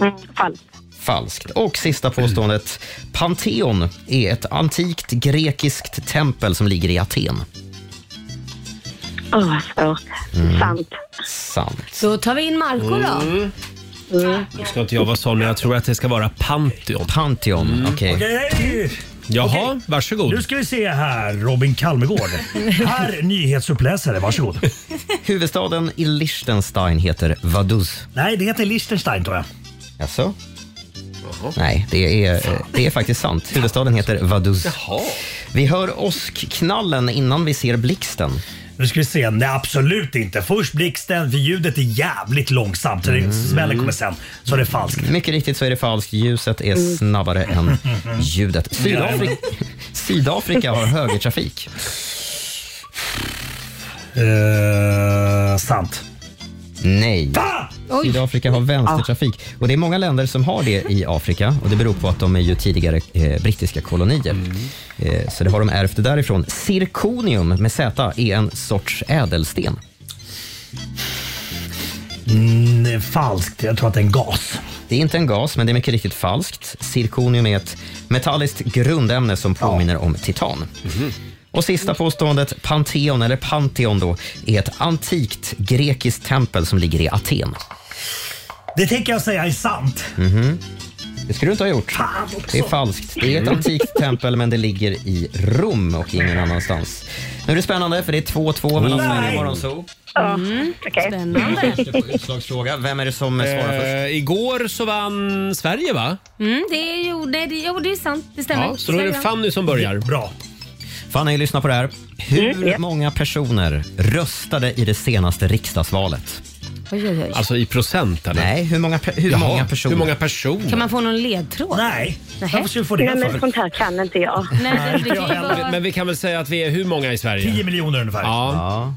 Speaker 21: Mm, falskt.
Speaker 2: Falskt. Och sista påståendet. Pantheon är ett antikt grekiskt tempel som ligger i Aten.
Speaker 21: Åh, vad svårt. Sant.
Speaker 2: Sant.
Speaker 3: Då tar vi in Marco då.
Speaker 1: Mm. Nu ska inte jag vara sån, men jag tror att det ska vara Pantheon. Mm.
Speaker 2: Pantheon,
Speaker 9: Okej.
Speaker 1: Jaha, varsågod.
Speaker 9: Nu ska vi se här Robin Kalmegård. Herr nyhetsuppläsare, varsågod.
Speaker 2: Huvudstaden i Liechtenstein heter Vaduz.
Speaker 9: Nej, det heter Liechtenstein tror jag.
Speaker 2: Jaså? Nej, det är, eh, det är faktiskt sant. Huvudstaden heter Vaduz.
Speaker 1: Jaha.
Speaker 2: Vi hör åskknallen innan vi ser blixten.
Speaker 9: Nu ska vi se. Nej, absolut inte. Först blixten, för ljudet är jävligt långsamt. Så
Speaker 1: Mm.
Speaker 9: det Smällen kommer sen. Så det är falskt.
Speaker 2: Mycket riktigt så är det falskt. Ljuset
Speaker 9: Mm.
Speaker 2: är snabbare än ljudet. Sydafrika, Sydafrika har högertrafik.
Speaker 9: Uh, sant.
Speaker 2: Nej.
Speaker 14: Oj.
Speaker 2: Sydafrika har vänstertrafik. Och det är många länder som har det i Afrika och det beror på att de är ju tidigare eh, brittiska kolonier. Eh, så det har de ärvt därifrån. Zirkonium med Z är en sorts ädelsten.
Speaker 9: Mm, det är falskt. Jag tror att det är en gas.
Speaker 2: Det är inte en gas, men det är mycket riktigt falskt. Zirkonium är ett metalliskt grundämne som påminner om titan.
Speaker 9: Mhm.
Speaker 2: Och sista påståendet, Pantheon, eller Pantheon då, är ett antikt grekiskt tempel som ligger i Aten.
Speaker 9: Det tänker jag säga är sant.
Speaker 2: Mhm. Det skulle du inte ha gjort.
Speaker 9: också.
Speaker 2: Det är falskt. Det är ett
Speaker 9: Mm.
Speaker 2: antikt tempel, men det ligger i Rom och ingen annanstans. Nu är det spännande, för det är 2-2 mellan Sverige och Morgonzoo.
Speaker 14: Mm. Okej.
Speaker 2: Utslagsfråga. Vem är det som svarar först?
Speaker 1: Eh, igår så vann Sverige va?
Speaker 3: Mm, det är ju, nej, det, jo, det är sant. Det stämmer.
Speaker 2: Ja, så då är det
Speaker 3: Sverige.
Speaker 2: Fanny
Speaker 1: som börjar.
Speaker 9: Bra.
Speaker 2: Fanny, lyssna på det här. Hur
Speaker 3: Mm, ja.
Speaker 2: många personer röstade i det senaste riksdagsvalet?
Speaker 3: Oj, oj, oj.
Speaker 1: Alltså i procent eller?
Speaker 2: Nej, hur många, pe- hur
Speaker 1: Jaha,
Speaker 2: många personer?
Speaker 1: hur många
Speaker 3: Kan
Speaker 1: personer?
Speaker 3: man få någon ledtråd?
Speaker 9: Nej.
Speaker 3: Varför
Speaker 9: skulle
Speaker 1: få det
Speaker 21: Nej,
Speaker 1: för?
Speaker 21: men sånt här kan inte jag.
Speaker 3: Nej, det, det,
Speaker 1: Men, men vi kan väl säga att vi är hur många i Sverige? 10
Speaker 9: miljoner ungefär.
Speaker 1: Ja.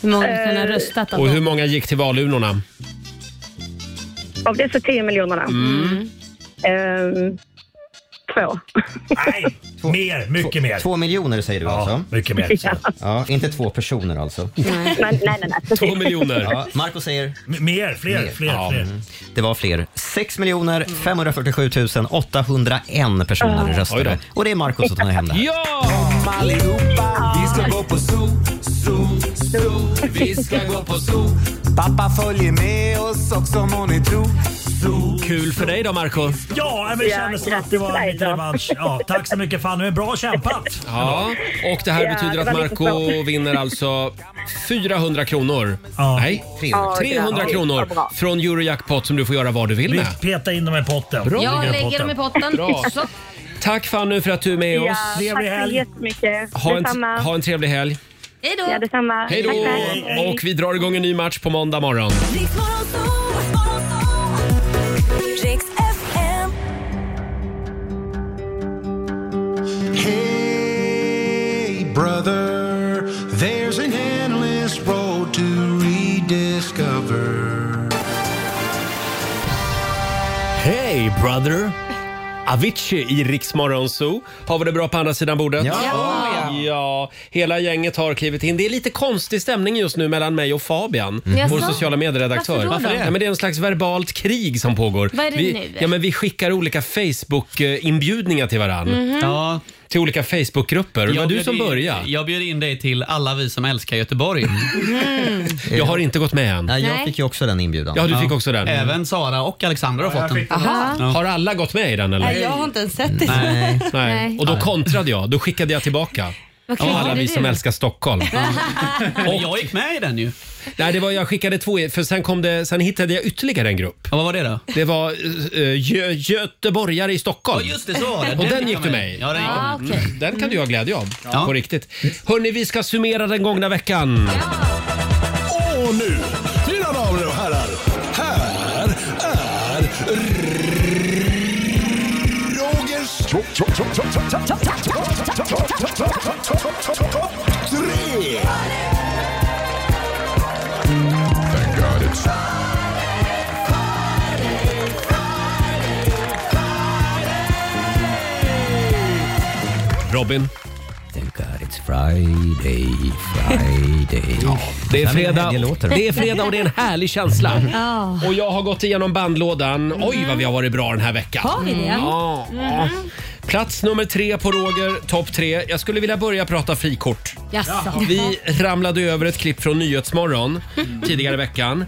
Speaker 3: hur
Speaker 21: Eh,
Speaker 3: många kan ha röstat?
Speaker 1: Och hur många gick till valurnorna?
Speaker 21: Av dessa 10 miljonerna.
Speaker 1: Mm.
Speaker 21: Ehm, två.
Speaker 9: Mer, mycket mer.
Speaker 2: Två miljoner säger du alltså?
Speaker 9: Mycket
Speaker 21: mer. Ja.
Speaker 2: Ja, inte två personer alltså.
Speaker 21: nej, nej, nej. nej.
Speaker 2: Två miljoner. Ja, Marco säger?
Speaker 9: mer, fler,
Speaker 2: Mer.
Speaker 9: fler,
Speaker 2: Ja.
Speaker 9: fler.
Speaker 2: Mm. Det var fler. 6 miljoner 547 801 personer
Speaker 10: Ja. Oj då.
Speaker 2: röstade. Och det är Marco som tar hem det här.
Speaker 1: Ja!
Speaker 10: Kom allihopa, vi ska gå på zoo, zoo, zoo. Vi ska gå på zoo. Pappa följer med oss också må ni tro.
Speaker 1: Kul för dig då Marco
Speaker 9: Ja, men det kändes som att det var en liten revansch. Ja, tack så mycket Fanny. Men bra kämpat.
Speaker 1: Ja, och det här
Speaker 9: Ja,
Speaker 1: betyder
Speaker 9: det
Speaker 1: att
Speaker 9: var lite
Speaker 1: Marco
Speaker 9: svårt.
Speaker 1: vinner alltså 400 kronor. Nej, 300,
Speaker 9: Ja, det är bra. Ja,
Speaker 1: kronor
Speaker 9: bra.
Speaker 1: från Eurojackpot som du får göra vad du vill
Speaker 9: Vi
Speaker 1: med.
Speaker 9: petar in dem i potten.
Speaker 1: Bra.
Speaker 3: Jag lägger dem i potten.
Speaker 1: Bra.
Speaker 3: Så.
Speaker 1: Tack Fanny för att du är med
Speaker 21: Ja,
Speaker 1: oss.
Speaker 21: tack så jättemycket.
Speaker 1: Ha en,
Speaker 21: Detsamma.
Speaker 1: ha en trevlig helg.
Speaker 3: Hej
Speaker 21: då. Ja, detsamma.
Speaker 1: Hej då!
Speaker 21: Tack, tack.
Speaker 1: Och vi drar igång en ny match på måndag morgon.
Speaker 14: Riks FM.
Speaker 10: Hey brother, there's an endless road to rediscover.
Speaker 1: Hey brother! Avicii i Rix Morgon Zoo. Har vi det bra på andra sidan bordet?
Speaker 10: Ja.
Speaker 1: ja! Hela gänget har klivit in. Det är lite konstig stämning just nu mellan mig och Fabian,
Speaker 10: Mm.
Speaker 1: vår
Speaker 10: Jaså?
Speaker 1: sociala medieredaktör.
Speaker 10: Varför då då?
Speaker 1: Ja, men det är en slags verbalt krig som pågår.
Speaker 10: Vad är det
Speaker 1: vi,
Speaker 10: nu?
Speaker 1: Ja, men vi skickar olika Facebook-inbjudningar till varandra.
Speaker 10: Mhm. Ja.
Speaker 1: Till olika Facebookgrupper. Det var du som började.
Speaker 8: Jag bjöd in dig till alla vi som älskar Göteborg.
Speaker 1: Mm. Jag har inte gått med än.
Speaker 8: Nej, jag Nej. fick
Speaker 2: ju också den inbjudan.
Speaker 1: Ja, du fick också den.
Speaker 8: Även Sara och Alexandra har fått den.
Speaker 7: Aha.
Speaker 8: Ja.
Speaker 1: Har alla gått med i den eller?
Speaker 7: Nej, jag har inte ens sett det.
Speaker 1: Nej.
Speaker 7: Nej.
Speaker 1: Och då kontrade jag. Då skickade jag tillbaka.
Speaker 7: Vad
Speaker 1: Ja,
Speaker 7: kul,
Speaker 1: alla
Speaker 7: det är
Speaker 1: vi
Speaker 7: du.
Speaker 1: som älskar Stockholm.
Speaker 8: Men jag gick med i den ju.
Speaker 1: Nej, det var, jag skickade två, i- för sen, kom det, sen hittade jag ytterligare en grupp.
Speaker 8: vad var det då?
Speaker 1: Det var eh, Gö- göteborgare i Stockholm.
Speaker 8: Ja, just det, så var det.
Speaker 1: Och
Speaker 8: Den
Speaker 1: den gick
Speaker 8: jag
Speaker 1: du
Speaker 8: med.
Speaker 1: med i.
Speaker 8: Ja, den gick jag med. Ah, okej.
Speaker 1: Mm. Den kan du ha glädje av.
Speaker 8: Ja.
Speaker 1: På riktigt. Hörni, vi ska summera den gångna veckan.
Speaker 10: Och nu, mina damer och herrar, här är Rogers tre.
Speaker 1: Robin.
Speaker 2: Thank God it's Friday, Friday. ja,
Speaker 1: Det är,
Speaker 2: den
Speaker 1: fredag,
Speaker 2: helglåten.
Speaker 1: det är fredag och det är en härlig känsla.
Speaker 3: Ja.
Speaker 1: Och jag har gått igenom bandlådan. Oj vad vi har varit bra den här veckan.
Speaker 3: Har vi det?
Speaker 1: Ja.
Speaker 3: Mhm.
Speaker 1: Plats nummer tre på Roger, topp tre. Jag skulle vilja börja prata frikort.
Speaker 3: Jaså.
Speaker 1: Vi ramlade över ett klipp från Nyhetsmorgon
Speaker 3: Mm.
Speaker 1: tidigare i veckan.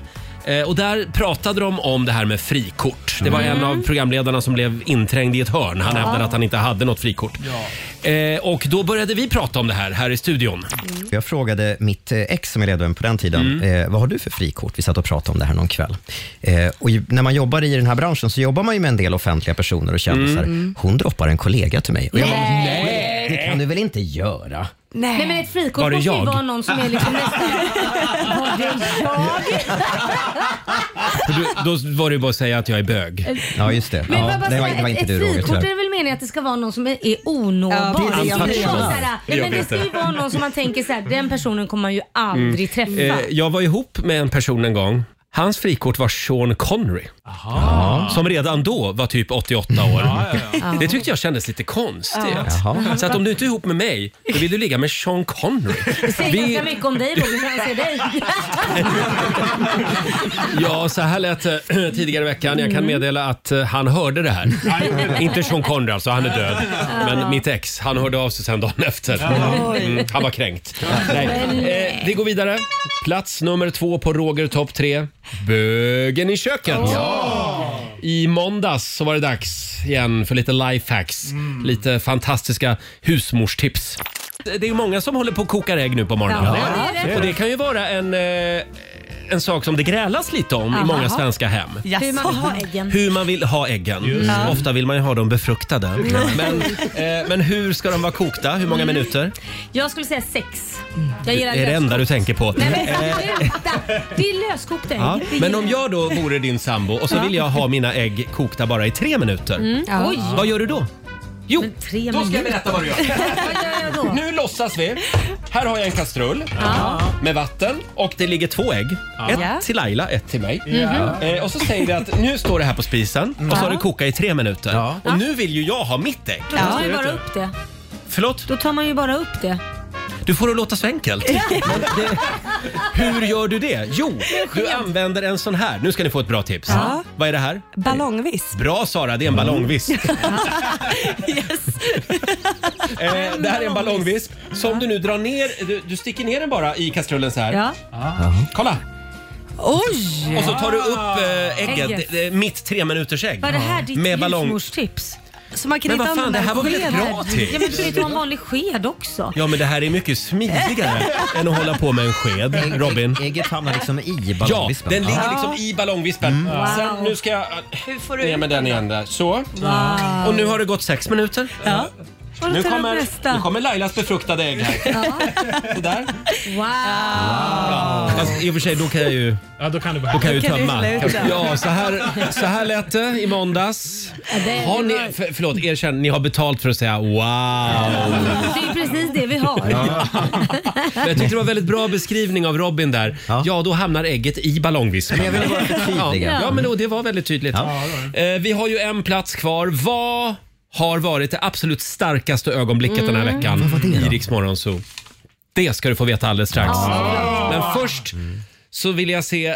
Speaker 1: Eh, Och där pratade de om det här med frikort. Det var en
Speaker 3: Mm.
Speaker 1: av programledarna som blev inträngd i ett hörn. Han
Speaker 19: Ja.
Speaker 1: hävdade att han inte hade något frikort. Eh, Och då började vi prata om det här, här i studion.
Speaker 10: Mm.
Speaker 2: Jag frågade mitt eh, ex som jag levde med på den tiden, eh, vad har du för frikort? Vi satt och pratade om det här någon kväll. Eh, och ju, när man jobbar i den här branschen så jobbar man ju med en del offentliga personer och kändisar.
Speaker 10: Mm.
Speaker 2: Hon droppar en kollega till mig. Och jag bara,
Speaker 10: Nej.
Speaker 3: Nej.
Speaker 2: Det kan du väl inte göra?
Speaker 3: Nej. men ett
Speaker 2: Var
Speaker 3: frikort
Speaker 2: det
Speaker 3: måste ju
Speaker 2: jag?
Speaker 3: vara någon som är liksom nästan... Var det jag?
Speaker 1: För du, då var det ju bara att säga att jag är bög.
Speaker 2: Ja, just det.
Speaker 3: Eh, Men jag bara säga, ett, ett frikort är det väl meningen att det ska vara någon som är, är
Speaker 1: Ja, det är
Speaker 3: onåbar.
Speaker 1: det jag
Speaker 3: Någon
Speaker 1: menar.
Speaker 3: så här,
Speaker 1: Jag
Speaker 3: nej, men det
Speaker 1: vet
Speaker 3: ska ju
Speaker 1: inte.
Speaker 3: vara någon som man tänker så här, den personen kommer man ju aldrig
Speaker 1: Eh,
Speaker 3: träffa.
Speaker 1: jag var ihop med en person en gång. Hans frikort var Sean Connery. Ja. Som redan då var typ 88 år.
Speaker 14: ja.
Speaker 1: Det tyckte jag kändes lite konstigt.
Speaker 3: Ja. Jaha.
Speaker 1: Så att om du inte är ihop med mig, då vill du ligga med Sean Connery.
Speaker 3: Det säger
Speaker 1: Vi-
Speaker 3: ganska mycket om dig Roger, när jag ser dig.
Speaker 1: Ja, så här lät det eh, tidigare i veckan. Jag
Speaker 3: Mm.
Speaker 1: kan meddela att eh, han hörde det här. Inte Sean Connery alltså, han är död. Men mitt ex, han hörde av sig sen dagen efter.
Speaker 14: Oj.
Speaker 1: Mm, han var kränkt. Nej. Eh, vi går vidare. Plats nummer två på Roger topp tre. Bögen i köket. I måndags så var det dags igen för lite lifehacks.
Speaker 14: Mm.
Speaker 1: Lite fantastiska husmorstips. Det är ju många som håller på och kokar ägg nu på morgonen.
Speaker 14: Ja, det är det.
Speaker 1: Och det kan ju vara en, eh, en sak som det grälas lite om i
Speaker 3: Aha.
Speaker 1: många svenska hem.
Speaker 3: Hur man vill ha äggen.
Speaker 1: Hur man vill ha äggen. Mm.
Speaker 3: Just det.
Speaker 1: Ofta vill man ju ha dem befruktade. Men, eh, men hur ska de vara kokta? Hur många
Speaker 14: Mm.
Speaker 1: minuter?
Speaker 3: Jag skulle säga sex. Jag
Speaker 1: Det
Speaker 3: gillar
Speaker 1: är det enda du tänker på.
Speaker 3: Nej
Speaker 1: Eh,
Speaker 3: men sluta! Det är löskokt ägg.
Speaker 1: Ja,
Speaker 3: Det
Speaker 1: men
Speaker 3: gillar
Speaker 1: om jag då vore din sambo och så
Speaker 3: Ja.
Speaker 1: vill jag ha mina ägg kokta bara i tre minuter.
Speaker 3: Mm. Ja. Oj.
Speaker 1: Vad gör du då? Jo,
Speaker 3: tre
Speaker 1: då ska jag
Speaker 3: minuter.
Speaker 1: berätta vad du gör. Nu låtsas vi. Här har jag en kastrull
Speaker 14: Ja.
Speaker 1: med vatten och det ligger två ägg.
Speaker 14: Ja.
Speaker 1: Ett
Speaker 14: Ja.
Speaker 1: till Laila, ett till mig.
Speaker 14: Mhm.
Speaker 1: Eh, och så säger vi att nu står det här på spisen och så har det kokat i tre minuter. Och nu vill ju jag ha mitt ägg.
Speaker 3: Då tar man ju bara upp det.
Speaker 1: Förlåt?
Speaker 3: Då tar man ju bara upp det.
Speaker 1: Du får det att låta så enkelt. Men det, hur gör du det? Jo, du använder en sån här. Nu ska ni få ett bra tips.
Speaker 7: Ja.
Speaker 1: Vad är det här?
Speaker 7: Ballongviss.
Speaker 1: Bra Sara, det är en ballongvisp. eh, det här är en ballongvisp som du nu drar ner. Du, du sticker ner den bara i kastrullen så här.
Speaker 14: Ja.
Speaker 1: Kolla!
Speaker 3: Oj!
Speaker 1: Och så tar du upp eh, ägget,
Speaker 3: Ägget.
Speaker 1: det- det är mitt tre minuters ägg
Speaker 3: Var det här ditt
Speaker 1: Med ballong.
Speaker 3: husmorstips?
Speaker 7: Så man
Speaker 1: kan Men inte vad fan, använda det här var väl ett sked? bra tips?
Speaker 3: Ja, men du kan ju ta en vanlig sked också.
Speaker 1: Ja men det här är mycket smidigare än att hålla på med en sked. Robin.
Speaker 2: Ägget hamnar liksom i
Speaker 1: Ja,
Speaker 2: ballongvispen.
Speaker 1: den
Speaker 2: Ja. Mm.
Speaker 1: ligger liksom i ballongvispen.
Speaker 2: Wow.
Speaker 1: Sen, nu ska jag
Speaker 7: Hur får
Speaker 1: ner med den igen där. Så. Och nu har det gått sex minuter.
Speaker 3: Och då
Speaker 1: Nu
Speaker 3: tar du upp
Speaker 1: kommer,
Speaker 3: nästa.
Speaker 1: nu kommer Lailas befruktade ägg här.
Speaker 3: Wow!
Speaker 1: Fast Alltså, i och för sig, då kan jag ju...
Speaker 5: Ja, då kan du bara...
Speaker 1: Då kan jag ju
Speaker 5: Då kan du
Speaker 1: tömma.
Speaker 5: sluta.
Speaker 1: Ja, så här, så här lät det i måndags.
Speaker 3: det-
Speaker 1: Har
Speaker 3: det
Speaker 1: ni,
Speaker 3: var-
Speaker 1: för, förlåt, erkänn, ni har betalt för att säga wow.
Speaker 3: Det är ju precis det vi har.
Speaker 1: Ja. Men jag tyckte det var väldigt bra beskrivning av Robin där. Ja, då hamnar ägget i ballongvispen.
Speaker 2: Men jag ville bara
Speaker 1: ja.
Speaker 2: förtydliga.
Speaker 1: ja, men då, det var väldigt tydligt. Eh, vi har ju en plats kvar. Vad har varit det absolut starkaste ögonblicket den här
Speaker 14: Mm.
Speaker 1: veckan
Speaker 14: Vad var det då?
Speaker 1: i Rix Morgon Zoo? Det ska du få veta alldeles strax.
Speaker 14: Ja.
Speaker 1: Men först så vill jag se eh,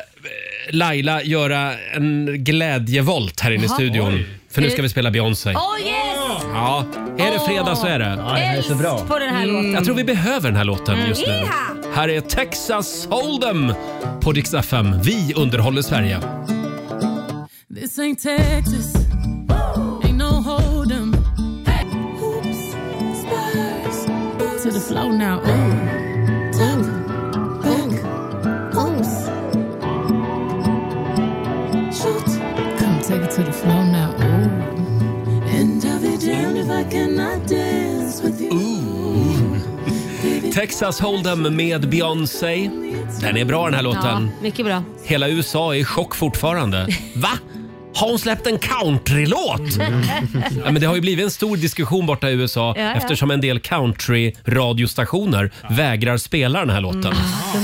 Speaker 1: Laila göra en glädjevolt här inne i
Speaker 3: Jaha.
Speaker 1: studion.
Speaker 3: Oj. Eh,
Speaker 1: För nu ska vi spela Beyoncé.
Speaker 3: Oh yes!
Speaker 1: Ja, är det fredag så är det. Mm.
Speaker 3: Älsk på den här låten.
Speaker 1: Jag tror vi behöver den här låten
Speaker 3: Mm.
Speaker 1: just nu.
Speaker 3: Yeeha!
Speaker 1: Här är Texas Hold'em på Dix FM. Vi underhåller Sverige.
Speaker 14: This ain't Texas. Ain't no hold 'em. Oops, Spurs. To the flow now. Ooh. Tuck, back, oops. Shoot. Come take it to the flow now. Ooh. And I'll be damned if I cannot dance with you.
Speaker 1: Texas Hold'em med Beyoncé. Den är bra den här låten.
Speaker 3: Ja, mycket bra.
Speaker 1: Hela USA är i chock fortfarande. Va? Har hon släppt en countrylåt? Ja, men det har ju blivit en stor diskussion borta i USA
Speaker 3: Mm. Ja, ja.
Speaker 1: eftersom en del country-radiostationer vägrar spela den här låten.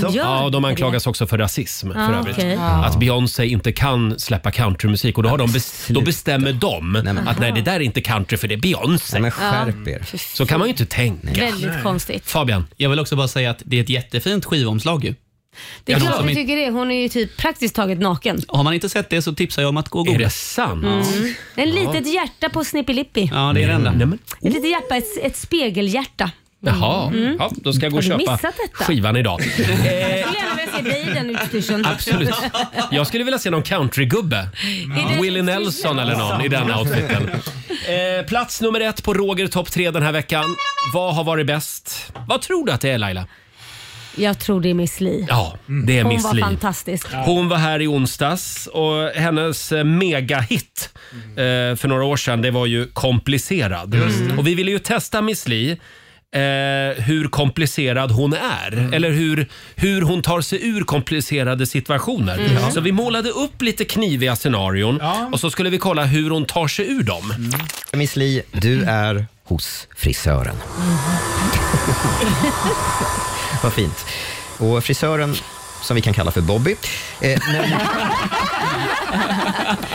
Speaker 3: de gör
Speaker 1: ja, de
Speaker 3: det.
Speaker 1: anklagas också för rasism
Speaker 3: Ah,
Speaker 1: för övrigt.
Speaker 3: okej. Ah.
Speaker 1: Att Beyoncé inte kan släppa countrymusik och då, har de bes- då bestämmer de att nej, det där är inte country för det är Beyoncé. Men
Speaker 2: skärp
Speaker 1: er. Så kan man ju inte tänka.
Speaker 3: Väldigt konstigt.
Speaker 1: Fabian?
Speaker 8: Jag vill också bara säga att det är ett jättefint skivomslag ju.
Speaker 3: Det är
Speaker 8: För de
Speaker 3: klart
Speaker 8: som
Speaker 3: vi
Speaker 8: inte-
Speaker 3: tycker det. Hon är ju typ praktiskt taget naken.
Speaker 8: Har man inte sett det så tipsar jag om att gå och googla. Är det
Speaker 1: sant?
Speaker 3: Mm. En litet hjärta på Snippelippi.
Speaker 8: Ja, det är det enda.
Speaker 3: Ett litet hjärta, ett, ett spegelhjärta.
Speaker 1: Jaha,
Speaker 3: Mm.
Speaker 1: ja, då ska jag gå och
Speaker 3: Har du
Speaker 1: köpa
Speaker 3: missat detta?
Speaker 1: skivan idag.
Speaker 3: Jag skulle gärna vilja se dig i den utstyrseln.
Speaker 1: Absolut. Jag skulle vilja se någon countrygubbe.
Speaker 3: det-
Speaker 1: Willie Nelson eller någon i den outfiten. Eh, plats nummer ett på Roger topp tre den här veckan. Vad har varit bäst? Vad tror du att det är Laila?
Speaker 3: Jag tror det är Miss Li.
Speaker 1: Ja, det är
Speaker 3: Hon
Speaker 1: Miss
Speaker 3: var
Speaker 1: Li.
Speaker 3: fantastisk.
Speaker 1: Hon var här i onsdags och hennes eh, megahit eh, för några år sedan det var ju Komplicerad. Och vi ville ju testa Miss Li. Eh, hur komplicerad hon är. Eller hur, hur hon tar sig ur komplicerade situationer.
Speaker 19: Mm.
Speaker 1: Så vi målade upp lite kniviga scenarion och så skulle vi kolla hur hon tar sig ur dem.
Speaker 2: Miss Li, du är hos frisören. Vad fint. Och frisören, som vi kan kalla för Bobby, eh, nämner,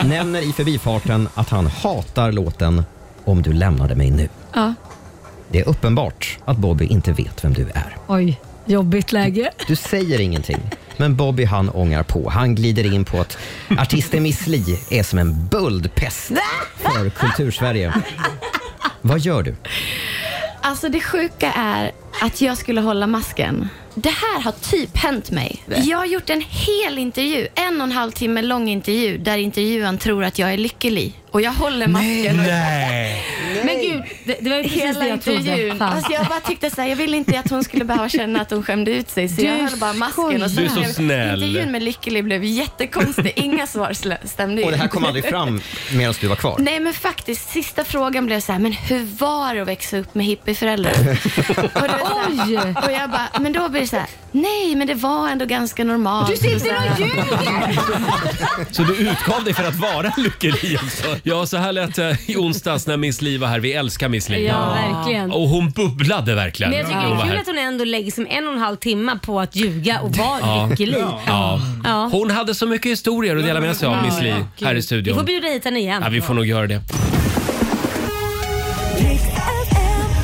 Speaker 2: nämner i förbifarten att han hatar låten Om du lämnade mig nu.
Speaker 3: Ja.
Speaker 2: Det är uppenbart att Bobby inte vet vem du är.
Speaker 3: Oj, jobbigt läge.
Speaker 2: Du säger ingenting, men Bobby han ångar på. Han glider in på att artisten Miss Li är som en böldpest för kultursverige. Vad gör du?
Speaker 20: Alltså det sjuka är att jag skulle hålla masken. Det här har typ hänt mig. Jag har gjort en hel intervju, en och en halv timme lång intervju där intervjuaren tror att jag är lycklig och jag håller masken.
Speaker 1: Nej.
Speaker 20: Men gud,
Speaker 3: det, var ju precis
Speaker 20: Hela
Speaker 3: det jag trodde.
Speaker 20: intervjun.
Speaker 3: Fan.
Speaker 20: Alltså jag bara tyckte så här, jag ville inte att hon skulle behöva känna att hon skämde ut sig så
Speaker 3: Du
Speaker 20: jag höll bara masken. Och
Speaker 2: Du är så
Speaker 20: blev-
Speaker 2: snäll.
Speaker 20: Intervjun med Lycklig blev jättekonstig, inga svar slä- stämde
Speaker 2: Och det här
Speaker 20: in.
Speaker 2: kom aldrig fram medan du var kvar.
Speaker 20: Nej men faktiskt, sista frågan blev så här, men hur var det att växa upp med hippieföräldrar? och, det var så här- och jag bara, men då blir det så här, nej men det var ändå ganska normalt.
Speaker 14: Du sitter
Speaker 20: Så här-
Speaker 14: och
Speaker 1: Så du utgav dig för att vara lycklig alltså? också? Ja, så här lät det i onsdags när Miss Li var här. Vi älskar Miss Li.
Speaker 3: Ja, verkligen.
Speaker 1: Och hon bubblade verkligen.
Speaker 3: Men jag tycker
Speaker 1: när hon
Speaker 3: det
Speaker 1: var
Speaker 3: är
Speaker 1: här.
Speaker 3: kul att hon ändå lägger som en och en halv timme på att ljuga och vara lycklig.
Speaker 1: Ja.
Speaker 3: Ja.
Speaker 1: Hon hade så mycket historier att dela med sig av, Miss Li,
Speaker 3: Ja,
Speaker 1: här i
Speaker 3: gud. Vi får
Speaker 1: studion.
Speaker 3: bjuda hit henne igen.
Speaker 1: Ja, vi får nog göra det.